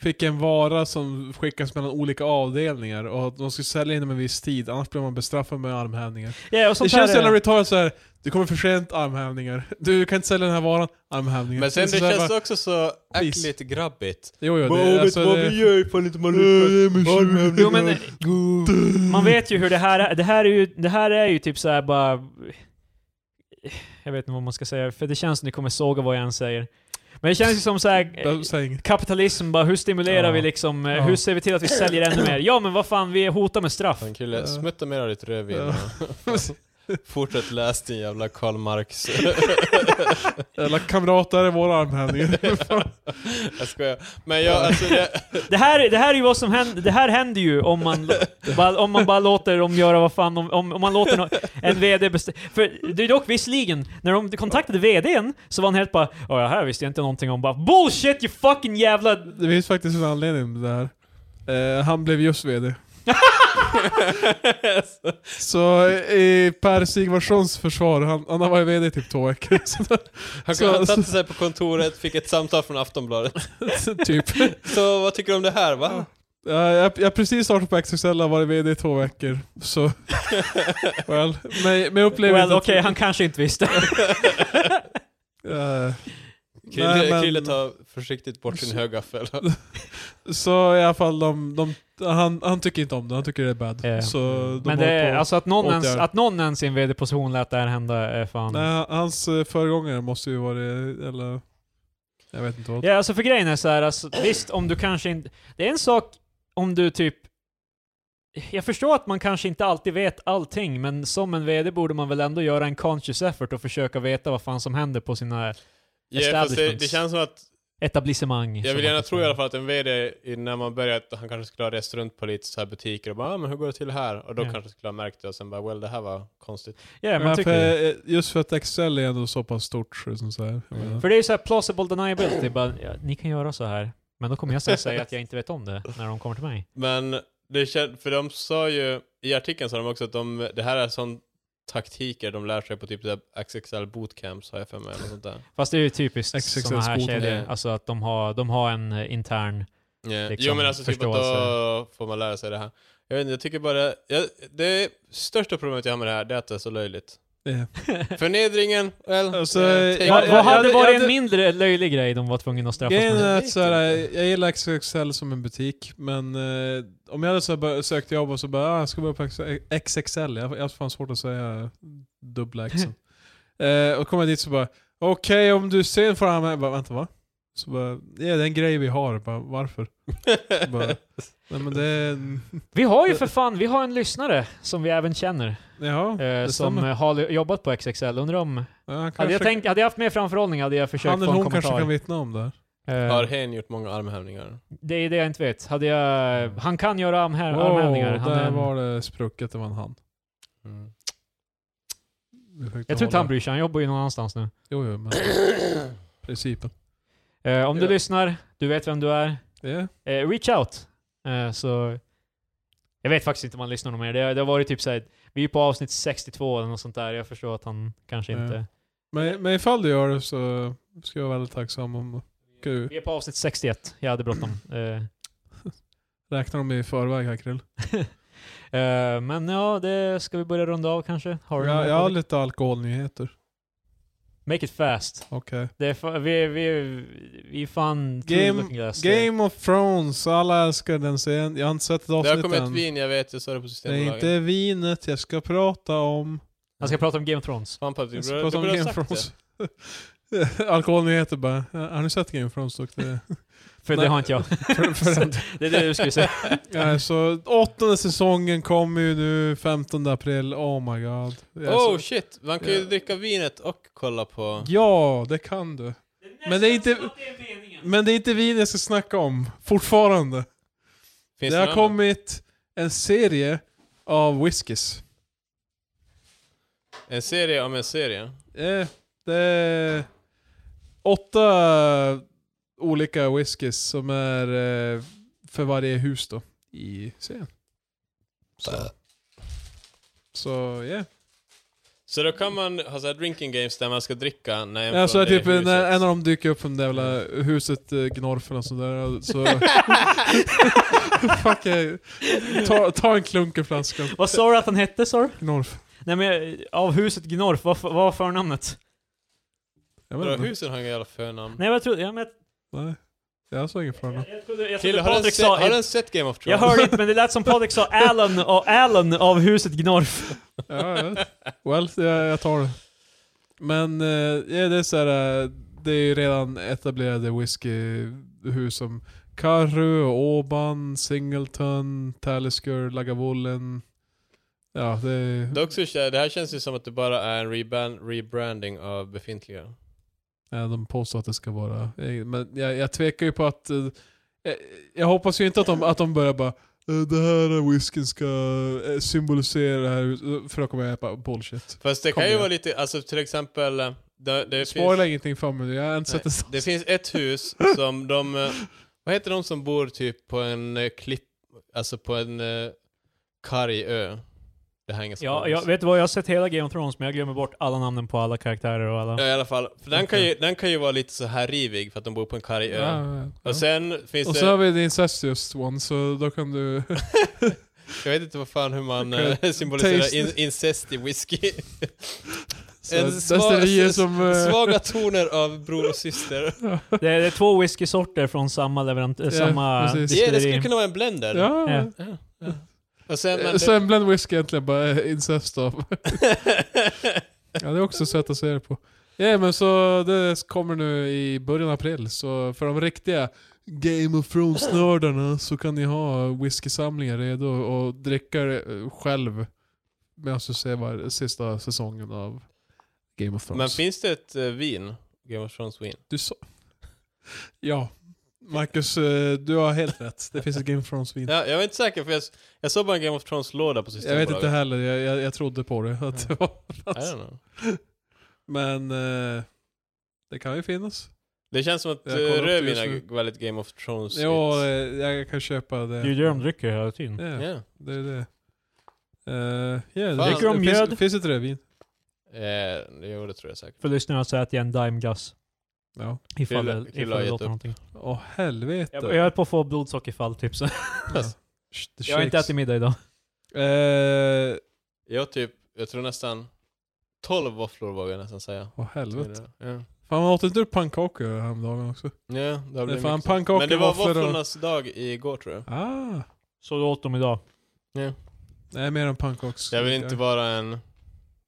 S3: fick en vara som skickas mellan olika avdelningar och att de skulle sälja inom en viss tid, annars blev man bestraffad med armhävningar.
S2: Ja, och sånt
S3: det känns
S2: här,
S3: jävla retard såhär, du kommer för sent, armhävningar. Du kan inte sälja den här varan, armhävningar.
S1: Men sen
S3: Så
S1: det
S3: så här
S1: känns
S3: bara,
S1: också så
S3: Please.
S1: äckligt grabbigt.
S3: Jo, jo,
S1: Bara, "Åh,
S3: det,
S1: vet
S3: alltså,
S1: vad
S3: det,
S1: vi gör ifall inte man lyckas?"
S3: lyckas.
S2: Jo, men- Man vet ju hur det här är. Det här är ju, det här är ju typ så här bara... Jag vet inte vad man ska säga, för det känns som ni kommer såga vad jag än säger. Men det känns ju som så här... eh,
S3: Säg inget.
S2: Kapitalism bara, hur stimulerar
S3: Ja.
S2: vi liksom, eh,
S3: Ja.
S2: hur ser vi till att vi säljer ännu mer? Ja men vad fan, vi hotar med straff.
S1: Fan kille,
S3: Ja.
S1: smutta mer av ditt rödvin.
S3: Ja.
S1: och Fortsätt läs din jävla Karl Marx.
S3: Jävla kamrater är våra armhävningar.
S1: jag skojar. Men jag, alltså det,
S2: Det här, det här är ju vad som händer, det här händer ju om man, lo- bara, om man bara låter dem göra vad fan, de- om, om man låter nå- en VD bestämma. För det är dock visserligen, när de kontaktade VDn så var han helt bara ja det här visste jag inte någonting om, bara BULLSHIT YOU FUCKING JÄVLA...
S3: Det finns faktiskt en anledning till det här. Eh, han blev just VD. så i Per Sigvardssons försvar, han, han har varit VD i typ två veckor. Så,
S1: han,
S3: Så-
S1: han satte sig på kontoret, fick ett samtal från Aftonbladet.
S3: typ.
S1: Så vad tycker du om det här va?
S3: Ja, jag jag har precis startat på XXL och varit VD i två veckor. Så, well. Men, men jag upplever
S2: Well
S3: inte
S2: okej,
S3: att-
S2: han kanske inte visste.
S3: Eh,
S1: Krille,
S3: Nej, men-
S1: Krille tar försiktigt bort sin högaffel.
S3: så i alla fall, de, de, han, han tycker inte om det. Han tycker det är bad.
S2: Eh,
S3: Så de
S2: Men
S3: håller
S2: det,
S3: på.
S2: är- alltså att någon,
S3: åtgärd.
S2: ens, att någon ens i en VD-position lät det här hända är fan...
S3: Nej, hans eh, föregångare måste ju vara eller... Jag vet inte vad.
S2: Ja, alltså för grejen är så här, alltså, visst om du kanske inte... Det är en sak om du typ... Jag förstår att man kanske inte alltid vet allting, men som en VD borde man väl ändå göra en conscious effort och försöka veta vad fan som händer på sina
S1: Ja, fast det, det
S2: establishments.
S1: känns som att
S2: etablissemang.
S1: Jag
S2: som
S1: vill
S2: man
S1: gärna
S2: kan
S1: tro i
S2: säga.
S1: alla fall att en VD, i- när man börjar, att han kanske skulle ha rest runt på lite så här butiker och bara ah, men hur går det till här? Och då
S2: Ja.
S1: kanske skulle ha märkt det och sen bara well det här var konstigt.
S2: Ja, men jag
S3: för,
S2: tycker det.
S3: eh, Just för att Excel är ändå så pass stort. så- Som så här, jag menar.
S2: För det är ju så här plausible deniability, bara, ja, ni kan göra så här. Men då kommer jag sen säga att jag inte vet om det när de kommer till mig.
S1: Men det kän- för de sa ju, i artikeln sa de också att de, det här är sån taktiker de lär sig på typ så här XXL bootcamps har jag för mig eller sånt där.
S2: Fast det är ju typiskt
S3: XXL
S2: sådana här
S3: skolan,
S2: kedjor,
S1: ja.
S2: alltså att de har, de har en eh, intern...
S1: Yeah.
S2: Liksom,
S1: jo men alltså typ att då
S2: förståelse.
S1: får man lära sig det här. Jag vet inte, jag tycker bara, jag, det största problemet jag har med det här det är att det är så löjligt.
S3: Eh,
S1: Förnedringen, well,
S3: Alltså,
S1: eh, take
S3: vad-
S1: it.
S2: Vad vad hade
S3: jag-
S2: varit
S3: jag-
S2: en mindre löjlig grej de var tvungna att straffas
S3: Grejen
S2: med?
S3: är
S1: jag
S3: att
S1: vet
S3: så här, jag gillar XXL som en butik, men eh, om jag hade så här, bör- sökt jobb och så bara ah, jag ska börja på XXL, jag, jag har fan svårt att säga dubbla X. eh, och kommer jag dit så bara okej om du är sen får han bara vänta va? Så bara, ja det är en grej vi har, bara, varför? Så bara, eh. Nej men det är, en-
S2: Vi har
S3: eh,
S2: ju för fan, vi har en lyssnare som vi även känner,
S3: jaha.
S2: eh, som
S3: stämmer.
S2: eh, har li- jobbat på XXL. Undrar om...
S3: Ja, han
S2: Hade jag,
S3: kanske-
S2: tänkt, hade jag haft mer framförhållning hade jag försökt
S3: Han
S2: få
S3: eller
S2: en
S3: hon kanske kan
S2: kommentar.
S3: vittna om det här.
S1: Har
S2: Eh,
S1: hen gjort många armhävningar?
S2: det är det jag inte vet. Hade jag, han kan göra armhä-
S3: Wow,
S2: armhävningar. Han är
S3: där
S2: en-
S3: var det sprucket, det var en han.
S1: Mm.
S2: Jag tror inte han bryr sig, han jobbar ju någon annanstans nu.
S3: Jo, jo, men principen.
S2: Eh, om du
S3: Ja.
S2: lyssnar, du vet vem du är.
S3: Yeah.
S2: Eh, reach out. Eh, så Jag vet faktiskt inte om han lyssnar någon mer. Det, det har varit typ såhär, vi är på avsnitt 62 eller något sånt där. Jag förstår att han kanske
S3: Ja.
S2: inte...
S3: Men, men ifall du gör det så ska jag vara väldigt tacksam om du
S2: Vi är på avsnitt 61. Jag hade bråttom. Eh,
S3: räknar dem i förväg här Krill.
S2: eh, men ja, det ska vi börja runda av kanske? Har du något
S3: Jag, jag har
S2: Patrik?
S3: lite alkoholnyheter.
S2: Make it fast.
S3: Okej.
S2: Det är fa- vi, vi, vi är fan through
S3: Game-
S2: looking glass.
S3: Game of Thrones, alla älskar den serien. Jag har inte sett ett
S1: Det har
S3: avsnitt
S1: kommit ett
S3: än.
S1: vin, jag vet, jag sa det på
S3: Det är
S1: Systembolaget.
S3: inte vinet jag ska prata om.
S2: Han ska prata om Game of Thrones.
S1: Fan Patrik,
S3: Jag
S1: du
S3: ska
S1: borde
S3: prata om
S1: du borde
S3: Game
S1: ha
S3: of
S1: sagt
S3: Thrones.
S1: det.
S3: Alkoholnyheter bara. Har ni sett Game of Thrones dock? Det,
S2: För
S3: Nej.
S2: det har inte jag.
S3: för, för den.
S2: Det är det du skulle säga.
S3: Ja, så åttonde säsongen kommer ju nu 15 april. Oh my god. Ja,
S1: Oh
S3: så-
S1: shit, man kan ju
S3: Ja.
S1: dricka vinet och kolla på...
S3: ja, det kan du. Men det är inte- som att Men det är inte vin jag ska snacka om. Fortfarande.
S1: Finns någon
S3: det har
S1: annan?
S3: kommit en serie av whiskys.
S1: En serie om en serie.
S3: Eh, det är åtta olika whiskys som är eh, för varje hus då i serien. Så,
S1: Äh.
S3: så yeah.
S1: Så då kan man ha så här drinking games där man ska dricka när en
S3: Ja, så
S1: från
S3: är
S1: det
S3: typ en,
S1: huset-
S3: en av dem dyker upp från det jävla huset eh, Gnorf eller sådär. Så... Fuck, jag- ta, ta en klunk ur flaskan.
S2: Vad sa du att han hette sa du?
S3: Gnorf.
S2: Nej men eh, av huset Gnorf, vad, f- vad var förnamnet?
S3: Jag
S1: Vadå,
S3: vet inte.
S1: husen har inga jävla förnamn.
S2: Nej men jag trodde... Jag, men,
S3: Nej. Jag såg ingen förnamn.
S2: jag, jag trodde, jag
S1: Kille,
S2: trodde
S1: har du ens
S2: alltså,
S1: sett, har
S2: Patrik
S1: du
S2: sa...
S1: ens sett Game of
S2: Jag
S1: Thrones?
S2: hörde inte men det lät som Patrik sa Allen och Allen av huset Gnorf.
S3: Ja, jag vet. Well, jag, jag tar det. Men eh, ja, det är så här, eh, det är ju redan etablerade whiskyhus som Karru, Åban, Singleton, Talisker, Lagavulin. Ja, det är...
S1: Dock så känns- det här känns ju som att det bara är en reban- rebranding av befintliga.
S3: Ja, de påstår att det ska vara... eh, Men jag, jag tvekar ju på att... eh, Jag, jag hoppas ju inte att de, att de börjar bara "Eh, det här whiskyn ska eh, symbolisera det här huset", för då kommer jag bara bullshit.
S1: Fast det
S3: Kom
S1: kan ju
S3: igen.
S1: vara lite, alltså till exempel, eh, det, det,
S3: Spoila
S1: finns,
S3: ingenting för mig, jag har inte
S1: Nej,
S3: sett det.
S1: det finns ett hus som de, eh, vad heter de som bor typ på en eh, klipp, alltså på en eh, karg ö? Det här är inget
S2: Ja,
S1: spoilers.
S2: jag vet du vad, jag har sett hela Game of Thrones men jag glömmer bort alla namnen på alla karaktärer och alla...
S1: Ja, i alla fall. För den, kan ju, den kan ju vara lite så här rivig för att de bor på en karg ö.
S3: Ja, ja.
S1: Och sen finns
S3: Och
S1: det...
S3: så har vi The Incestuous One, så då kan du...
S1: Jag vet inte vad fan hur man
S3: Okej.
S1: eh, symboliserar
S3: Taste.
S1: in, incest i whisky.
S3: så
S1: en
S3: att
S1: svag-
S3: Desterier
S1: s-
S3: som... eh,
S1: Svaga toner av bror och syster.
S2: Det är, det är två whiskysorter från samma leverant... eh,
S3: Ja,
S2: samma
S3: precis.
S1: Ja, det
S2: distilleri.
S1: skulle kunna vara en blender.
S3: Ja.
S2: Ja.
S1: Ja, ja. Och sen,
S3: Eh,
S1: men
S3: Så
S1: det,
S3: en blend whisky egentligen bara eh, incest av. Ja, det är också ett sätt att se det på. Ja, men så det kommer nu i början av april, så för de riktiga Game of Thrones-nördarna så kan ni ha whiskysamlingar redo och dricka det eh, själv medan du ser var, sista säsongen av Game of
S1: men
S3: Thrones.
S1: finns det ett eh, vin? Game of Thrones vin.
S3: du sa... Ja. Marcus, eh, du har helt rätt. Det finns ett Game of Thrones-vin.
S1: Ja, jag var inte säker för jag, s- jag såg bara en Game of Thrones-låda på
S3: Jag vet
S1: Systembolaget.
S3: inte heller, jag, jag, jag trodde på det. Att det var,
S1: I don't know.
S3: men eh, det kan ju finnas.
S1: Det känns som att eh,
S3: Jag kollar upp det
S1: rödvin
S3: just nu.
S1: är väldigt Game of thrones
S3: Ja, eh, jag kan köpa det.
S2: Det är ju det de dricker hela tiden.
S3: Ja,
S1: Ja.
S3: det är det. Uh,
S1: Fan.
S3: yeah, det
S1: Dricker
S2: de
S3: finns-
S2: mjöd?
S3: Finns inte rödvin?
S1: Eh, jo, det tror jag säkert.
S2: För lyssnarna så äter jag en daimglass.
S3: Ja.
S2: Ifall
S1: Krilla-
S2: det,
S1: Krilla
S2: ifall
S1: har
S2: det
S1: gett
S2: låter
S1: upp.
S2: någonting.
S3: Åh helvete.
S2: Jag, jag höll på att få blodsockerfall typ så.
S3: Ja.
S2: Jag har inte ätit middag idag.
S3: Eh,
S1: Jag typ, jag tror nästan 12 våfflor vågar jag nästan säga.
S3: Åh helvete.
S1: Ja.
S3: Fan man åt inte du pannkakor häromdagen också?
S1: Ja, det har
S3: Det är
S1: blivit
S3: fan
S1: mycket.
S3: pannkakor,
S1: Men det var
S3: våfflor och-
S1: våfflornas dag igår tror jag.
S3: Ah.
S2: Så du åt dem idag.
S3: Nej mer än pannkakor.
S1: Jag vill inte vara en...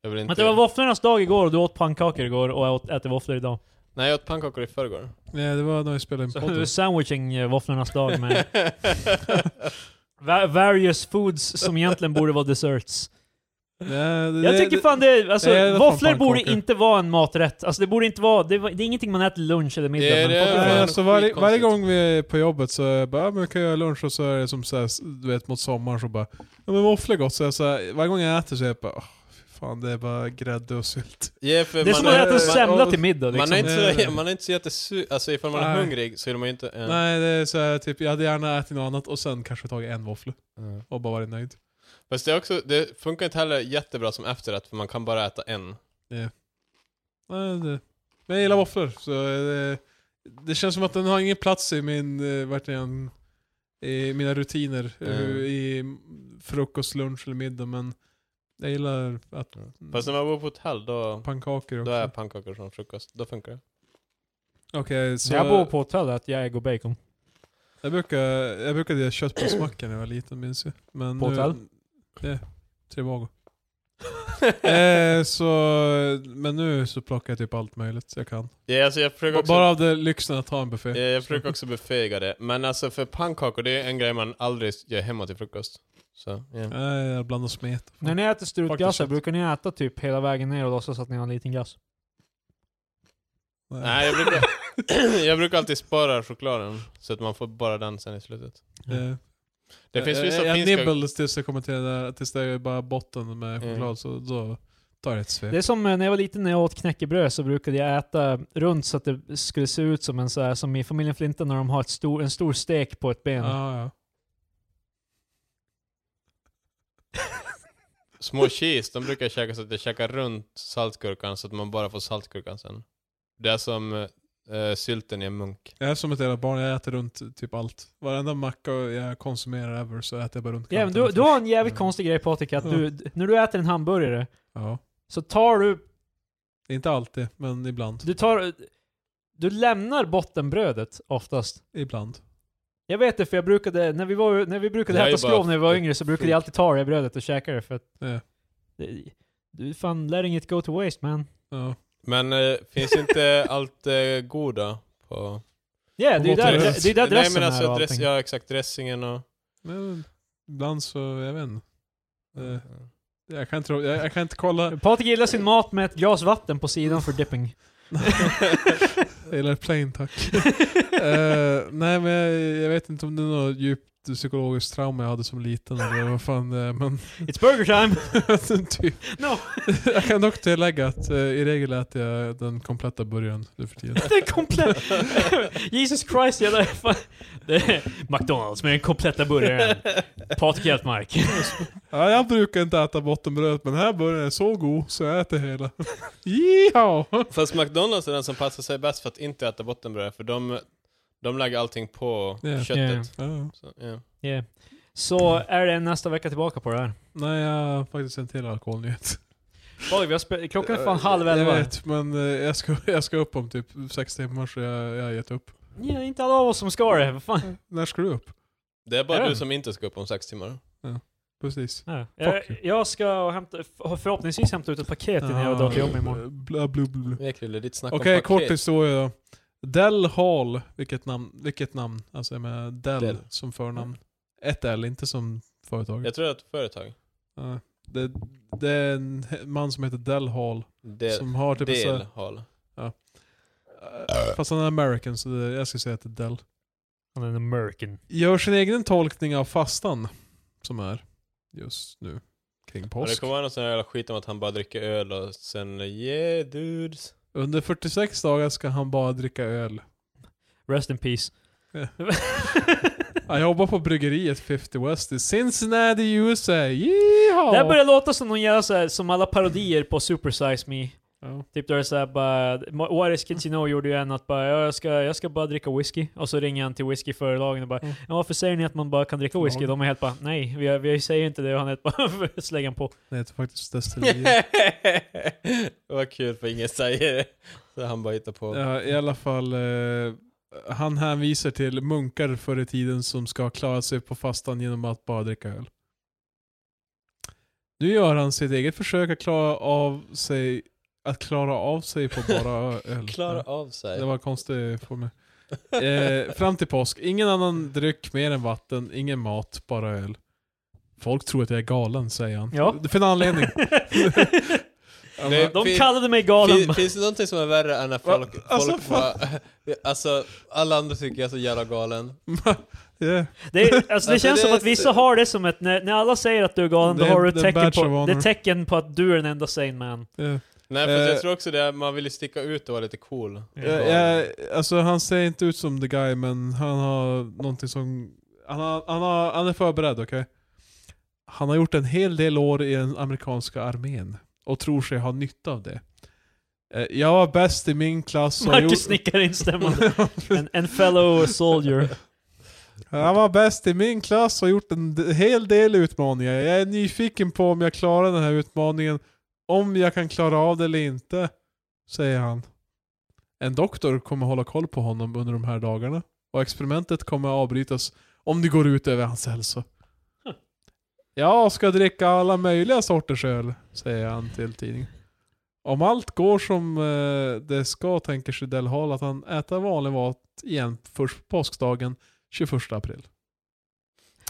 S1: Jag vill inte...
S2: Men det var våfflornas dag igår och du åt pannkakor igår och jag åt, äter våfflor idag.
S1: Nej, jag åt pannkakor i förrgår.
S3: Nej det var när vi spelade en
S2: Så nu är
S3: podd.
S2: sandwiching eh, våfflornas dag med va- various foods som egentligen borde vara desserts.
S3: Nej, det-
S2: Jag
S3: det-
S2: tycker
S3: det-
S2: fan det, alltså
S3: det är fan
S2: våfflor borde
S3: pannkakor.
S2: inte vara en maträtt. Alltså det borde inte vara, det, var- det är ingenting man äter lunch eller middag.
S1: Det är
S2: men
S1: det.
S2: pannkakor-
S3: Nej,
S1: fan
S3: alltså varje, varje
S1: skitkonstigt.
S3: gång vi är på jobbet så är jag bara, "Ja, men kan jag göra lunch och så är det som så här, du vet mot sommaren så bara, ja men våfflor är gott. Så jag så här, varje gång jag äter så är jag bara, "Åh, fy fan det är bara grädde och sylt.
S1: Ja, för
S2: Det är
S1: man
S2: som att
S3: är-
S2: äta en
S1: man-
S2: semla
S3: man-
S2: till middag liksom.
S1: Man är inte
S3: Eh.
S1: så, man är inte så jättesu... Alltså ifall man är
S3: Nej.
S1: hungrig så vill man ju inte... eh.
S3: Nej, det är så här, typ, jag hade gärna ätit något annat och sen kanske tagit en våffla
S1: Mm.
S3: och bara varit nöjd.
S1: Fast det, är också, det funkar inte heller jättebra som efterrätt för man kan bara äta en.
S3: Nej, det, men jag gillar våfflor. Så det, det känns som att den har ingen plats i min, eh, verkligen, i mina rutiner.
S1: Mm.
S3: hur- I frukost, lunch eller middag. Men jag gillar att
S1: Fast när man bor på hotell då,
S3: pannkakor
S1: då
S3: också.
S1: är pannkakor som frukost. Då funkar det.
S3: Okej, så
S2: Jag bor på hotellet, jag äger bacon.
S3: jag brukar, jag brukade göra köttbullsmacka när jag var liten minns jag. Men
S2: På
S3: nu-
S2: hotell?
S3: Ja, Trivago. eh, så, men nu så plockar jag typ allt möjligt jag kan.
S1: Ja, alltså jag försöker
S3: B-
S1: också...
S3: Bara av det lyxen att ha en buffé.
S1: Ja, jag försöker också befäga det. Men alltså för pannkakor, det är en grej man aldrig gör hemma till frukost. Så, ja.
S3: Nej, jag blandar smet.
S2: När ni äter strutgassar,
S3: Faktiskt.
S2: brukar ni äta typ hela vägen ner och låtsas att ni har en liten glass?
S1: Nej, jag brukar, jag brukar alltid spara chokladen. Så att man får bara den sen i slutet.
S3: Eh,
S1: Det finns
S3: eh,
S1: vissa
S3: jag
S1: finska...
S3: nibbles tills jag kommer till det där, tills det är bara botten med
S1: Mm.
S3: choklad, så då tar jag ett svep.
S2: Det är som eh, när jag var liten när jag åt knäckebröd så brukade jag äta runt så att det skulle se ut som en så här, som i familjen Flinta när de har ett stor, en stor stek på ett ben.
S3: Ja, ja.
S1: Små cheese, de brukar käka så att jag käkar runt saltgurkan så att man bara får saltgurkan sen. Det är som eh, sylten i en munk.
S3: Jag är som ett jävla barn, jag äter runt typ allt. Varenda macka jag konsumerar ever så äter jag bara runt
S2: Ja, men
S3: kanterna
S2: du, du har en
S3: först.
S2: jävligt
S3: Mm.
S2: konstig grej Patrik, att du, d- när du äter en hamburgare
S3: Ja.
S2: så tar du,
S3: Inte alltid, men ibland.
S2: du tar, du lämnar bottenbrödet oftast.
S3: Ibland.
S2: Jag vet det för jag brukade, när vi, var, när vi brukade
S1: Det här
S2: äta
S1: är bara
S2: skrov när vi var yngre så brukade jag alltid ta det brödet och käka det för att
S3: Ja.
S2: det, du fan letting it go to waste man.
S3: Ja.
S1: Men eh, finns inte allt eh, goda på...
S2: Ja, yeah,
S3: På
S2: det är ju där,
S3: hotellet.
S2: det är där
S1: Nej
S2: dressen
S1: men
S2: är
S1: alltså,
S2: och
S1: dress,
S2: allting.
S1: ja exakt, dressingen och...
S3: Men ibland så, jag vet inte. Eh, Jag kan inte, jag, jag kan inte kolla.
S2: Patrik gillar sin mat med ett glas vatten på sidan för dipping.
S3: Jag gillar plain tack. Eh, nej men jag, jag vet inte om det är något djupt psykologiskt trauma jag hade som liten eller vad fan det är. Men
S2: It's burger time!
S3: typ.
S2: No.
S3: jag kan dock tillägga att eh, i regel äter jag den kompletta burgaren nu för tiden.
S2: Det är komplett... Jesus Christ, jag där, fan. Det är McDonalds med den kompletta burgaren. Patrik Hjältmark.
S3: Ja, jag brukar inte äta bottenbrödet men den här burgaren är så god så jag äter hela. Jiha!
S1: Fast McDonalds är den som passar sig bäst för att inte äta bottenbröd, för de, de lägger allting på
S3: Ja.
S1: köttet.
S2: Ja.
S3: Ja.
S1: Så, ja.
S2: Yeah. Så är det nästa vecka tillbaka på det här.
S3: Nej jag har faktiskt en till alkoholnyhet.
S2: Patrik, vi har spe- klockan är fan halv elva.
S3: Jag vet, men eh, jag ska, jag ska upp om typ sex timmar så jag, jag har gett upp.
S2: Ja, inte alla av oss som ska det. Vad fan?
S3: När ska du upp?
S1: Det är bara
S2: Ja.
S1: du som inte ska upp om sex timmar.
S3: Precis.
S2: Ja. Jag,
S3: Fuck
S2: jag ska hämta, förhoppningsvis hämta ut ett paket innan jag drar till jobbet imorgon.
S3: Ah, Bla, bla, bla, bla.
S1: Ja, Krille, ditt snack
S3: Okej,
S1: om
S3: kort
S1: paket.
S3: historia då. Del Hall, vilket namn? Vilket namn? Alltså jag menar Del,
S1: Del.
S3: som förnamn. Ett L, inte som företaget.
S1: Jag tror att företag.
S3: Ja. Det, det är en he- man som heter Del Hall.
S1: Del,
S3: som har typ en så,
S1: del
S3: här-
S1: hall. Eh.
S3: Fast han är American så det, jag ska säga att det är Del.
S2: Han är en American.
S3: Gör sin egen tolkning av fastan. Som är just nu. Kring
S1: Ja, det
S3: påsk.
S1: kommer vara någon sån här jävla skit om att han bara dricker öl och sen yeah dudes.
S3: Under 46 dagar ska han bara dricka öl.
S2: Rest in peace.
S3: Ja. Jag jobbar på bryggeriet 50 West i Cincinnati, USA.
S2: Det här
S3: Yeehaw!
S2: börjar låta som någon jävla så här, som alla parodier på Super Size Me.
S3: Ja.
S2: Typ där det är såhär bara, Ma- Juarez Kitchenou gjorde ju en att bara "Ja, jag ska, jag ska bara dricka whisky. Och så ringer han till whiskyförlagen och bara
S3: Mm.
S2: ja, varför säger ni att man bara kan dricka whisky?
S3: Ja.
S2: De är helt bara nej, vi, vi säger inte det. Och han är helt bara slänger han på.
S3: Det heter faktiskt destilleriet.
S1: Vad kul för ingen säger det. Så han bara hittar på.
S3: ja, I alla fall, eh, han hänvisar till munkar förr i tiden som ska klara sig på fastan genom att bara dricka öl. Nu gör han sitt eget försök att klara av sig, att klara av sig på bara öl.
S1: Klara av sig.
S3: Det var konstigt för mig. Eh, fram till påsk. Ingen annan dryck mer än vatten, ingen mat, bara öl. Folk tror att jag är galen, säger han.
S2: Ja.
S3: Det finns en anledning.
S1: Det-
S2: De
S1: fin-
S2: kallade mig galen.
S1: Fin, finns det någonting som är värre än när
S3: Va?
S1: folk, folk
S3: Alltså,
S1: bara, alltså alla andra tycker jag är så jävla galen.
S3: Yeah.
S2: Det, är- alltså det
S1: Alltså,
S2: känns
S1: det-
S2: som att vissa har det som ett, när, när alla säger att du är galen, då
S3: Det är-
S2: har du ett
S3: det är
S2: tecken
S3: badge of
S2: på,
S3: honor.
S2: det är ett tecken på att du är den enda sane man.
S3: Yeah.
S1: Nej för att
S3: Eh.
S1: jag tror också det, är- man vill ju sticka ut och vara lite cool.
S3: Jag, Eh, jag, alltså han ser inte ut som the guy men han har någonting som... Han, har, han, har, han är förberedd, okej? Han har gjort en hel del år i den amerikanska armén och tror sig ha nytta av det. Eh, Jag var bäst i min klass och
S2: Marcus
S3: gjorde-
S2: nickar instämmande. En, en fellow soldier.
S3: Jag var bäst i min klass och gjort en d- hel del utmaningar. Jag är nyfiken på om jag klarar den här utmaningen. Om jag kan klara av det eller inte, säger han. En doktor kommer hålla koll på honom under de här dagarna. Och experimentet kommer avbrytas om det går ut över hans hälsa.
S2: Huh.
S3: Jag ska dricka alla möjliga sorters öl, säger han till tidningen. Om allt går som eh, det ska tänker sig Del Hall att han äter vanlig mat igen först på påskdagen 21 april.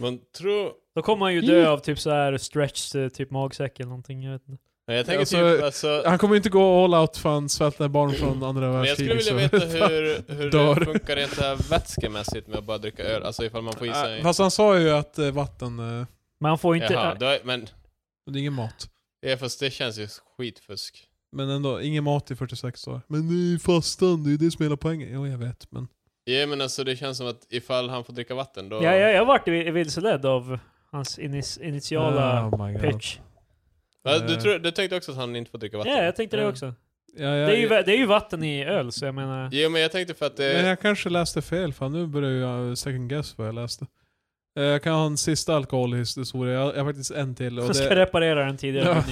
S1: Man tror,
S2: Då kommer han ju dö av typ så här stretch, eh, typ magsäck eller någonting. Jag vet inte.
S1: men jag tänker
S3: Alltså,
S1: typ alltså,
S3: Han kommer inte gå all out för han svälter barn från andra
S1: men jag skulle
S3: världskriget.
S1: vilja
S3: så-
S1: veta hur, hur
S3: Dör.
S1: det funkar rent så här vätskemässigt med att bara dricka öl, alltså ifall man får i sig...
S3: Äh, Fast han sa ju att eh, vatten, eh,
S2: Men han får inte... eh,
S1: Jaha, då är, men,
S3: det är ingen mat.
S1: ja, fast det känns ju skitfusk.
S3: Men ändå, ingen mat i 46 dagar. Men det är ju fastan, det är ju det som är hela poängen. Jo, jag vet, men...
S1: Ja men alltså det känns som att ifall han får dricka vatten då...
S2: ja, ja, jag vart vi- vilseledd av hans inis, initiala
S3: Oh my God.
S2: pitch.
S1: Va, du,
S3: Eh.
S1: tror, du tänkte också att han inte får dricka
S2: Ja,
S1: vatten?
S2: jag tänkte det
S3: Ja.
S2: också.
S3: Ja, jag,
S2: Det är, ju, va- det är ju vatten i öl, så jag menar...
S1: Jo men jag tänkte för att det...
S3: Men jag kanske läste fel, fan nu börjar jag eh, second guess vad jag läste. Eh, Jag kan ha en sista alkoholhistoria, jag jag har faktiskt en till. Och
S2: Jag ska
S3: det,
S2: reparera den tidigare.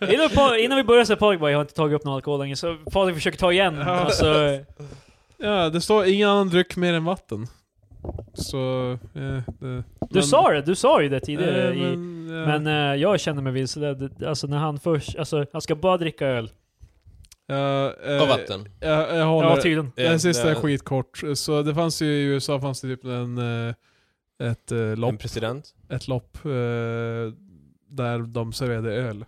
S3: Ja.
S2: Innan, pa- innan vi börjar så Patrik bara, jag har inte tagit upp någon alkohol länge, så Patrik försöker ta igen.
S3: Ja.
S2: Alltså,
S3: ja, det står ingen annan dryck mer än vatten. Så... Eh, det,
S2: du sa det, du sa ju det tidigare.
S3: Eh,
S2: i,
S3: men, ja.
S2: men eh, jag känner mig vilseledd. Alltså när han först, alltså han ska bara dricka öl.
S3: Ja, eh,
S1: Och vatten.
S3: Jag, jag håller...
S2: Ja typ. tydligen.
S1: Ja,
S3: Den sista är
S1: det-
S3: skitkort. Så det fanns ju i USA fanns det typ en, eh, ett, eh,
S1: En
S3: lopp,
S1: president.
S3: ett lopp eh, där de serverade öl.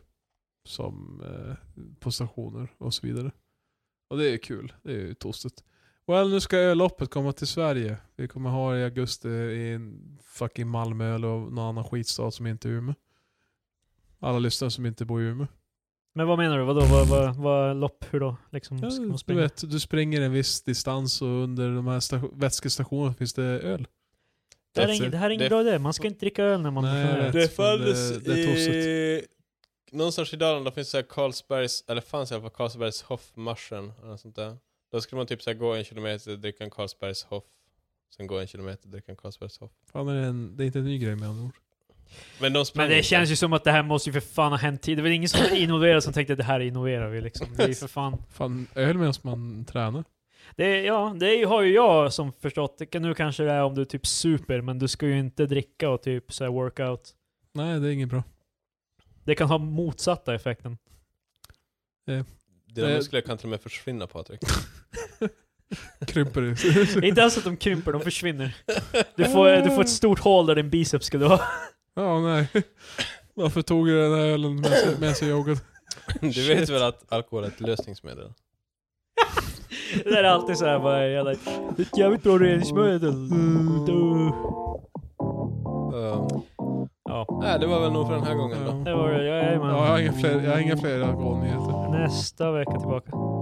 S3: Som eh, på stationer och så vidare. Och det är ju kul. Det är ju tostigt. Well, nu ska ölloppet komma till Sverige. Vi kommer ha det i augusti i en fucking Malmö eller någon annan skitstad som inte är Umeå. Alla lyssnare som inte bor i Umeå.
S2: Men vad menar du? Vadå? Vad, vad, vad lopp? Hur då?
S3: Mm,
S2: Liksom, ska man
S3: Ja, du
S2: springa?
S3: vet, du springer en viss distans och under de här sta- vätskestationerna finns det öl.
S2: Det här är ingen, det här är ingen
S1: Det-
S2: bra idé. Man ska inte dricka öl när man
S3: Nej,
S2: får
S3: jag
S2: öl.
S3: vet. Det fanns
S1: eh,
S3: Det- det är
S1: i... Någonstans i Dalarna finns så här Carlsbergs, eller fanns i alla fall Carlsbergs Hoffmarschen eller något sånt där. Då skulle man typ så här gå en kilometer, dricka en Carlsbergs Hoff. Sen gå en kilometer, dricka en Carlsbergs Hoff.
S3: Fan, är det, en, det är inte en ny grej med andra ord.
S1: Men de sprang
S2: Men det
S1: inte.
S2: känns ju som att det här måste ju för fan ha hänt tidigare. Det var ingen som innoverade som tänkte att det här innoverar vi liksom. Det är ju för fan.
S3: Fan, öl medan man tränar.
S2: Det, är- ja, det är ju- har ju jag som förstått. Det kan- Nu kanske det är om du är typ super, men du ska ju inte dricka och typ så här workout.
S3: Nej, det är inget bra.
S2: Det kan ha motsatta effekten.
S1: Dina
S3: det-
S1: muskler kan till och med försvinna Patrik.
S3: Krymper det.
S2: Det är inte ens att de krymper, de försvinner. Du får, du får ett stort hål där din biceps skulle vara.
S3: ja, nej. Varför tog jag den här ölen medan jag joggade?
S1: Du vet väl att alkohol är ett lösningsmedel?
S2: Det där är alltid såhär bara jävla... Det är ett jävligt bra reningsmedel. Du.
S1: Uh,
S2: Ja,
S1: nej, det var väl nog för den här gången då.
S3: Ja.
S2: det var det. Jag är
S3: Ja, jag har
S2: med.
S3: inga fler, jag har inga fler alkoholnyheter.
S2: Nästa vecka tillbaka.